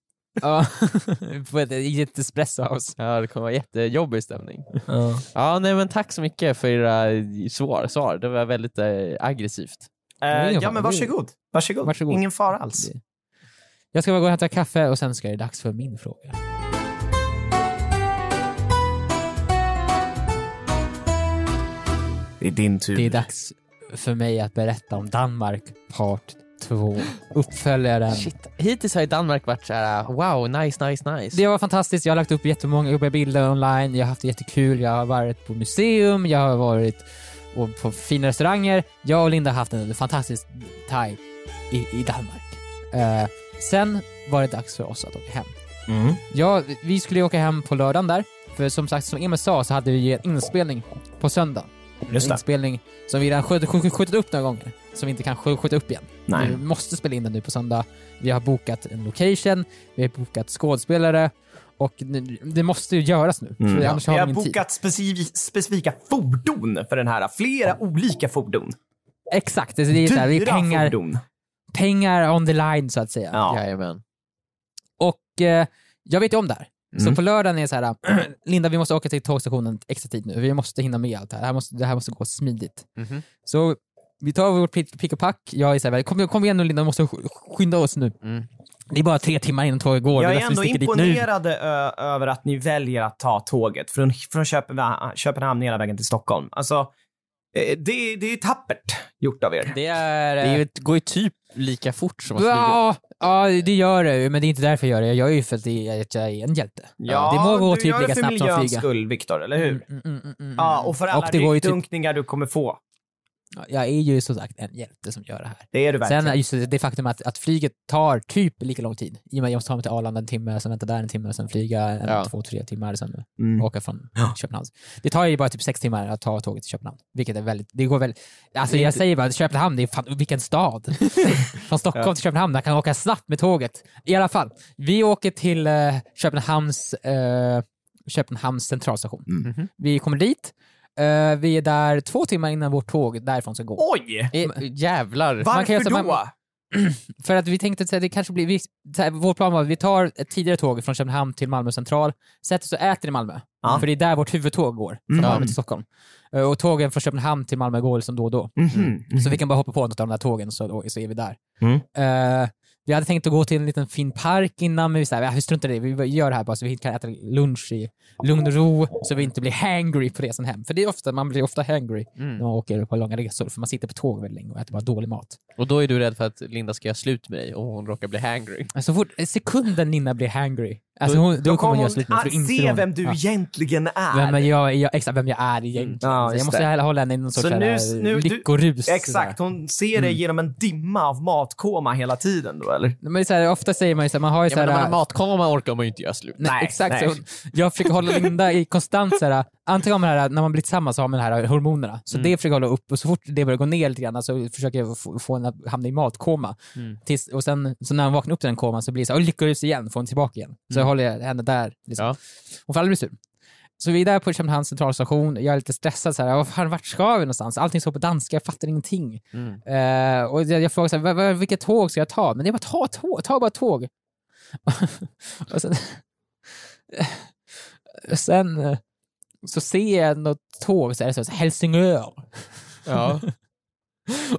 [SPEAKER 4] Ja, på ett, i ett espresso house.
[SPEAKER 5] Ja, det kommer vara jättejobbig stämning. Ja, nej, men tack så mycket för era svar. svar. Det var väldigt eh, aggressivt.
[SPEAKER 3] Eh,
[SPEAKER 4] är
[SPEAKER 3] ja,
[SPEAKER 4] fan-
[SPEAKER 3] men varsågod. varsågod.
[SPEAKER 4] Varsågod.
[SPEAKER 3] Ingen fara alls.
[SPEAKER 4] Jag ska bara gå och hämta kaffe och sen ska det dags för min fråga.
[SPEAKER 3] Det är din tur.
[SPEAKER 4] Det är dags för mig att berätta om Danmark part 2. Uppföljaren.
[SPEAKER 5] Shit. Hittills har ju Danmark varit såhär, wow, nice, nice, nice.
[SPEAKER 4] Det var fantastiskt. Jag har lagt upp jättemånga jobbiga bilder online. Jag har haft det jättekul. Jag har varit på museum. Jag har varit och på fina restauranger. Jag och Linda har haft en fantastisk time i, i Danmark. Eh, sen var det dags för oss att åka hem.
[SPEAKER 3] Mm.
[SPEAKER 4] Ja, vi skulle ju åka hem på lördagen där. För som sagt, som Emil sa så hade vi ju en inspelning på söndag.
[SPEAKER 3] Just
[SPEAKER 4] En
[SPEAKER 3] det.
[SPEAKER 4] inspelning som vi redan skjutit, skjutit, skjutit upp några gånger. Som vi inte kan skj- skjuta upp igen.
[SPEAKER 3] Nej.
[SPEAKER 4] Vi måste spela in den nu på söndag. Vi har bokat en location, vi har bokat skådespelare och nu- det måste ju göras nu.
[SPEAKER 3] Mm.
[SPEAKER 4] För annars
[SPEAKER 3] Vi
[SPEAKER 4] har
[SPEAKER 3] har
[SPEAKER 4] vi ingen tid.
[SPEAKER 3] bokat specif- specifika fordon för den här. Flera olika fordon.
[SPEAKER 4] Exakt, det är, det är, så här, det är
[SPEAKER 3] Dyra
[SPEAKER 4] pengar,
[SPEAKER 3] fordon.
[SPEAKER 4] pengar on the line så att säga.
[SPEAKER 3] Ja.
[SPEAKER 5] Jajamän.
[SPEAKER 4] Och eh, jag vet ju om det här. Så
[SPEAKER 3] Mm.
[SPEAKER 4] på lördagen är det så här, Linda vi måste åka till tågstationen extra tid nu, vi måste hinna med allt det här, det här måste, det här måste gå smidigt.
[SPEAKER 5] Mhm.
[SPEAKER 4] Så vi tar vårt pick pick och pack, jag är såhär, kom, kom igen nu Linda, vi måste sk- skynda oss nu.
[SPEAKER 5] Mm.
[SPEAKER 4] Det är bara tre timmar innan tåget går,
[SPEAKER 3] Jag
[SPEAKER 4] Vi
[SPEAKER 3] är
[SPEAKER 4] måste
[SPEAKER 3] ändå
[SPEAKER 4] sticka dit nu.
[SPEAKER 3] imponerad ö- över att ni väljer att ta tåget från, från Köpenha- Köpenhamn hela vägen till Stockholm. Alltså, eh, det, det är tappert gjort av er.
[SPEAKER 4] Det är...
[SPEAKER 5] Det
[SPEAKER 4] eh,
[SPEAKER 5] är ju- går ju typ lika fort som att flyga.
[SPEAKER 4] Ja, ja, det gör det ju, men det är inte därför jag gör det. Jag gör ju för att det är- att jag är en hjälte. det må gå
[SPEAKER 3] du
[SPEAKER 4] typ
[SPEAKER 3] gör det
[SPEAKER 4] lika
[SPEAKER 3] för
[SPEAKER 4] snabbt som att
[SPEAKER 3] miljöns
[SPEAKER 4] flyga.
[SPEAKER 3] skull, Viktor, eller hur?
[SPEAKER 4] Mm, mm, mm, mm, mm.
[SPEAKER 3] Ja, och för alla
[SPEAKER 4] det går ju typ,
[SPEAKER 3] dunkningar du kommer få.
[SPEAKER 4] Jag är ju som sagt en hjälte som gör det här.
[SPEAKER 3] Det är du verkligen.
[SPEAKER 4] Sen är just det, det faktum att, att flyget tar typ lika lång tid. I och med att jag måste ta mig till Arlanda en timme, sen vänta där en timme, sen flyga en,
[SPEAKER 5] Ja.
[SPEAKER 4] två, tre timmar, sen
[SPEAKER 3] Mm.
[SPEAKER 4] åka från
[SPEAKER 3] Ja.
[SPEAKER 4] Köpenhamn. Det tar ju bara typ sex timmar att ta tåget till Köpenhamn. Vilket är väldigt, det går väldigt, alltså
[SPEAKER 5] Det är
[SPEAKER 4] jag
[SPEAKER 5] inte-
[SPEAKER 4] säger bara Köpenhamn, det är fan, vilken stad. Från Stockholm till Köpenhamn, där kan jag åka snabbt med tåget. I alla fall, vi åker till eh, Köpenhamns, eh, Köpenhamns centralstation.
[SPEAKER 3] Mm.
[SPEAKER 5] Mhm.
[SPEAKER 4] Vi kommer dit, eh, vi är där två timmar innan vårt tåg därifrån ska gå.
[SPEAKER 3] Oj!
[SPEAKER 5] Eh, Jävlar.
[SPEAKER 4] kan
[SPEAKER 3] Varför
[SPEAKER 4] ju
[SPEAKER 3] då?
[SPEAKER 4] säga- man- För att vi tänkte att det kanske blir, vi, så här, vår plan var att vi tar ett tidigare tåg från Köpenhamn till Malmö central, sätter oss och äter i Malmö.
[SPEAKER 3] Ja.
[SPEAKER 4] För det är där vårt huvudtåg går, från
[SPEAKER 3] Mm.
[SPEAKER 4] Malmö till Stockholm. Eh, Och tågen från Köpenhamn till Malmö går liksom då och då.
[SPEAKER 3] Mhm.
[SPEAKER 4] Så vi kan bara hoppa på något av de där tågen så, så är vi där.
[SPEAKER 3] Mm.
[SPEAKER 4] Eh, vi hade tänkt att gå till en liten fin park innan, men vi, så här, "Ja, vi struntar i det. Vi gör det här bara så vi kan äta lunch i lugn och ro, så vi inte blir hangry på resan hem. För det är ofta, man blir ofta hangry när
[SPEAKER 5] Mm.
[SPEAKER 4] man åker på långa resor, för man sitter på tåg väldigt länge och äter bara dålig mat.
[SPEAKER 5] Och då är du rädd för att Linda ska göra slut med dig och hon råkar bli hangry.
[SPEAKER 4] Så fort sekunden Nina blir hangry, alltså hon, då,
[SPEAKER 3] Då
[SPEAKER 4] kommer
[SPEAKER 3] kommer
[SPEAKER 4] hon
[SPEAKER 3] hon
[SPEAKER 4] göra slut med för
[SPEAKER 3] att
[SPEAKER 4] då inser
[SPEAKER 3] se
[SPEAKER 4] hon-
[SPEAKER 3] vem du
[SPEAKER 4] ja.
[SPEAKER 3] egentligen är. Mm.
[SPEAKER 4] vem jag, jag, Exakt, vem jag är egentligen.
[SPEAKER 3] Ja,
[SPEAKER 4] så
[SPEAKER 3] just
[SPEAKER 4] jag måste
[SPEAKER 3] det.
[SPEAKER 4] hålla henne i någon sorts
[SPEAKER 3] Så
[SPEAKER 4] så
[SPEAKER 3] nu-
[SPEAKER 4] här,
[SPEAKER 3] nu- du-
[SPEAKER 4] lyckorus. Mm.
[SPEAKER 3] Exakt, hon ser dig genom en dimma av matkoma hela tiden då, eller?
[SPEAKER 4] Men det är så här, ofta säger man ju så här, man har ju
[SPEAKER 5] Ja,
[SPEAKER 4] så
[SPEAKER 5] men
[SPEAKER 4] här,
[SPEAKER 5] när man har matkoma orkar man ju inte göra slut.
[SPEAKER 4] Nej,
[SPEAKER 3] Nej,
[SPEAKER 4] exakt.
[SPEAKER 3] nej.
[SPEAKER 4] Så hon- jag försöker hålla Linda i konstant så här, antingen har man det här, när man blir tillsammans så har man de här hormonerna. Så det försöker jag hålla upp och så fort det börjar gå ner lite grann så försöker jag få, få henne att hamna i matkoma.
[SPEAKER 5] Mm.
[SPEAKER 4] Tills, och sen så när hon vaknar upp i den koman så blir det så här, "Åh, lyckorus igen, får hon tillbaka igen. Så jag håller jag henne där. Liksom.
[SPEAKER 5] Ja.
[SPEAKER 4] Hon får aldrig bli sur. Så vi är där på Köpenhamns centralstation, jag är lite stressad så här, "Vad fan, vart ska vi någonstans? Allting står på danska, jag fattar ingenting.
[SPEAKER 5] Mm.
[SPEAKER 4] Eh, och jag, jag frågar så här, "Vad- vad- vilket tåg ska jag ta? Men det är bara ta tåg, ta bara tåg. och sen, sen eh, så ser jag något tåg, så är det så här, Helsingör.
[SPEAKER 5] Ja.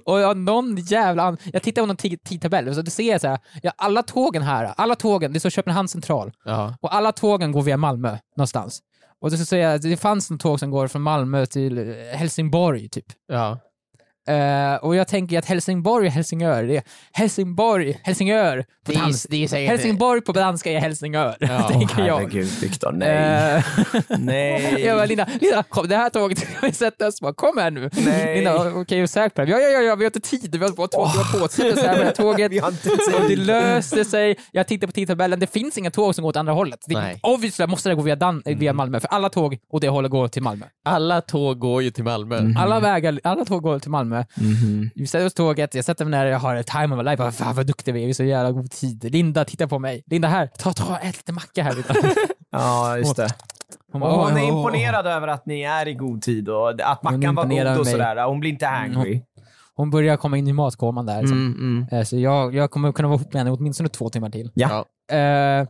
[SPEAKER 4] Och jag, har någon jävla... an- Jag tittar på någon tid- tidtabell och så ser jag så här, ja, alla tågen här, alla tågen, det står Köpenhamn central.
[SPEAKER 5] ja.
[SPEAKER 4] Och alla tågen går via Malmö någonstans. Och så säger jag, det fanns en tåg som går från Malmö till eh, Helsingborg typ.
[SPEAKER 5] ja.
[SPEAKER 4] Eh, och jag tänker att Helsingborg och Helsingör, det är Helsingborg, Helsingör på danska. Helsingborg på danska är Helsingör,
[SPEAKER 5] Ja,
[SPEAKER 4] tänker jag.
[SPEAKER 3] Viktor.
[SPEAKER 4] Eh,
[SPEAKER 3] Nej.
[SPEAKER 4] jag bara, Linda, Linda, kom, det här tåget ska vi sätta oss på. Kom här nu.
[SPEAKER 3] Nej.
[SPEAKER 4] Linda, okej, är du säker på det? Ja, ja, ja, ja, vi har inte tid. Vi har bara två timmar på oss. Så här med det här tåget.
[SPEAKER 3] Vi har inte
[SPEAKER 4] Och det
[SPEAKER 3] tid.
[SPEAKER 4] löste sig. Jag tittar på tidtabellen. Det finns inga tåg som går åt andra hållet. Det,
[SPEAKER 5] Nej.
[SPEAKER 4] obviously måste det gå via, Dan- eh,
[SPEAKER 3] Mm.
[SPEAKER 4] via Malmö, för alla tåg åt det hållet går till Malmö.
[SPEAKER 5] Alla tåg går ju till Malmö.
[SPEAKER 3] Mm.
[SPEAKER 4] Alla vägar, alla tåg går till Malmö. Vi sätter oss på tåget, jag sätter mig när jag har ett time of my life. Bara, Fan vad duktig vi är, vi är så jävla god tid. Linda, titta på mig. Linda här, ta, ta, ät lite macka här. Linda.
[SPEAKER 3] Ja, just det.
[SPEAKER 4] Hon,
[SPEAKER 3] Och
[SPEAKER 4] bara,
[SPEAKER 3] hon är
[SPEAKER 4] "Åh, åh, åh."
[SPEAKER 3] imponerad över att ni är i god tid och att
[SPEAKER 4] Hon är
[SPEAKER 3] mackan var
[SPEAKER 4] imponerad
[SPEAKER 3] god och
[SPEAKER 4] med mig. Mm.
[SPEAKER 3] sådär. Hon blir inte angry.
[SPEAKER 4] Hon börjar komma in i matkoman där. så.
[SPEAKER 3] Mm,
[SPEAKER 4] Eh, Så jag, jag kommer kunna vara ihop med henne åtminstone två timmar till.
[SPEAKER 3] Ja.
[SPEAKER 4] Eh,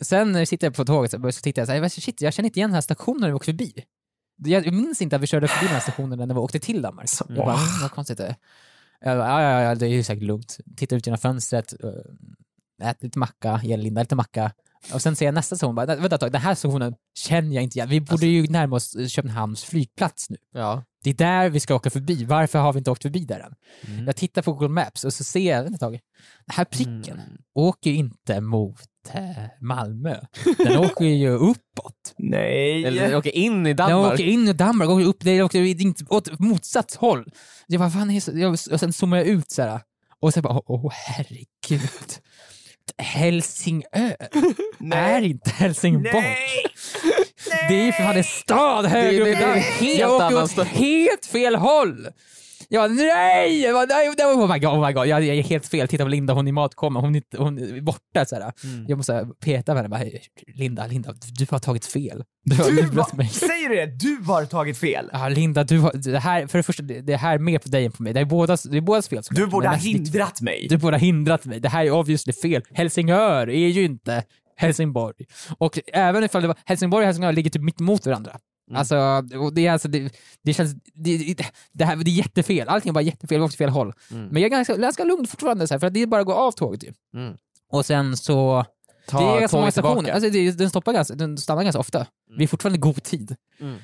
[SPEAKER 4] sen sitter jag på tåget så så tittar jag så här, shit, jag känner inte igen den här stationen vi åkte förbi. Jag minns inte att vi körde förbi den här stationen när vi åkte till Danmark. Jag bara,
[SPEAKER 3] Åh.
[SPEAKER 4] "Mm, vad konstigt det är. Jag bara, ja, ja, ja, det är ju säkert lugnt. Tittar ut genom fönstret, eh, äter lite macka, ger Linda lite macka. Och sen ser jag nästa station, bara, vänta ett tag, den här stationen känner jag inte igen. Vi borde
[SPEAKER 3] Alltså.
[SPEAKER 4] ju närma oss eh, Köpenhamns flygplats nu.
[SPEAKER 5] Ja.
[SPEAKER 4] Det är där vi ska åka förbi. Varför har vi inte åkt förbi där än? Mm. Jag tittar på Google Maps och så ser jag, vänta ett tag, den här
[SPEAKER 3] Mm.
[SPEAKER 4] pricken
[SPEAKER 5] Mm.
[SPEAKER 4] åker ju inte mot eh, Malmö. Den åker ju uppåt.
[SPEAKER 3] Nej.
[SPEAKER 5] Eller åka in i
[SPEAKER 4] Den
[SPEAKER 5] Danmark.
[SPEAKER 4] åker in i Danmark, åker upp, den åker i- inte- åt motsatt håll. Jag bara, fan, är det så- jag, och sen zoomar jag ut så här. och sen bara, åh herregud. Helsingö är
[SPEAKER 3] Nej.
[SPEAKER 4] inte Helsingborg.
[SPEAKER 3] Nej.
[SPEAKER 4] Det är ju för fan en stad högre
[SPEAKER 5] Det-
[SPEAKER 4] upp
[SPEAKER 5] det-
[SPEAKER 4] i
[SPEAKER 5] det är en
[SPEAKER 4] Danmark.
[SPEAKER 5] helt
[SPEAKER 4] Jag åker
[SPEAKER 5] annan
[SPEAKER 4] åt
[SPEAKER 5] stad.
[SPEAKER 4] helt fel håll. Jag bara, nej! Jag bara, nej, nej, oh my god, oh my god. Jag, jag är helt fel. Titta på Linda, hon är i matkomma. Hon är, inte- hon är borta. Så här.
[SPEAKER 5] Mm.
[SPEAKER 4] Jag måste så här, peta på henne. Bara, Linda, Linda, du har tagit fel. Du har
[SPEAKER 3] Du,
[SPEAKER 4] lurat
[SPEAKER 3] va-
[SPEAKER 4] mig.
[SPEAKER 3] säger du det? Du har tagit fel.
[SPEAKER 4] Ja, Linda, du har, det här, för det första, det det här är mer på dig än på mig. Det är bådas, det är bådas fel. såklart,
[SPEAKER 3] Du
[SPEAKER 4] men alltså-
[SPEAKER 3] borde ha
[SPEAKER 4] mest ditt-
[SPEAKER 3] hindrat mig.
[SPEAKER 4] Du borde ha hindrat mig. Det här är obviously fel. Helsingör är ju inte Helsingborg. Och även ifall det var Helsingborg och Helsingör ligger typ mitt emot varandra.
[SPEAKER 5] Mm.
[SPEAKER 4] Alltså, och det, är alltså, det, det känns... Det, det- det, här, det är jättefel. Allting är bara jättefel. Vi åkte fel håll.
[SPEAKER 5] Mm.
[SPEAKER 4] Men jag är ganska, ganska lugn fortfarande så här, för att det är bara att gå av tåget ju.
[SPEAKER 5] Mm.
[SPEAKER 4] Och sen så...
[SPEAKER 5] Ta
[SPEAKER 4] det är ganska många
[SPEAKER 5] tåget tillbaka.
[SPEAKER 4] stationer. Alltså, det, den, stoppar ganska, den stannar ganska ofta. Vi är fortfarande i god tid.
[SPEAKER 5] Mm.
[SPEAKER 4] Eh,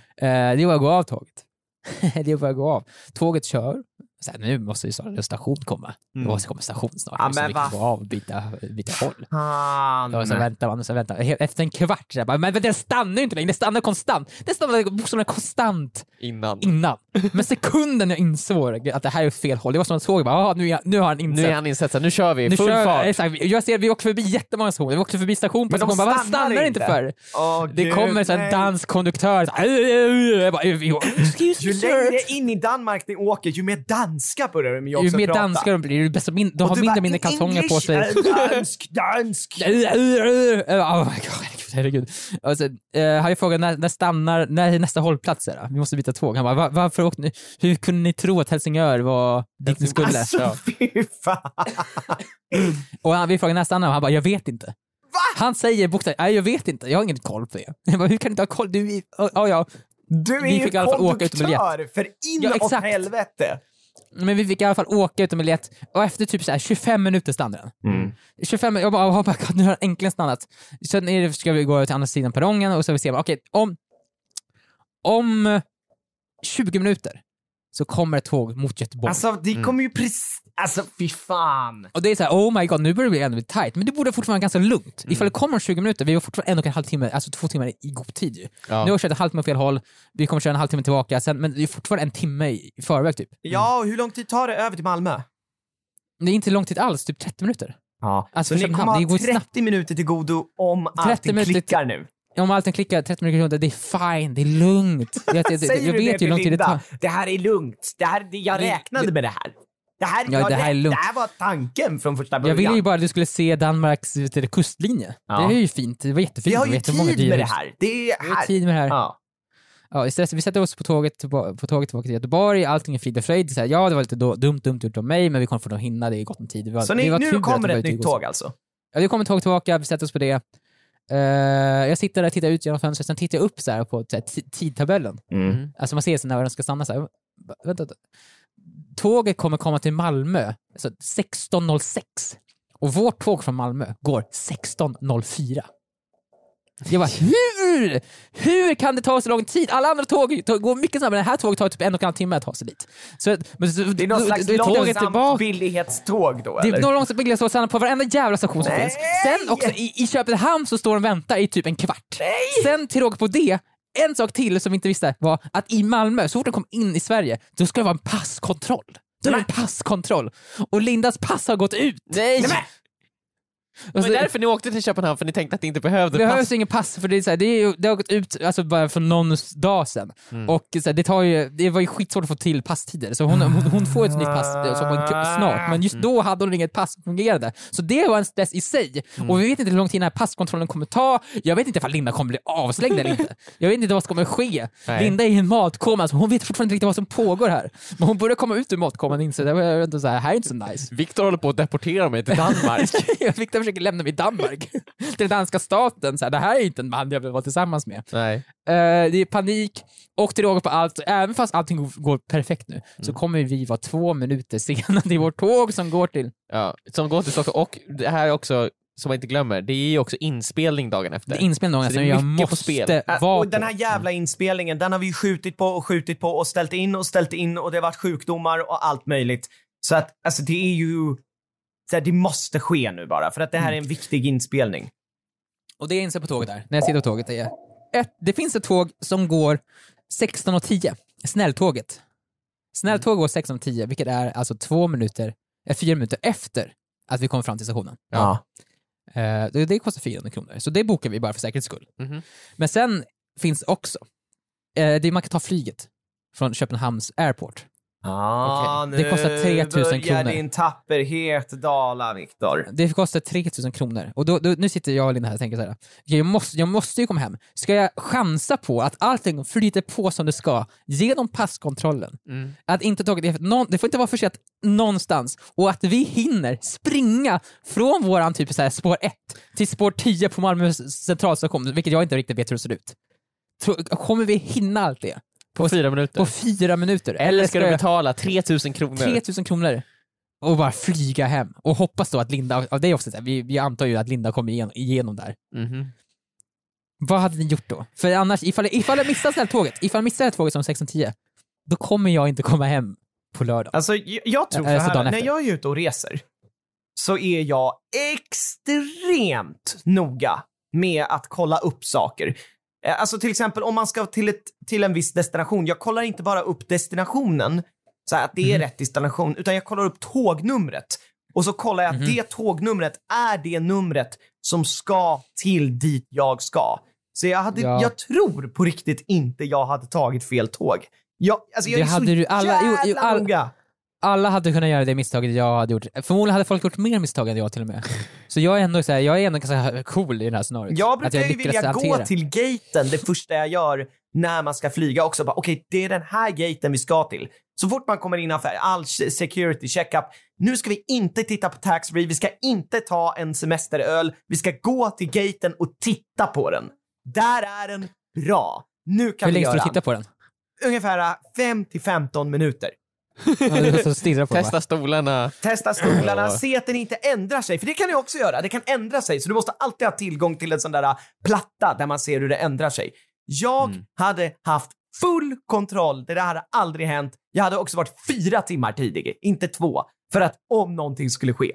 [SPEAKER 4] det är bara att gå av tåget. det är bara att gå av. Tåget kör. Så här, nu måste ju snart en station komma.
[SPEAKER 5] Mm.
[SPEAKER 4] Det måste komma en station snart.
[SPEAKER 3] Ja,
[SPEAKER 4] så
[SPEAKER 3] men
[SPEAKER 4] vi kan
[SPEAKER 3] vad
[SPEAKER 4] gå av och byta, byta håll.
[SPEAKER 3] Han.
[SPEAKER 4] Och så väntar man och så väntar man. He- Efter en kvart så här, bara, men den stannar ju inte längre. Den stannar konstant. Den stannar bokstavligen konstant
[SPEAKER 5] Innan.
[SPEAKER 4] innan. Men sekunden jag insåg att det här är fel håll, det var som att jag såg bara, ah, nu, är jag, nu har han insett.
[SPEAKER 5] Nu är han insett, så här, nu kör vi,
[SPEAKER 4] Nu
[SPEAKER 5] full
[SPEAKER 4] kör
[SPEAKER 5] fart.
[SPEAKER 4] Exakt. Jag ser, vi åker förbi jättemånga stationer. Vi åker förbi station på
[SPEAKER 3] Men de
[SPEAKER 4] station. Bara, Vad
[SPEAKER 3] stannar
[SPEAKER 4] stannar inte
[SPEAKER 3] inte?"
[SPEAKER 4] för?
[SPEAKER 3] Åh,
[SPEAKER 4] Det
[SPEAKER 3] Gud,
[SPEAKER 4] kommer så en
[SPEAKER 3] nej.
[SPEAKER 4] dansk konduktör. Så, "Aj, aj, aj, aj." jag bara, excuse
[SPEAKER 3] Ju
[SPEAKER 4] me sir.
[SPEAKER 3] längre in i Danmark ni åker, ju mer danska börjar de ju också
[SPEAKER 4] Ju mer
[SPEAKER 3] prata.
[SPEAKER 4] danskar de blir, ju bättre, min, de har
[SPEAKER 3] Du
[SPEAKER 4] mindre
[SPEAKER 3] bara,
[SPEAKER 4] och mindre
[SPEAKER 3] "In
[SPEAKER 4] kalsonger på
[SPEAKER 3] English,
[SPEAKER 4] sig.
[SPEAKER 3] eh, Dansk, dansk.
[SPEAKER 4] Aj, aj, aj. Oh my god, herregud. herregud. Och sen, eh, har jag frågat när, när stannar, när är nästa hållplats är då? Vi måste byta tåg. Han bara, "Va- varför åkte ni? Hur kunde ni tro att Helsingör var dit ni skulle?
[SPEAKER 3] Alltså fy fan.
[SPEAKER 4] Och han, vi frågade när stannar och han bara, jag vet inte. Han säger bokstavligt, nej jag vet inte, jag har ingen koll på det. Jag bara, hur kan du inte ha koll? Du, är- ja, ja.
[SPEAKER 3] Du är
[SPEAKER 4] Vi
[SPEAKER 3] ju
[SPEAKER 4] fick i alla fall åka utan biljett.
[SPEAKER 3] konduktör för in
[SPEAKER 4] Ja,
[SPEAKER 3] åt
[SPEAKER 4] exakt.
[SPEAKER 3] helvete.
[SPEAKER 4] Men vi fick i alla fall åka utan biljett och efter typ så här 25 minuter stannade den. 25 minuter, jag bara, oh my God, nu har den äntligen stannat. Sen är det, ska vi gå till andra sidan perrongen och så vi se, okej, om, om 20 minuter så kommer ett tåg mot Göteborg.
[SPEAKER 3] Alltså
[SPEAKER 4] Mm.
[SPEAKER 3] det kommer ju precis... Alltså fy fan.
[SPEAKER 4] och det är så här, oh my god, nu börjar det bli ännu mer tight. Men det borde fortfarande vara ganska lugnt.
[SPEAKER 3] Mm.
[SPEAKER 4] Ifall det kommer om 20 minuter, vi var fortfarande en och en halv timme, alltså två timmar i god tid ju.
[SPEAKER 5] Ja.
[SPEAKER 4] Nu har vi kört en halvtimme åt fel håll, vi kommer köra en halvtimme tillbaka, sen, men det är fortfarande en timme i i förväg typ.
[SPEAKER 3] Ja, och hur lång tid tar det över till Malmö?
[SPEAKER 4] Det är inte lång tid alls, typ 30 minuter.
[SPEAKER 3] Ja.
[SPEAKER 4] Alltså,
[SPEAKER 3] så ni
[SPEAKER 4] Köpenhamn,
[SPEAKER 3] kommer
[SPEAKER 4] det går
[SPEAKER 3] ha
[SPEAKER 4] ju
[SPEAKER 3] 30
[SPEAKER 4] snabbt.
[SPEAKER 3] minuter till godo om
[SPEAKER 4] 30
[SPEAKER 3] allting
[SPEAKER 4] minuter till-
[SPEAKER 3] klickar nu.
[SPEAKER 4] om allting klickar 30 minuter runt, det är fine, det är lugnt. Jag, jag, jag,
[SPEAKER 3] Säger
[SPEAKER 4] jag
[SPEAKER 3] du det
[SPEAKER 4] vet ju
[SPEAKER 3] till
[SPEAKER 4] hur lång tid det
[SPEAKER 3] Linda?
[SPEAKER 4] tar.
[SPEAKER 3] Det här är lugnt. Det här, det, jag
[SPEAKER 4] Det-
[SPEAKER 3] räknade med det här. Det här,
[SPEAKER 4] Ja,
[SPEAKER 3] jag
[SPEAKER 4] det här är
[SPEAKER 3] räk-
[SPEAKER 4] lugnt.
[SPEAKER 3] det här var tanken från första
[SPEAKER 4] Jag
[SPEAKER 3] början.
[SPEAKER 4] ville ju bara att du skulle se Danmarks vet du, kustlinje.
[SPEAKER 3] Ja.
[SPEAKER 4] Det är ju fint, det var jättefint.
[SPEAKER 3] Vi har
[SPEAKER 4] Det var
[SPEAKER 3] ju
[SPEAKER 4] jättemånga
[SPEAKER 3] tid
[SPEAKER 4] dyra
[SPEAKER 3] med det
[SPEAKER 4] hus.
[SPEAKER 3] här. Det är
[SPEAKER 4] Vi har
[SPEAKER 3] här.
[SPEAKER 4] tid med det här. Ja.
[SPEAKER 3] Ja.
[SPEAKER 4] istället, vi sätter oss på tåget, tillba- på tåget tillbaka till Göteborg, allting är frid och fröjd. Så här, ja, det var lite då, dumt, dumt gjort av mig, men vi kommer få nog hinna, det är gott om tid. Det var,
[SPEAKER 3] Så
[SPEAKER 4] det
[SPEAKER 3] ni,
[SPEAKER 4] var tur
[SPEAKER 3] nu
[SPEAKER 4] att
[SPEAKER 3] kommer
[SPEAKER 4] det
[SPEAKER 3] ett
[SPEAKER 4] var
[SPEAKER 3] nytt
[SPEAKER 4] tåg.
[SPEAKER 3] tåg alltså?
[SPEAKER 4] Ja, det kommer ett tåg tillbaka, vi sätter oss på det. Eh, jag sitter där och tittar ut genom fönstret, sen tittar jag upp så här på så här, ti- tidtabellen.
[SPEAKER 3] Mm.
[SPEAKER 4] Alltså man ser så när den ska stanna så här. "Va- Vänta, vänta. Tåget kommer komma till Malmö alltså 16.06 och vårt tåg från Malmö går 16.04. Jag bara, hur? Hur kan det ta så lång tid? Alla andra tåg tåg går mycket snabbare. Det här tåget tar typ en och en halv timme att ta sig dit. Så, men, så,
[SPEAKER 3] Det är något slags långsamt
[SPEAKER 4] tillbaka.
[SPEAKER 3] billighetståg då
[SPEAKER 4] Det
[SPEAKER 3] eller?
[SPEAKER 4] är någon långsamt billigare stånd på varenda jävla station som
[SPEAKER 3] Nej!
[SPEAKER 4] finns. Sen också i, i Köpenhamn så står de och väntar i typ en kvart. Sen till råga på det, en sak till som vi inte visste var att i Malmö, så fort de kom in i Sverige, då ska det vara en passkontroll. Då är det en passkontroll. Och Lindas pass har gått ut.
[SPEAKER 5] Nej!
[SPEAKER 4] Och
[SPEAKER 5] Det
[SPEAKER 4] så,
[SPEAKER 5] var därför ni åkte till Köpenhamn, för ni tänkte att ni inte behövde
[SPEAKER 4] det
[SPEAKER 5] pass.
[SPEAKER 4] behövs ingen pass, för det, är så här, det, är ju, det har gått ut alltså, bara för någon dag sedan. Och så här, det, tar ju, det var ju skitsvårt att få till passtider, så hon, hon, hon får ett nytt pass eh, som hon, snart. Men just då hade hon inget pass som fungerade. Så det var en stress i sig. Och vi vet inte hur lång tid den här passkontrollen kommer ta. Jag vet inte ifall Linda kommer bli avslängd eller inte. Jag vet inte vad som kommer ske.
[SPEAKER 5] Nej.
[SPEAKER 4] Linda är i en matkoma, så hon vet fortfarande inte riktigt vad som pågår här. Men hon börjar komma ut ur matkoman och inser att det var- det var inte så här, här är inte så nice.
[SPEAKER 5] Viktor håller på att deportera mig till Danmark.
[SPEAKER 4] Jag fick det försöker lämna mig i Danmark. Till den danska staten. Så här, det här är inte en man jag vill vara tillsammans med.
[SPEAKER 5] Nej.
[SPEAKER 4] Eh, det är panik och till råga på allt, även fast allting går- går perfekt nu, så kommer vi vara två minuter sena till vårt tåg som går till...
[SPEAKER 5] Ja. Som går till Stockholm. Och det här är också, som man inte glömmer, det är ju också inspelning dagen efter.
[SPEAKER 4] Det är inspelning dagen
[SPEAKER 5] Så det
[SPEAKER 4] efter,
[SPEAKER 5] är
[SPEAKER 4] men jag
[SPEAKER 5] mycket på
[SPEAKER 4] måste
[SPEAKER 5] spel.
[SPEAKER 3] Äh,
[SPEAKER 4] vara
[SPEAKER 3] och den här jävla inspelningen, den har vi ju skjutit på och skjutit på och ställt in och ställt in och det har varit sjukdomar och allt möjligt. Så att alltså det är ju, så här, det måste ske nu bara för att det
[SPEAKER 4] Mm.
[SPEAKER 3] här är en viktig inspelning.
[SPEAKER 4] Och det jag inser på tåget där, när jag sitter på tåget, är ett, det finns ett tåg som går 16.10, snälltåget. Snälltåget går 16.10, vilket är alltså två minuter, eh, fyra minuter efter att vi kommer fram till stationen.
[SPEAKER 3] Ja.
[SPEAKER 4] Eh, det, det kostar 400 kronor, så det bokar vi bara för säkerhets skull.
[SPEAKER 5] Mhm.
[SPEAKER 4] Men sen finns också, eh, det, man kan ta flyget från Köpenhamns airport.
[SPEAKER 3] Ah,
[SPEAKER 4] Okej. Det kostar 3000
[SPEAKER 3] börjar
[SPEAKER 4] kronor.
[SPEAKER 3] din tapperhet dala, Viktor.
[SPEAKER 4] Det kostar 3000 kronor. Och då, då, nu sitter jag och Linda här och tänker så här. okej, Jag måste, jag måste ju komma hem. Ska jag chansa på att allting flyter på som det ska genom passkontrollen?
[SPEAKER 5] Mm.
[SPEAKER 4] Att inte tåget är för- någon, det får inte vara försett någonstans. Och att vi hinner springa från våran typ så här spår 1 till spår 10 på Malmö centralstation, vilket jag inte riktigt vet hur det ser ut. Tror- Kommer vi hinna allt det?
[SPEAKER 5] På fyra
[SPEAKER 4] På
[SPEAKER 5] minuter.
[SPEAKER 4] fyra minuter?
[SPEAKER 5] Eller ska du
[SPEAKER 4] jag-
[SPEAKER 5] betala 3000 kronor?
[SPEAKER 4] 3000 kronor och bara flyga hem och hoppas då att Linda, ja, det är också så här, vi, vi antar ju att Linda kommer igenom, igenom där.
[SPEAKER 5] Mhm.
[SPEAKER 4] Vad hade ni gjort då? För annars, ifall, ifall jag missar snälltåget, ifall jag missar det här tåget som 16.10, då kommer jag inte komma hem på lördag.
[SPEAKER 3] Alltså, jag, jag tror så
[SPEAKER 4] Äh, så
[SPEAKER 3] här,
[SPEAKER 4] dagen
[SPEAKER 3] när
[SPEAKER 4] efter.
[SPEAKER 3] jag är ute och reser så är jag extremt noga med att kolla upp saker. Eh, Alltså till exempel om man ska till, ett, till en viss destination, jag kollar inte bara upp destinationen, så här att
[SPEAKER 4] Mm-hmm.
[SPEAKER 3] det är rätt destination, utan jag kollar upp tågnumret. Och så kollar jag att
[SPEAKER 4] Mm-hmm.
[SPEAKER 3] det tågnumret är det numret som ska till dit jag ska. Så jag, hade,
[SPEAKER 4] Ja.
[SPEAKER 3] jag tror på riktigt inte jag hade tagit fel tåg. Jag, alltså jag
[SPEAKER 4] Det
[SPEAKER 3] är så
[SPEAKER 4] hade du alla- jo, jo,
[SPEAKER 3] jävla
[SPEAKER 4] alla-
[SPEAKER 3] noga.
[SPEAKER 4] Alla hade kunnat göra det misstaget jag hade gjort. Förmodligen hade folk gjort mer misstag än jag till och med. Så jag är ändå, så här, jag är ändå ganska cool i det här scenariot.
[SPEAKER 3] Jag brukar ju
[SPEAKER 4] lyckades
[SPEAKER 3] vilja gå
[SPEAKER 4] hantera.
[SPEAKER 3] till gaten det första jag gör när man ska flyga också. Bara, Okej, det är den här gaten vi ska till. Så fort man kommer innanför, all se- security checkup. Nu ska vi inte titta på taxfree, vi ska inte ta en semesteröl. Vi ska gå till gaten och titta på den. Där är den. Bra. Nu kan vi
[SPEAKER 4] Hur länge
[SPEAKER 3] göra
[SPEAKER 4] ska du
[SPEAKER 3] den.
[SPEAKER 4] titta på den?
[SPEAKER 3] Ungefär 5 till 15 minuter.
[SPEAKER 4] Ja, du måste stirra på den, va?
[SPEAKER 5] Testa stolarna.
[SPEAKER 3] Testa stolarna,
[SPEAKER 5] Ja.
[SPEAKER 3] se att den inte ändrar sig. För det kan du också göra. Det kan ändra sig. Så du måste alltid ha tillgång till en sån där äh, platta där man ser hur det ändrar sig. Jag
[SPEAKER 4] Mm.
[SPEAKER 3] hade haft full kontroll. Det där hade aldrig hänt. Jag hade också varit fyra timmar tidig, inte två. För att om någonting skulle ske.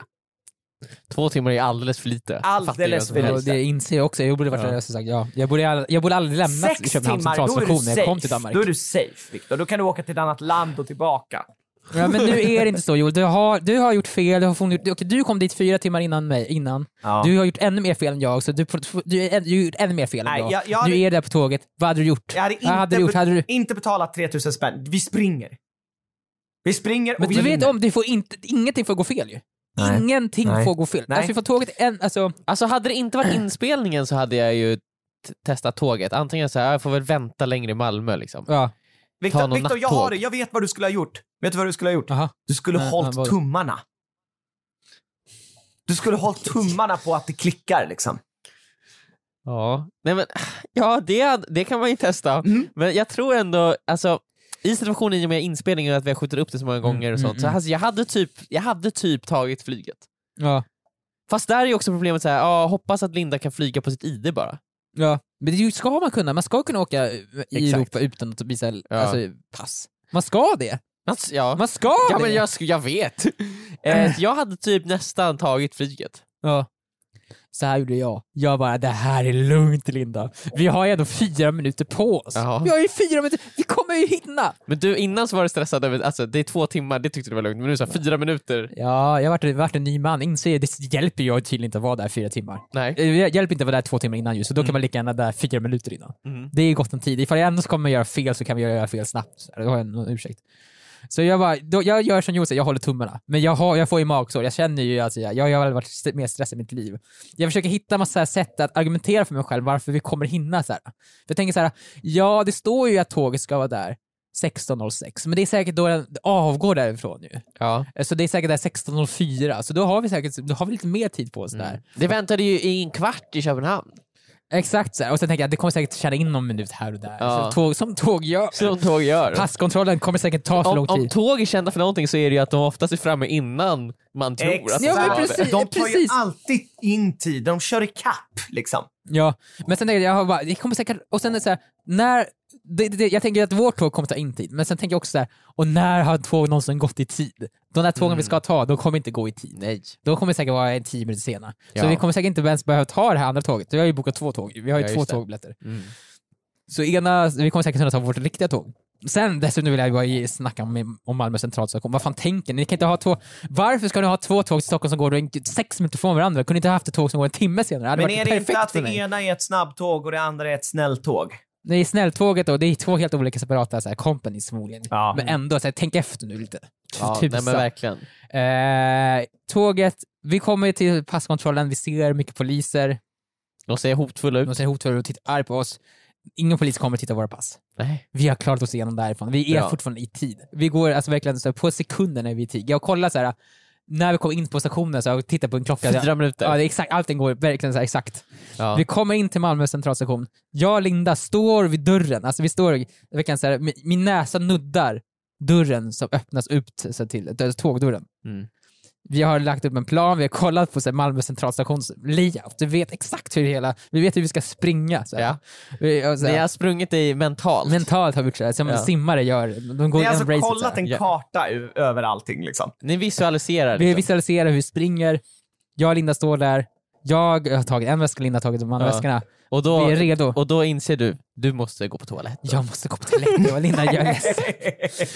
[SPEAKER 5] Två timmar är alldeles för lite.
[SPEAKER 3] Alldeles
[SPEAKER 5] Fattar jag som
[SPEAKER 3] för
[SPEAKER 5] helst.
[SPEAKER 4] Ja, det inser jag också. Jag borde varit
[SPEAKER 5] Ja.
[SPEAKER 4] ja. sagt ja. Jag borde, all- jag borde aldrig lämnat
[SPEAKER 3] Sex
[SPEAKER 4] Köpenhamns
[SPEAKER 3] timmar, då är du
[SPEAKER 4] centralstation när jag kom till
[SPEAKER 3] safe.
[SPEAKER 4] Danmark.
[SPEAKER 3] Då är du safe, Viktor. Då kan du åka till ett annat land och tillbaka.
[SPEAKER 4] Ja, men nu är det inte så Joel. Du har, du har gjort fel. Du, har fortfarande gjort, okej, du kom dit fyra timmar innan mig. Innan.
[SPEAKER 3] Ja.
[SPEAKER 4] Du har gjort ännu mer fel än jag, så du, får- du, är- du har gjort ännu mer fel än
[SPEAKER 3] Nej,
[SPEAKER 4] jag.
[SPEAKER 3] jag- jag hade-
[SPEAKER 4] Nu är det där på tåget. Vad hade du gjort?
[SPEAKER 3] Jag hade inte,
[SPEAKER 4] Vad hade du gjort? Hade du...
[SPEAKER 3] inte betalat 3000 spänn. Vi springer. Vi springer och
[SPEAKER 4] Men
[SPEAKER 3] vi
[SPEAKER 4] du vet
[SPEAKER 3] vinner.
[SPEAKER 4] om, det får inte, ingenting får gå fel ju.
[SPEAKER 3] Nej.
[SPEAKER 4] Ingenting
[SPEAKER 3] Nej.
[SPEAKER 4] får gå fel.
[SPEAKER 3] Nej.
[SPEAKER 4] Alltså, vi får tåget en, alltså,
[SPEAKER 5] Alltså hade det inte varit inspelningen så hade jag ju t- testat tåget. Antingen så här, jag får väl vänta längre i Malmö liksom.
[SPEAKER 4] ja.
[SPEAKER 5] Ta
[SPEAKER 3] Viktor,
[SPEAKER 5] någon
[SPEAKER 3] Viktor jag
[SPEAKER 5] nattåg.
[SPEAKER 3] har det. Jag vet vad du skulle ha gjort. Vet du vad du skulle ha gjort?
[SPEAKER 4] Aha.
[SPEAKER 3] Du skulle
[SPEAKER 4] Nej,
[SPEAKER 3] hållit
[SPEAKER 4] nej, vad-
[SPEAKER 3] tummarna. Du skulle hållit tummarna på att det klickar liksom.
[SPEAKER 5] Ja, Nej, men, ja det, det kan man ju testa.
[SPEAKER 3] Mm.
[SPEAKER 5] Men jag tror ändå, alltså i situationen i och med inspelningen och att vi har skjutit upp det så många gånger och
[SPEAKER 4] mm,
[SPEAKER 5] sånt, så
[SPEAKER 4] mm.
[SPEAKER 5] alltså, jag, hade typ, jag hade typ tagit flyget.
[SPEAKER 4] Ja.
[SPEAKER 5] Fast där är ju också problemet så här, ja, hoppas att Linda kan flyga på sitt ID bara.
[SPEAKER 4] ja. Men det är ju- ska man kunna. Man ska kunna åka eh, i
[SPEAKER 5] Exakt.
[SPEAKER 4] Europa utan att visa
[SPEAKER 5] Ja.
[SPEAKER 4] alltså, pass. Man ska det.
[SPEAKER 5] Alltså, ja.
[SPEAKER 4] Man ska
[SPEAKER 5] ja
[SPEAKER 4] det.
[SPEAKER 5] men jag, sk- jag vet. eh, jag hade typ nästan tagit flyget.
[SPEAKER 4] Ja. Så här gjorde jag. Jag bara, det här är lugnt Linda. Vi har ju ändå fyra minuter på oss.
[SPEAKER 5] Jaha.
[SPEAKER 4] Vi har ju fyra minuter, vi kommer ju hinna!
[SPEAKER 5] Men du, innan så var du stressad över, alltså det är två timmar, det tyckte du var lugnt, men nu så här, fyra minuter.
[SPEAKER 4] Ja, jag har varit, varit en ny man. Inser, det hjälper ju tydligen inte att vara där fyra timmar.
[SPEAKER 5] Nej.
[SPEAKER 4] Eh, Det hjälper inte att vara där två timmar innan ju, så då kan man lika gärna där fyra minuter innan.
[SPEAKER 5] Mm.
[SPEAKER 4] Det är gott om tid. Ifall jag ändå kommer göra fel så kan vi göra fel snabbt. Så här, Då har jag en ursäkt. Så jag, bara, då, jag gör som Josef, jag håller tummarna. Men jag, har, jag får ju magsår, jag känner ju att jag, jag, jag har varit st- mer stressad i mitt liv. Jag försöker hitta massa sätt att argumentera för mig själv varför vi kommer hinna. Så här. För jag tänker så här, ja det står ju att tåget ska vara där 16.06. Men det är säkert då den avgår därifrån ju.
[SPEAKER 5] Ja.
[SPEAKER 4] Så det är säkert där 16.04, så då har vi säkert då har vi lite mer tid på oss där.
[SPEAKER 5] Det väntade ju i en kvart i Köpenhamn.
[SPEAKER 4] Exakt så här. Och sen tänker jag att det kommer säkert tjäna in någon minut här och där.
[SPEAKER 5] Ja.
[SPEAKER 4] Så tåg, som tåg gör.
[SPEAKER 5] Som tåg gör.
[SPEAKER 4] Passkontrollen kommer säkert ta för
[SPEAKER 5] Eh. Om,
[SPEAKER 4] lång
[SPEAKER 5] om
[SPEAKER 4] tid.
[SPEAKER 5] tåg är kända för någonting så är det ju att de oftast är framme innan man tror att de
[SPEAKER 4] Ja,
[SPEAKER 5] ska
[SPEAKER 4] men
[SPEAKER 5] vara det.
[SPEAKER 4] precis,
[SPEAKER 3] De tar ju
[SPEAKER 4] precis.
[SPEAKER 3] alltid in tid, de kör i kapp liksom.
[SPEAKER 4] Ja. Men sen tänker jag, jag har bara, det kommer säkert, och sen är det så här, när, det, det, jag tänker att vårt tåg kommer ta in tid, men sen tänker jag också så här, och när har tåg någonsin gått i tid? De där tågen vi
[SPEAKER 5] Mm.
[SPEAKER 4] ska ta, de kommer inte gå i tid.
[SPEAKER 5] Nej.
[SPEAKER 4] De kommer säkert vara en tio minuter sena. Så
[SPEAKER 5] Ja.
[SPEAKER 4] vi kommer säkert inte ens behöva ta det här andra tåget. Vi har ju bokat två tåg, vi har ju
[SPEAKER 5] Ja,
[SPEAKER 4] två
[SPEAKER 5] just det.
[SPEAKER 4] tågbiljetter.
[SPEAKER 5] Mm.
[SPEAKER 4] Så ena, vi kommer säkert kunna ta vårt riktiga tåg. Sen dessutom vill jag bara ge- snacka om, om Malmö centralstation. Vad fan tänker ni? ni? kan inte ha två, varför ska ni ha två tåg till Stockholm som går en- sex minuter från varandra? Kunde ni inte ha haft ett tåg som går en timme senare? Det hade
[SPEAKER 3] Men
[SPEAKER 4] varit
[SPEAKER 3] är det
[SPEAKER 4] perfekt
[SPEAKER 3] inte att
[SPEAKER 4] för
[SPEAKER 3] det
[SPEAKER 4] mig.
[SPEAKER 3] ena är ett snabbtåg och det andra är ett snälltåg?
[SPEAKER 4] Det är snälltåget då, det är två helt olika separata så här, companies förmodligen.
[SPEAKER 3] Ja.
[SPEAKER 4] Men ändå, så här, tänk efter nu lite.
[SPEAKER 5] Ja, nej,
[SPEAKER 4] Tusan.
[SPEAKER 5] men verkligen.
[SPEAKER 4] eh, tåget, vi kommer till passkontrollen, vi ser mycket poliser,
[SPEAKER 5] De ser hotfulla ut.
[SPEAKER 4] de ser hotfulla och tittar arg på oss. Ingen polis kommer titta på våra pass.
[SPEAKER 5] Nej.
[SPEAKER 4] vi har klarat oss igenom därifrån. Vi är
[SPEAKER 5] Bra.
[SPEAKER 4] fortfarande i tid. Vi går alltså verkligen så här, på sekunden är vi i tid. Jag kollar så här, när vi kom in på stationen så har jag tittat på en klocka.
[SPEAKER 5] Fyra minuter.
[SPEAKER 4] Ja, det är exakt, allting går verkligen så här exakt.
[SPEAKER 5] Ja.
[SPEAKER 4] Vi kommer in till Malmö centralstation. Jag och Linda står vid dörren. Alltså vi står, verkligen så här, min, min näsa nuddar dörren som öppnas ut så här, till till tågdörren.
[SPEAKER 5] Mm.
[SPEAKER 4] Vi har lagt upp en plan, vi har kollat på så här, Malmö centralstations layout. Vi vet exakt hur hela, vi vet hur vi ska springa. Så här.
[SPEAKER 5] Ja.
[SPEAKER 4] Vi, och så här-
[SPEAKER 5] Ni har sprungit dig mentalt.
[SPEAKER 4] Mentalt har vi gjort så här, Alltså, som
[SPEAKER 5] Ja.
[SPEAKER 4] simmare gör. De går
[SPEAKER 3] Ni har
[SPEAKER 4] igenom
[SPEAKER 3] alltså
[SPEAKER 4] racet
[SPEAKER 3] kollat
[SPEAKER 4] så här.
[SPEAKER 3] en
[SPEAKER 5] Ja.
[SPEAKER 3] karta u- över allting liksom.
[SPEAKER 5] Ni visualiserar.
[SPEAKER 4] Vi
[SPEAKER 5] Liksom.
[SPEAKER 4] visualiserar hur vi springer. Jag och Linda står där. Jag har tagit en väska, Linda har tagit de andra
[SPEAKER 5] Ja.
[SPEAKER 4] väskorna.
[SPEAKER 5] Och, då,
[SPEAKER 4] Vi är redo.
[SPEAKER 5] och då inser du, du måste gå på toaletten.
[SPEAKER 4] Jag måste gå på toaletten. Jag och Linda, jag är ledsen.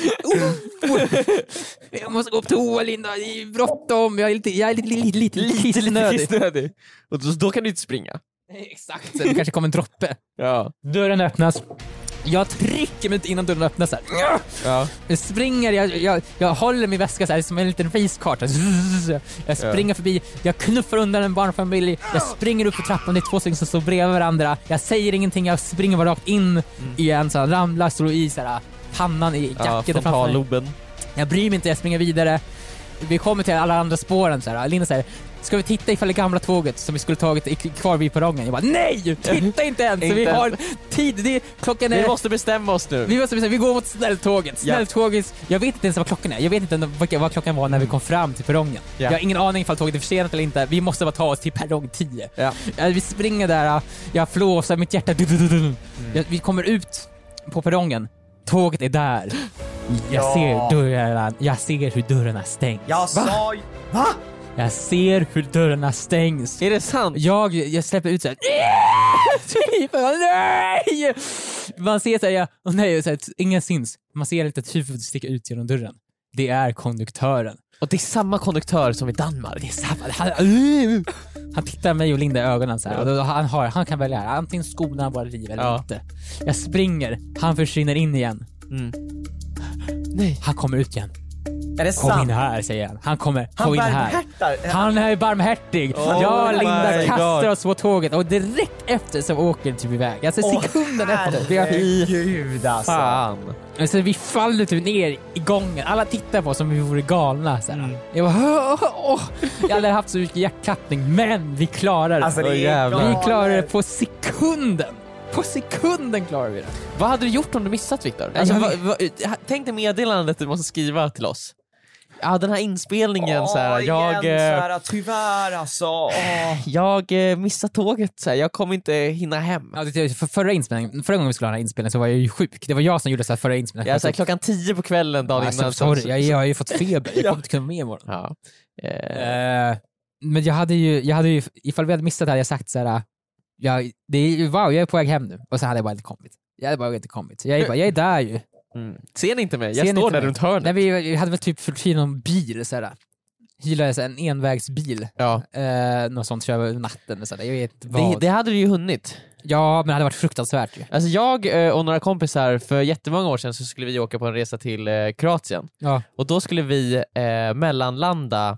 [SPEAKER 4] Jag måste gå på toa, Linda. Det är bråttom. Jag är lite, jag är lite, lite, lite, lite kissnödig.
[SPEAKER 5] Kissnödig. Och då, då kan du inte springa.
[SPEAKER 4] Exakt. Det kanske kommer en droppe.
[SPEAKER 5] Ja.
[SPEAKER 4] Dörren öppnas. Jag trycker mig inte innan dörren öppnas. Så här.
[SPEAKER 5] ja.
[SPEAKER 4] Jag springer, jag, jag, jag håller min väska så här, som en liten racekarta. Zzzz. Jag springer förbi, jag knuffar undan en barnfamilj, jag springer upp för trappan, det är två stycken som står bredvid varandra. Jag säger ingenting, jag springer bara rakt in
[SPEAKER 5] Mm.
[SPEAKER 4] i en så här, ramlar, slår i så här, äh, pannan i
[SPEAKER 5] ja
[SPEAKER 4] jacket där framför mig.
[SPEAKER 5] frontalloben.
[SPEAKER 4] Jag bryr mig inte, jag springer vidare. Vi kommer till alla andra spåren så här. Linda säger Ska vi titta ifall det gamla tåget som vi skulle tagit är kvar vid perrongen? Jag bara NEJ! Titta inte ens!
[SPEAKER 5] Inte
[SPEAKER 4] vi
[SPEAKER 5] ens.
[SPEAKER 4] har tid, det är, klockan är
[SPEAKER 5] Vi måste bestämma oss nu.
[SPEAKER 4] vi, måste bestämma, vi går mot snälltåget.
[SPEAKER 5] Ja.
[SPEAKER 4] Snälltåget. Jag vet inte ens vad klockan är. Jag vet inte ens vad- vad klockan var när vi kom fram till perrongen.
[SPEAKER 5] Ja.
[SPEAKER 4] Jag har ingen aning ifall tåget är försenat eller inte. Vi måste bara ta oss till perrong 10.
[SPEAKER 5] Ja.
[SPEAKER 4] Ja, Vi springer där, äh, jag flåsar, mitt hjärta... du- du- du- du.
[SPEAKER 5] Mm.
[SPEAKER 4] Jag, vi kommer ut på perrongen. Tåget är där. Jag
[SPEAKER 3] Ja.
[SPEAKER 4] ser dörrarna, jag ser hur dörrarna stängs.
[SPEAKER 3] Jag sa ju... Va?
[SPEAKER 4] Jag ser hur dörrarna stängs.
[SPEAKER 5] Är det sant?
[SPEAKER 4] Jag, jag släpper ut såhär typ, jag bara, nej! Man ser såhär, ja, och nej, och så här, ingen syns. Man ser lite typ ett huvud sticka ut genom dörren. Det är konduktören.
[SPEAKER 5] Och det är samma konduktör som i Danmark.
[SPEAKER 4] Det är samma, han, uh, han tittar mig och Linda i ögonen så här, och då, han, har, han kan välja här, antingen skonar våra liv eller
[SPEAKER 5] Ja.
[SPEAKER 4] inte. Jag springer, han försvinner in igen.
[SPEAKER 5] Mm.
[SPEAKER 4] Han kommer ut igen.
[SPEAKER 3] Är det
[SPEAKER 4] Kom in
[SPEAKER 3] sant?
[SPEAKER 4] här säger han. Han kommer, kom
[SPEAKER 3] Han
[SPEAKER 4] in här.
[SPEAKER 3] barmhärtar.
[SPEAKER 4] Han är barmhärtig!
[SPEAKER 5] Oh
[SPEAKER 4] jag och Linda
[SPEAKER 5] my
[SPEAKER 4] kastar
[SPEAKER 5] God.
[SPEAKER 4] oss på tåget och direkt efter så åker vi typ iväg. Alltså
[SPEAKER 3] Åh,
[SPEAKER 4] sekunden efter. Vi, har-
[SPEAKER 3] Herregud alltså.
[SPEAKER 5] Fan.
[SPEAKER 4] alltså, vi faller typ ner i gången. Alla tittar på oss som om vi vore galna. Så här. Jag bara, "Åh, åh, åh." Jag har aldrig haft så mycket hjärtklappning, men vi klarar det.
[SPEAKER 3] Alltså, det är
[SPEAKER 5] Åh, jävlar.
[SPEAKER 3] galet.
[SPEAKER 4] vi klarar det på sekunden! På sekunden klarar vi det.
[SPEAKER 5] Vad hade du gjort om du missat Viktor? Alltså,
[SPEAKER 4] jag
[SPEAKER 5] vad-
[SPEAKER 4] vet-
[SPEAKER 5] vad- tänk dig meddelandet du måste skriva till oss. Ja, den här inspelningen. så här,
[SPEAKER 3] Åh,
[SPEAKER 5] jag,
[SPEAKER 3] igen,
[SPEAKER 5] eh,
[SPEAKER 3] så här, tyvärr alltså. Åh.
[SPEAKER 5] jag eh, missar tåget, så här, jag kommer inte hinna hem.
[SPEAKER 4] Ja, det- Alltså, för förra, inspelningen, förra gången vi skulle ha den här inspelningen så var jag ju sjuk. Det var jag som gjorde så här förra inspelningen.
[SPEAKER 5] Jag, så här, klockan tio på kvällen dagen
[SPEAKER 4] alltså,
[SPEAKER 5] innan.
[SPEAKER 4] sorry,
[SPEAKER 5] så-
[SPEAKER 4] jag, jag har ju fått feber. Jag kommer inte kunna vara med imorgon.
[SPEAKER 5] Ja. Eh,
[SPEAKER 4] Eh, men jag hade ju, jag hade ju, ifall vi hade missat det hade jag sagt så här. "Ah, Jag, det är, ju- wow, jag är på väg hem nu. Och så hade jag bara inte kommit. Jag hade bara inte kommit. Jag är, bara, jag är där ju.
[SPEAKER 5] mm. Ser ni inte mig?
[SPEAKER 4] Ser
[SPEAKER 5] Jag
[SPEAKER 4] ni
[SPEAKER 5] står
[SPEAKER 4] inte
[SPEAKER 5] där
[SPEAKER 4] mig?
[SPEAKER 5] runt hörnet.
[SPEAKER 4] Nej, vi, vi hade väl typ fyllt i någon bil, så här. hyrde så här en envägsbil.
[SPEAKER 5] Ja.
[SPEAKER 4] Eh, något sånt kör jag över natten. Så här. Jag vet inte
[SPEAKER 5] Det,
[SPEAKER 4] vad.
[SPEAKER 5] det hade du ju hunnit.
[SPEAKER 4] Ja, men det hade varit fruktansvärt ju.
[SPEAKER 5] Alltså jag eh, och några kompisar, för jättemånga år sedan så skulle vi åka på en resa till eh, Kroatien.
[SPEAKER 4] Ja.
[SPEAKER 5] Och då skulle vi eh, mellanlanda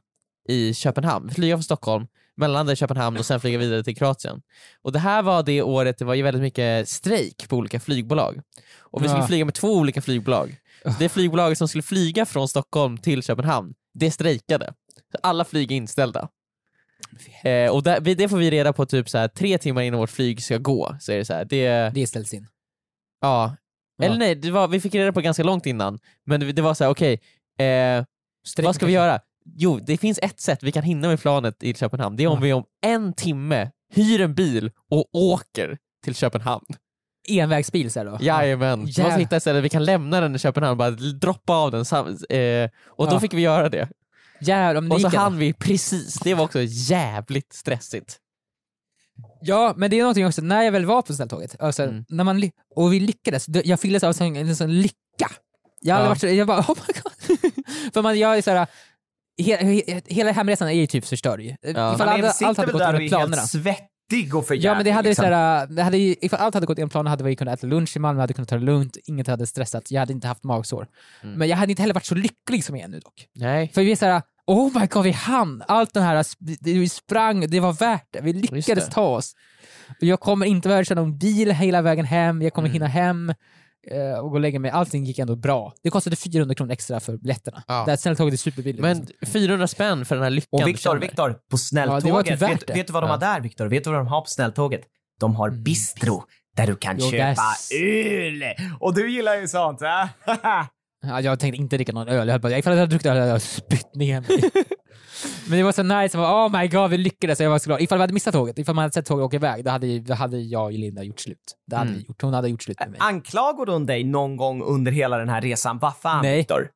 [SPEAKER 5] i Köpenhamn. Flyga från Stockholm, mellanlanda i Köpenhamn och sen flyga vidare till Kroatien. Och det här var det året det var ju väldigt mycket strejk på olika flygbolag. Och vi skulle
[SPEAKER 4] Ja.
[SPEAKER 5] flyga med två olika flygbolag. Så det flygbolaget som skulle flyga från Stockholm till Köpenhamn, det strejkade. Så alla flyg är inställda. Eh, och där, vi- det får vi reda på typ så här, tre timmar innan vårt flyg ska gå. Så är det så här, det,
[SPEAKER 4] Det ställs in.
[SPEAKER 5] Ja.
[SPEAKER 4] Ja.
[SPEAKER 5] Eller nej, det var, vi fick reda på ganska långt innan, men det, det var så här: okej, eh, vad ska vi göra? Jo, det finns ett sätt vi kan hinna med planet i Köpenhamn, det är om
[SPEAKER 4] Ja.
[SPEAKER 5] vi om en timme hyr en bil och åker till Köpenhamn.
[SPEAKER 4] Envägsbil så här då?
[SPEAKER 5] Jajamän. Vi måste
[SPEAKER 4] Jävlar.
[SPEAKER 5] hitta ett ställe vi kan lämna den i Köpenhamn och bara droppa av den. sam- Eh, och då
[SPEAKER 4] Ja.
[SPEAKER 5] fick vi göra det.
[SPEAKER 4] Jävlar, men det
[SPEAKER 5] Och så
[SPEAKER 4] gick alltså. ändå.
[SPEAKER 5] hann vi precis, det var också jävligt stressigt.
[SPEAKER 4] Ja, men det är någonting också, när jag väl var på snälltåget, alltså,
[SPEAKER 5] Mm.
[SPEAKER 4] när man, ly- och vi lyckades, då- jag fylldes av en sån, en sån lycka. Jag har aldrig
[SPEAKER 5] Ja.
[SPEAKER 4] varit så, jag bara oh my god. För man, jag är såhär, he, he, hela hemresan är ju typ förstörd ju. Ifall
[SPEAKER 3] Man
[SPEAKER 4] alla, allt
[SPEAKER 3] sitter
[SPEAKER 4] hade
[SPEAKER 3] väl
[SPEAKER 4] gått
[SPEAKER 3] där och
[SPEAKER 4] enligt
[SPEAKER 3] är
[SPEAKER 4] planerna.
[SPEAKER 3] helt svettig och för
[SPEAKER 4] Ja men det
[SPEAKER 3] jävlig,
[SPEAKER 4] hade ju
[SPEAKER 3] liksom.
[SPEAKER 4] såhär, det hade ju, ifall allt hade gått enligt planen hade vi kunnat äta lunch i Malmö, hade kunnat ta det lugnt, inget hade stressat, jag hade inte haft magsår.
[SPEAKER 5] Mm.
[SPEAKER 4] Men jag hade inte heller varit så lycklig som jag är nu dock.
[SPEAKER 5] Nej.
[SPEAKER 4] För vi är såhär, oh my god vi hann, allt den här, sp- det- vi sprang, det var värt det, vi lyckades
[SPEAKER 5] det.
[SPEAKER 4] ta oss. Och Jag kommer inte behöva köra någon bil hela vägen hem, jag kommer
[SPEAKER 5] Mm.
[SPEAKER 4] hinna hem eh, och gå och lägga mig. Allting gick ändå bra. Det kostade 400 kronor extra för biljetterna.
[SPEAKER 5] Ja.
[SPEAKER 4] Det här snälltåget är superbilligt.
[SPEAKER 5] Men
[SPEAKER 4] liksom.
[SPEAKER 5] 400 spänn för den här lyckan.
[SPEAKER 3] Och
[SPEAKER 5] du
[SPEAKER 3] Viktor,
[SPEAKER 5] känner.
[SPEAKER 3] Viktor, på
[SPEAKER 4] Ja, det var
[SPEAKER 3] snälltåget,
[SPEAKER 4] typ värt
[SPEAKER 3] vet,
[SPEAKER 4] det.
[SPEAKER 3] vet du vad de
[SPEAKER 5] Ja.
[SPEAKER 3] har där Viktor? Vet du vad de har på snälltåget? De har bistro där du kan
[SPEAKER 4] Mm. Jo,
[SPEAKER 3] köpa
[SPEAKER 4] där-
[SPEAKER 3] öl. Och du gillar ju sånt, va?
[SPEAKER 4] Ja, jag tänkte inte dricka någon öl. Jag höll på, ifall jag hade druckit öl hade jag spytt ner mig. Men det var så nice, jag bara, oh my god vi lyckades. Jag var så glad. Ifall vi hade missat tåget, ifall man hade sett tåget åka iväg, då hade, ju- då hade jag och Linda gjort slut. Det hade
[SPEAKER 5] Mm. Ah.
[SPEAKER 4] vi gjort. Hon hade gjort slut med mig.
[SPEAKER 3] Anklagade hon dig någon gång under hela den här resan? Vad fan,
[SPEAKER 4] Nej.
[SPEAKER 3] Viktor?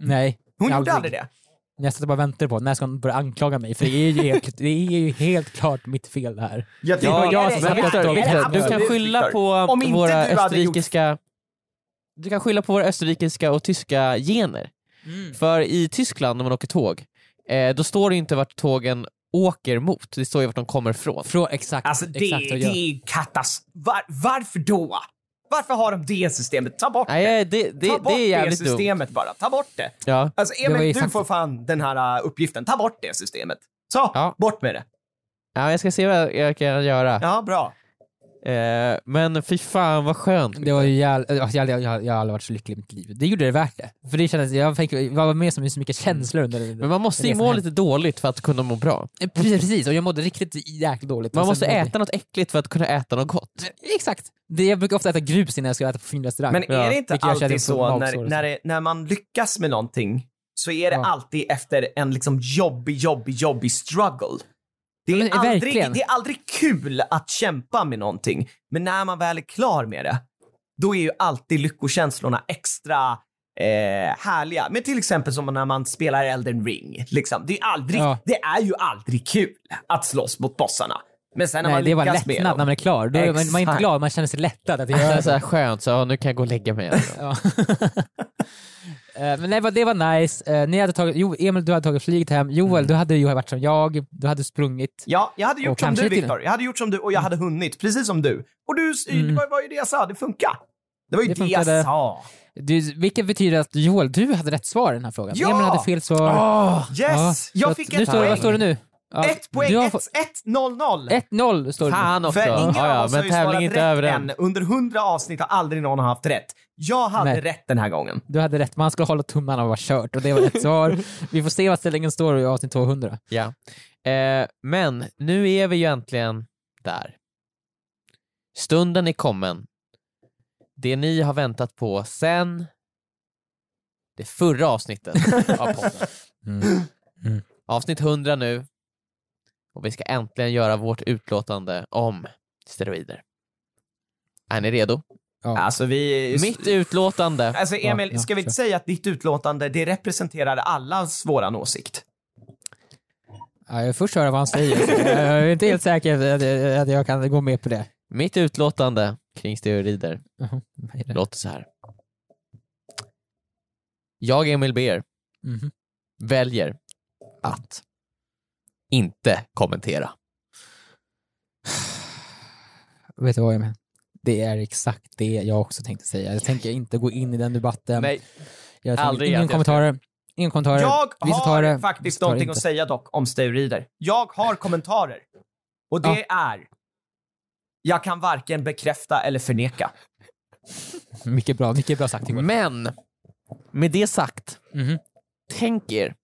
[SPEAKER 4] Nej.
[SPEAKER 3] Hon gjorde aldrig det?
[SPEAKER 4] Jag satt och bara väntade på när ska hon börja anklaga mig, för det är ju helt, det är ju helt klart mitt fel det här.
[SPEAKER 3] Jag
[SPEAKER 5] Ja,
[SPEAKER 4] jag
[SPEAKER 5] jag
[SPEAKER 4] som
[SPEAKER 5] som
[SPEAKER 4] har
[SPEAKER 5] Viktor,
[SPEAKER 4] Viktor,
[SPEAKER 5] Viktor,
[SPEAKER 4] Viktor,
[SPEAKER 5] du kan
[SPEAKER 4] absolut,
[SPEAKER 5] skylla på
[SPEAKER 3] Om inte
[SPEAKER 5] våra
[SPEAKER 3] du hade gjort-
[SPEAKER 5] österrikiska Du kan skylla på våra österrikiska och tyska gener.
[SPEAKER 4] Mm.
[SPEAKER 5] För i Tyskland när man åker tåg, eh, då står det ju inte vart tågen åker mot, det står ju vart de kommer ifrån.
[SPEAKER 4] Från, exakt,
[SPEAKER 3] Alltså det,
[SPEAKER 4] exakt vad jag
[SPEAKER 3] det
[SPEAKER 4] gör.
[SPEAKER 3] är katastrof. Var, varför då? Varför har de det systemet? Ta bort
[SPEAKER 5] Nej,
[SPEAKER 3] det.
[SPEAKER 5] eh, det, det,
[SPEAKER 3] Ta bort
[SPEAKER 5] det är
[SPEAKER 3] det,
[SPEAKER 5] jävligt dumt.
[SPEAKER 3] systemet bara. Ta bort det.
[SPEAKER 5] Ja.
[SPEAKER 3] Alltså
[SPEAKER 4] Det var ju
[SPEAKER 3] Emil, du
[SPEAKER 4] exakt-
[SPEAKER 3] får fan den här äh, uppgiften. Ta bort det systemet. Så,
[SPEAKER 5] Ja.
[SPEAKER 3] bort med det.
[SPEAKER 5] ja, jag ska se vad jag kan göra.
[SPEAKER 3] Ja, bra.
[SPEAKER 5] Eh, men fy fan vad skönt.
[SPEAKER 4] Det var ju jävla, jag, jag, jag, jag, har aldrig varit så lycklig i mitt liv. Det gjorde det värt det. För det kändes, jag fick, jag var med som så mycket känslor under det.
[SPEAKER 5] Men man måste ju
[SPEAKER 4] Resan
[SPEAKER 5] må
[SPEAKER 4] hem.
[SPEAKER 5] lite dåligt för att kunna må bra.
[SPEAKER 4] Precis, precis, och jag mådde riktigt jäkligt dåligt.
[SPEAKER 5] Man
[SPEAKER 3] Alltså,
[SPEAKER 4] Och
[SPEAKER 5] måste
[SPEAKER 4] sen mådde-
[SPEAKER 5] äta något äckligt för att kunna äta något gott.
[SPEAKER 4] Exakt! Det, jag brukar ofta äta grus innan jag ska äta på fin restaurang.
[SPEAKER 3] Men är det inte
[SPEAKER 4] Vilket jag känner på
[SPEAKER 3] alltid så
[SPEAKER 4] magsår och
[SPEAKER 3] när,
[SPEAKER 4] så.
[SPEAKER 3] när, det, när man lyckas med någonting så är det
[SPEAKER 4] Ja.
[SPEAKER 3] alltid efter en liksom jobbig, jobbig, jobbig struggle. Det är,
[SPEAKER 4] men
[SPEAKER 3] aldrig,
[SPEAKER 4] verkligen.
[SPEAKER 3] det är aldrig kul att kämpa med någonting, men när man väl är klar med det, då är ju alltid lyckokänslorna extra eh, härliga. Men till exempel som när man spelar Elden ring. Liksom. Det, är aldrig,
[SPEAKER 4] Ja.
[SPEAKER 3] det är ju aldrig kul att slåss mot bossarna. Men sen när
[SPEAKER 4] Nej,
[SPEAKER 3] man
[SPEAKER 4] det var
[SPEAKER 3] lyckas med
[SPEAKER 4] lättnad när
[SPEAKER 3] dem.
[SPEAKER 4] man är klar. Då är man, man är inte
[SPEAKER 3] Exakt.
[SPEAKER 4] glad, man känner sig lättad att det
[SPEAKER 5] Det är
[SPEAKER 4] är
[SPEAKER 5] så här skönt, så ja, nu kan jag gå och lägga mig.
[SPEAKER 4] Ja. Eh, Men det var, det var nice. Eh, Ni hade tagit, jo, Emil, du hade tagit flyget hem. Joel, du hade ju varit som jag. Du hade sprungit.
[SPEAKER 3] Mm. Ja, jag hade gjort
[SPEAKER 4] Och
[SPEAKER 3] som
[SPEAKER 4] kanske Mm.
[SPEAKER 3] du
[SPEAKER 4] till-
[SPEAKER 3] Viktor. Jag hade gjort som du och jag hade hunnit, precis som du. Och du, det var, var ju det jag sa, det funkar. Det var ju
[SPEAKER 4] Mm. Det
[SPEAKER 3] det, jag
[SPEAKER 4] funkade.
[SPEAKER 3] sa.
[SPEAKER 4] Du, vilket betyder att Joel, du hade rätt svar i den här frågan.
[SPEAKER 3] Ja!
[SPEAKER 4] Emil hade fel svar.
[SPEAKER 3] Yes!
[SPEAKER 4] Ja, så
[SPEAKER 3] jag
[SPEAKER 4] att
[SPEAKER 3] fick
[SPEAKER 4] nu
[SPEAKER 3] ett
[SPEAKER 4] står, det-
[SPEAKER 3] poäng.
[SPEAKER 4] Vad står det nu? Ja,
[SPEAKER 3] Ett poäng,
[SPEAKER 4] du har
[SPEAKER 3] ett,
[SPEAKER 4] fått-
[SPEAKER 3] ett, noll, noll.
[SPEAKER 4] 1-0 står det nu.
[SPEAKER 5] Fan också!
[SPEAKER 3] För ingen
[SPEAKER 5] ja,
[SPEAKER 3] av
[SPEAKER 5] ja,
[SPEAKER 3] oss har
[SPEAKER 5] men
[SPEAKER 3] ju
[SPEAKER 5] tävling är
[SPEAKER 3] svarat
[SPEAKER 5] inte
[SPEAKER 3] rätt
[SPEAKER 5] över än.
[SPEAKER 3] än. Under hundra avsnitt har aldrig någon haft rätt. Jag hade
[SPEAKER 4] Nej.
[SPEAKER 3] rätt den här gången.
[SPEAKER 4] Du hade rätt, man skulle hålla tummarna och vara kört och det var rätt svar. Vi får se vad ställningen står i avsnitt 200.
[SPEAKER 5] Ja. Eh, men nu är vi ju äntligen där. Stunden är kommen. Det ni har väntat på sen det förra avsnittet av podden.
[SPEAKER 4] Mm.
[SPEAKER 5] Avsnitt 100 nu. Och vi ska äntligen göra vårt utlåtande om steroider. Är ni redo?
[SPEAKER 3] Alltså vi...
[SPEAKER 5] Mitt utlåtande.
[SPEAKER 3] Alltså Emil,
[SPEAKER 4] Ja, ja,
[SPEAKER 3] ska vi inte säga att ditt utlåtande, det representerar allas våran åsikt?
[SPEAKER 4] Ja, jag vill först höra vad han säger. jag är inte helt säker att jag, att jag kan gå med på det.
[SPEAKER 5] Mitt utlåtande kring steroider
[SPEAKER 4] Vad är det?
[SPEAKER 5] låter så här. Jag, Emil Beer,
[SPEAKER 4] Mhm.
[SPEAKER 5] väljer att inte kommentera.
[SPEAKER 4] Vet du vad jag menar? Det är exakt det jag också tänkte säga. Jag tänker inte gå in i den debatten.
[SPEAKER 5] Nej,
[SPEAKER 4] jag tänker,
[SPEAKER 5] aldrig
[SPEAKER 4] ingen
[SPEAKER 5] att jag
[SPEAKER 4] kommentarer. Ingen kommentarer.
[SPEAKER 3] Jag
[SPEAKER 4] Vissa tar
[SPEAKER 3] har
[SPEAKER 4] det,
[SPEAKER 3] faktiskt
[SPEAKER 4] vissa tar det
[SPEAKER 3] någonting
[SPEAKER 4] inte.
[SPEAKER 3] att säga dock om steroider. Jag har kommentarer. Och det är... Jag kan varken bekräfta eller förneka.
[SPEAKER 4] Mycket bra, mycket bra sagt Ingvar.
[SPEAKER 5] Men, med det sagt,
[SPEAKER 4] Mhm.
[SPEAKER 5] tänk er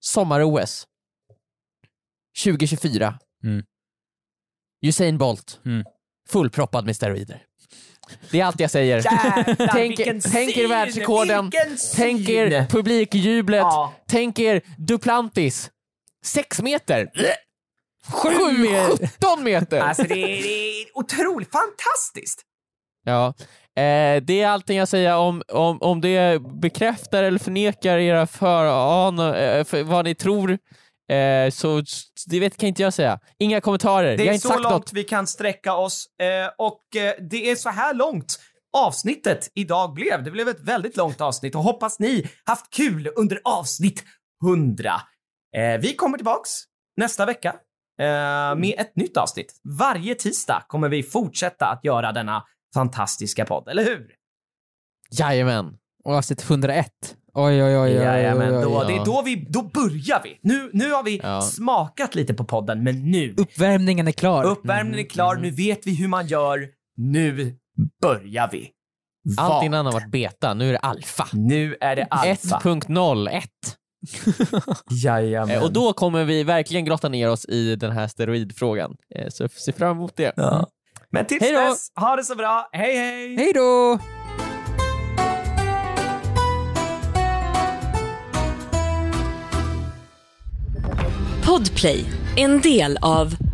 [SPEAKER 5] sommar-OS 2024.
[SPEAKER 4] Mm.
[SPEAKER 5] Usain Bolt,
[SPEAKER 4] Mm.
[SPEAKER 5] fullproppad med steroider. Det är allt jag säger.
[SPEAKER 3] Jävlar,
[SPEAKER 5] Tänk,
[SPEAKER 3] vilken
[SPEAKER 5] tänk er
[SPEAKER 3] syn!
[SPEAKER 5] världsrekorden,
[SPEAKER 3] Vilken syn!
[SPEAKER 5] tänk er publikjublet,
[SPEAKER 3] Ja.
[SPEAKER 5] tänk er Duplantis, sex meter,
[SPEAKER 4] Sju mer!
[SPEAKER 5] 17 meter.
[SPEAKER 3] Alltså det är, det är otroligt fantastiskt!
[SPEAKER 5] Ja. Eh, det är allting jag säger om, om, om det bekräftar eller förnekar era föran, eh, för, vad ni tror. Eh, så s- det vet, kan inte jag säga. Inga kommentarer.
[SPEAKER 3] Det
[SPEAKER 5] jag
[SPEAKER 3] är
[SPEAKER 5] har inte
[SPEAKER 3] så
[SPEAKER 5] sagt
[SPEAKER 3] långt
[SPEAKER 5] något.
[SPEAKER 3] vi kan sträcka oss eh, och eh, det är så här långt avsnittet idag blev. Det blev ett väldigt långt avsnitt och hoppas ni haft kul under avsnitt 100. Eh, Vi kommer tillbaks nästa vecka eh, med ett nytt avsnitt. Varje tisdag kommer vi fortsätta att göra denna fantastiska podd, eller hur?
[SPEAKER 5] Jajamän.
[SPEAKER 4] Och avsnitt 101. Oj, oj, oj. oj, oj, oj,
[SPEAKER 3] Jajamän,
[SPEAKER 4] oj.
[SPEAKER 3] då,
[SPEAKER 5] ja.
[SPEAKER 3] det är då vi, då börjar vi. Nu, nu har vi
[SPEAKER 5] Ja.
[SPEAKER 3] smakat lite på podden, men nu
[SPEAKER 4] Uppvärmningen är klar.
[SPEAKER 3] Uppvärmningen är
[SPEAKER 5] Mm.
[SPEAKER 3] klar, nu vet vi hur man gör. Nu börjar vi.
[SPEAKER 5] Allt
[SPEAKER 3] Vad?
[SPEAKER 5] innan har varit beta, nu är det alfa.
[SPEAKER 3] Nu är det alfa.
[SPEAKER 5] 1.01.
[SPEAKER 3] Jajamän.
[SPEAKER 5] Eh, och då kommer vi verkligen grotta ner oss i den här steroidfrågan. Eh, så se fram emot det.
[SPEAKER 3] Ja. Men tills
[SPEAKER 5] Hej då.
[SPEAKER 3] dess, ha det så bra. Hej, hej!
[SPEAKER 4] Hej då!
[SPEAKER 1] Podplay, en del av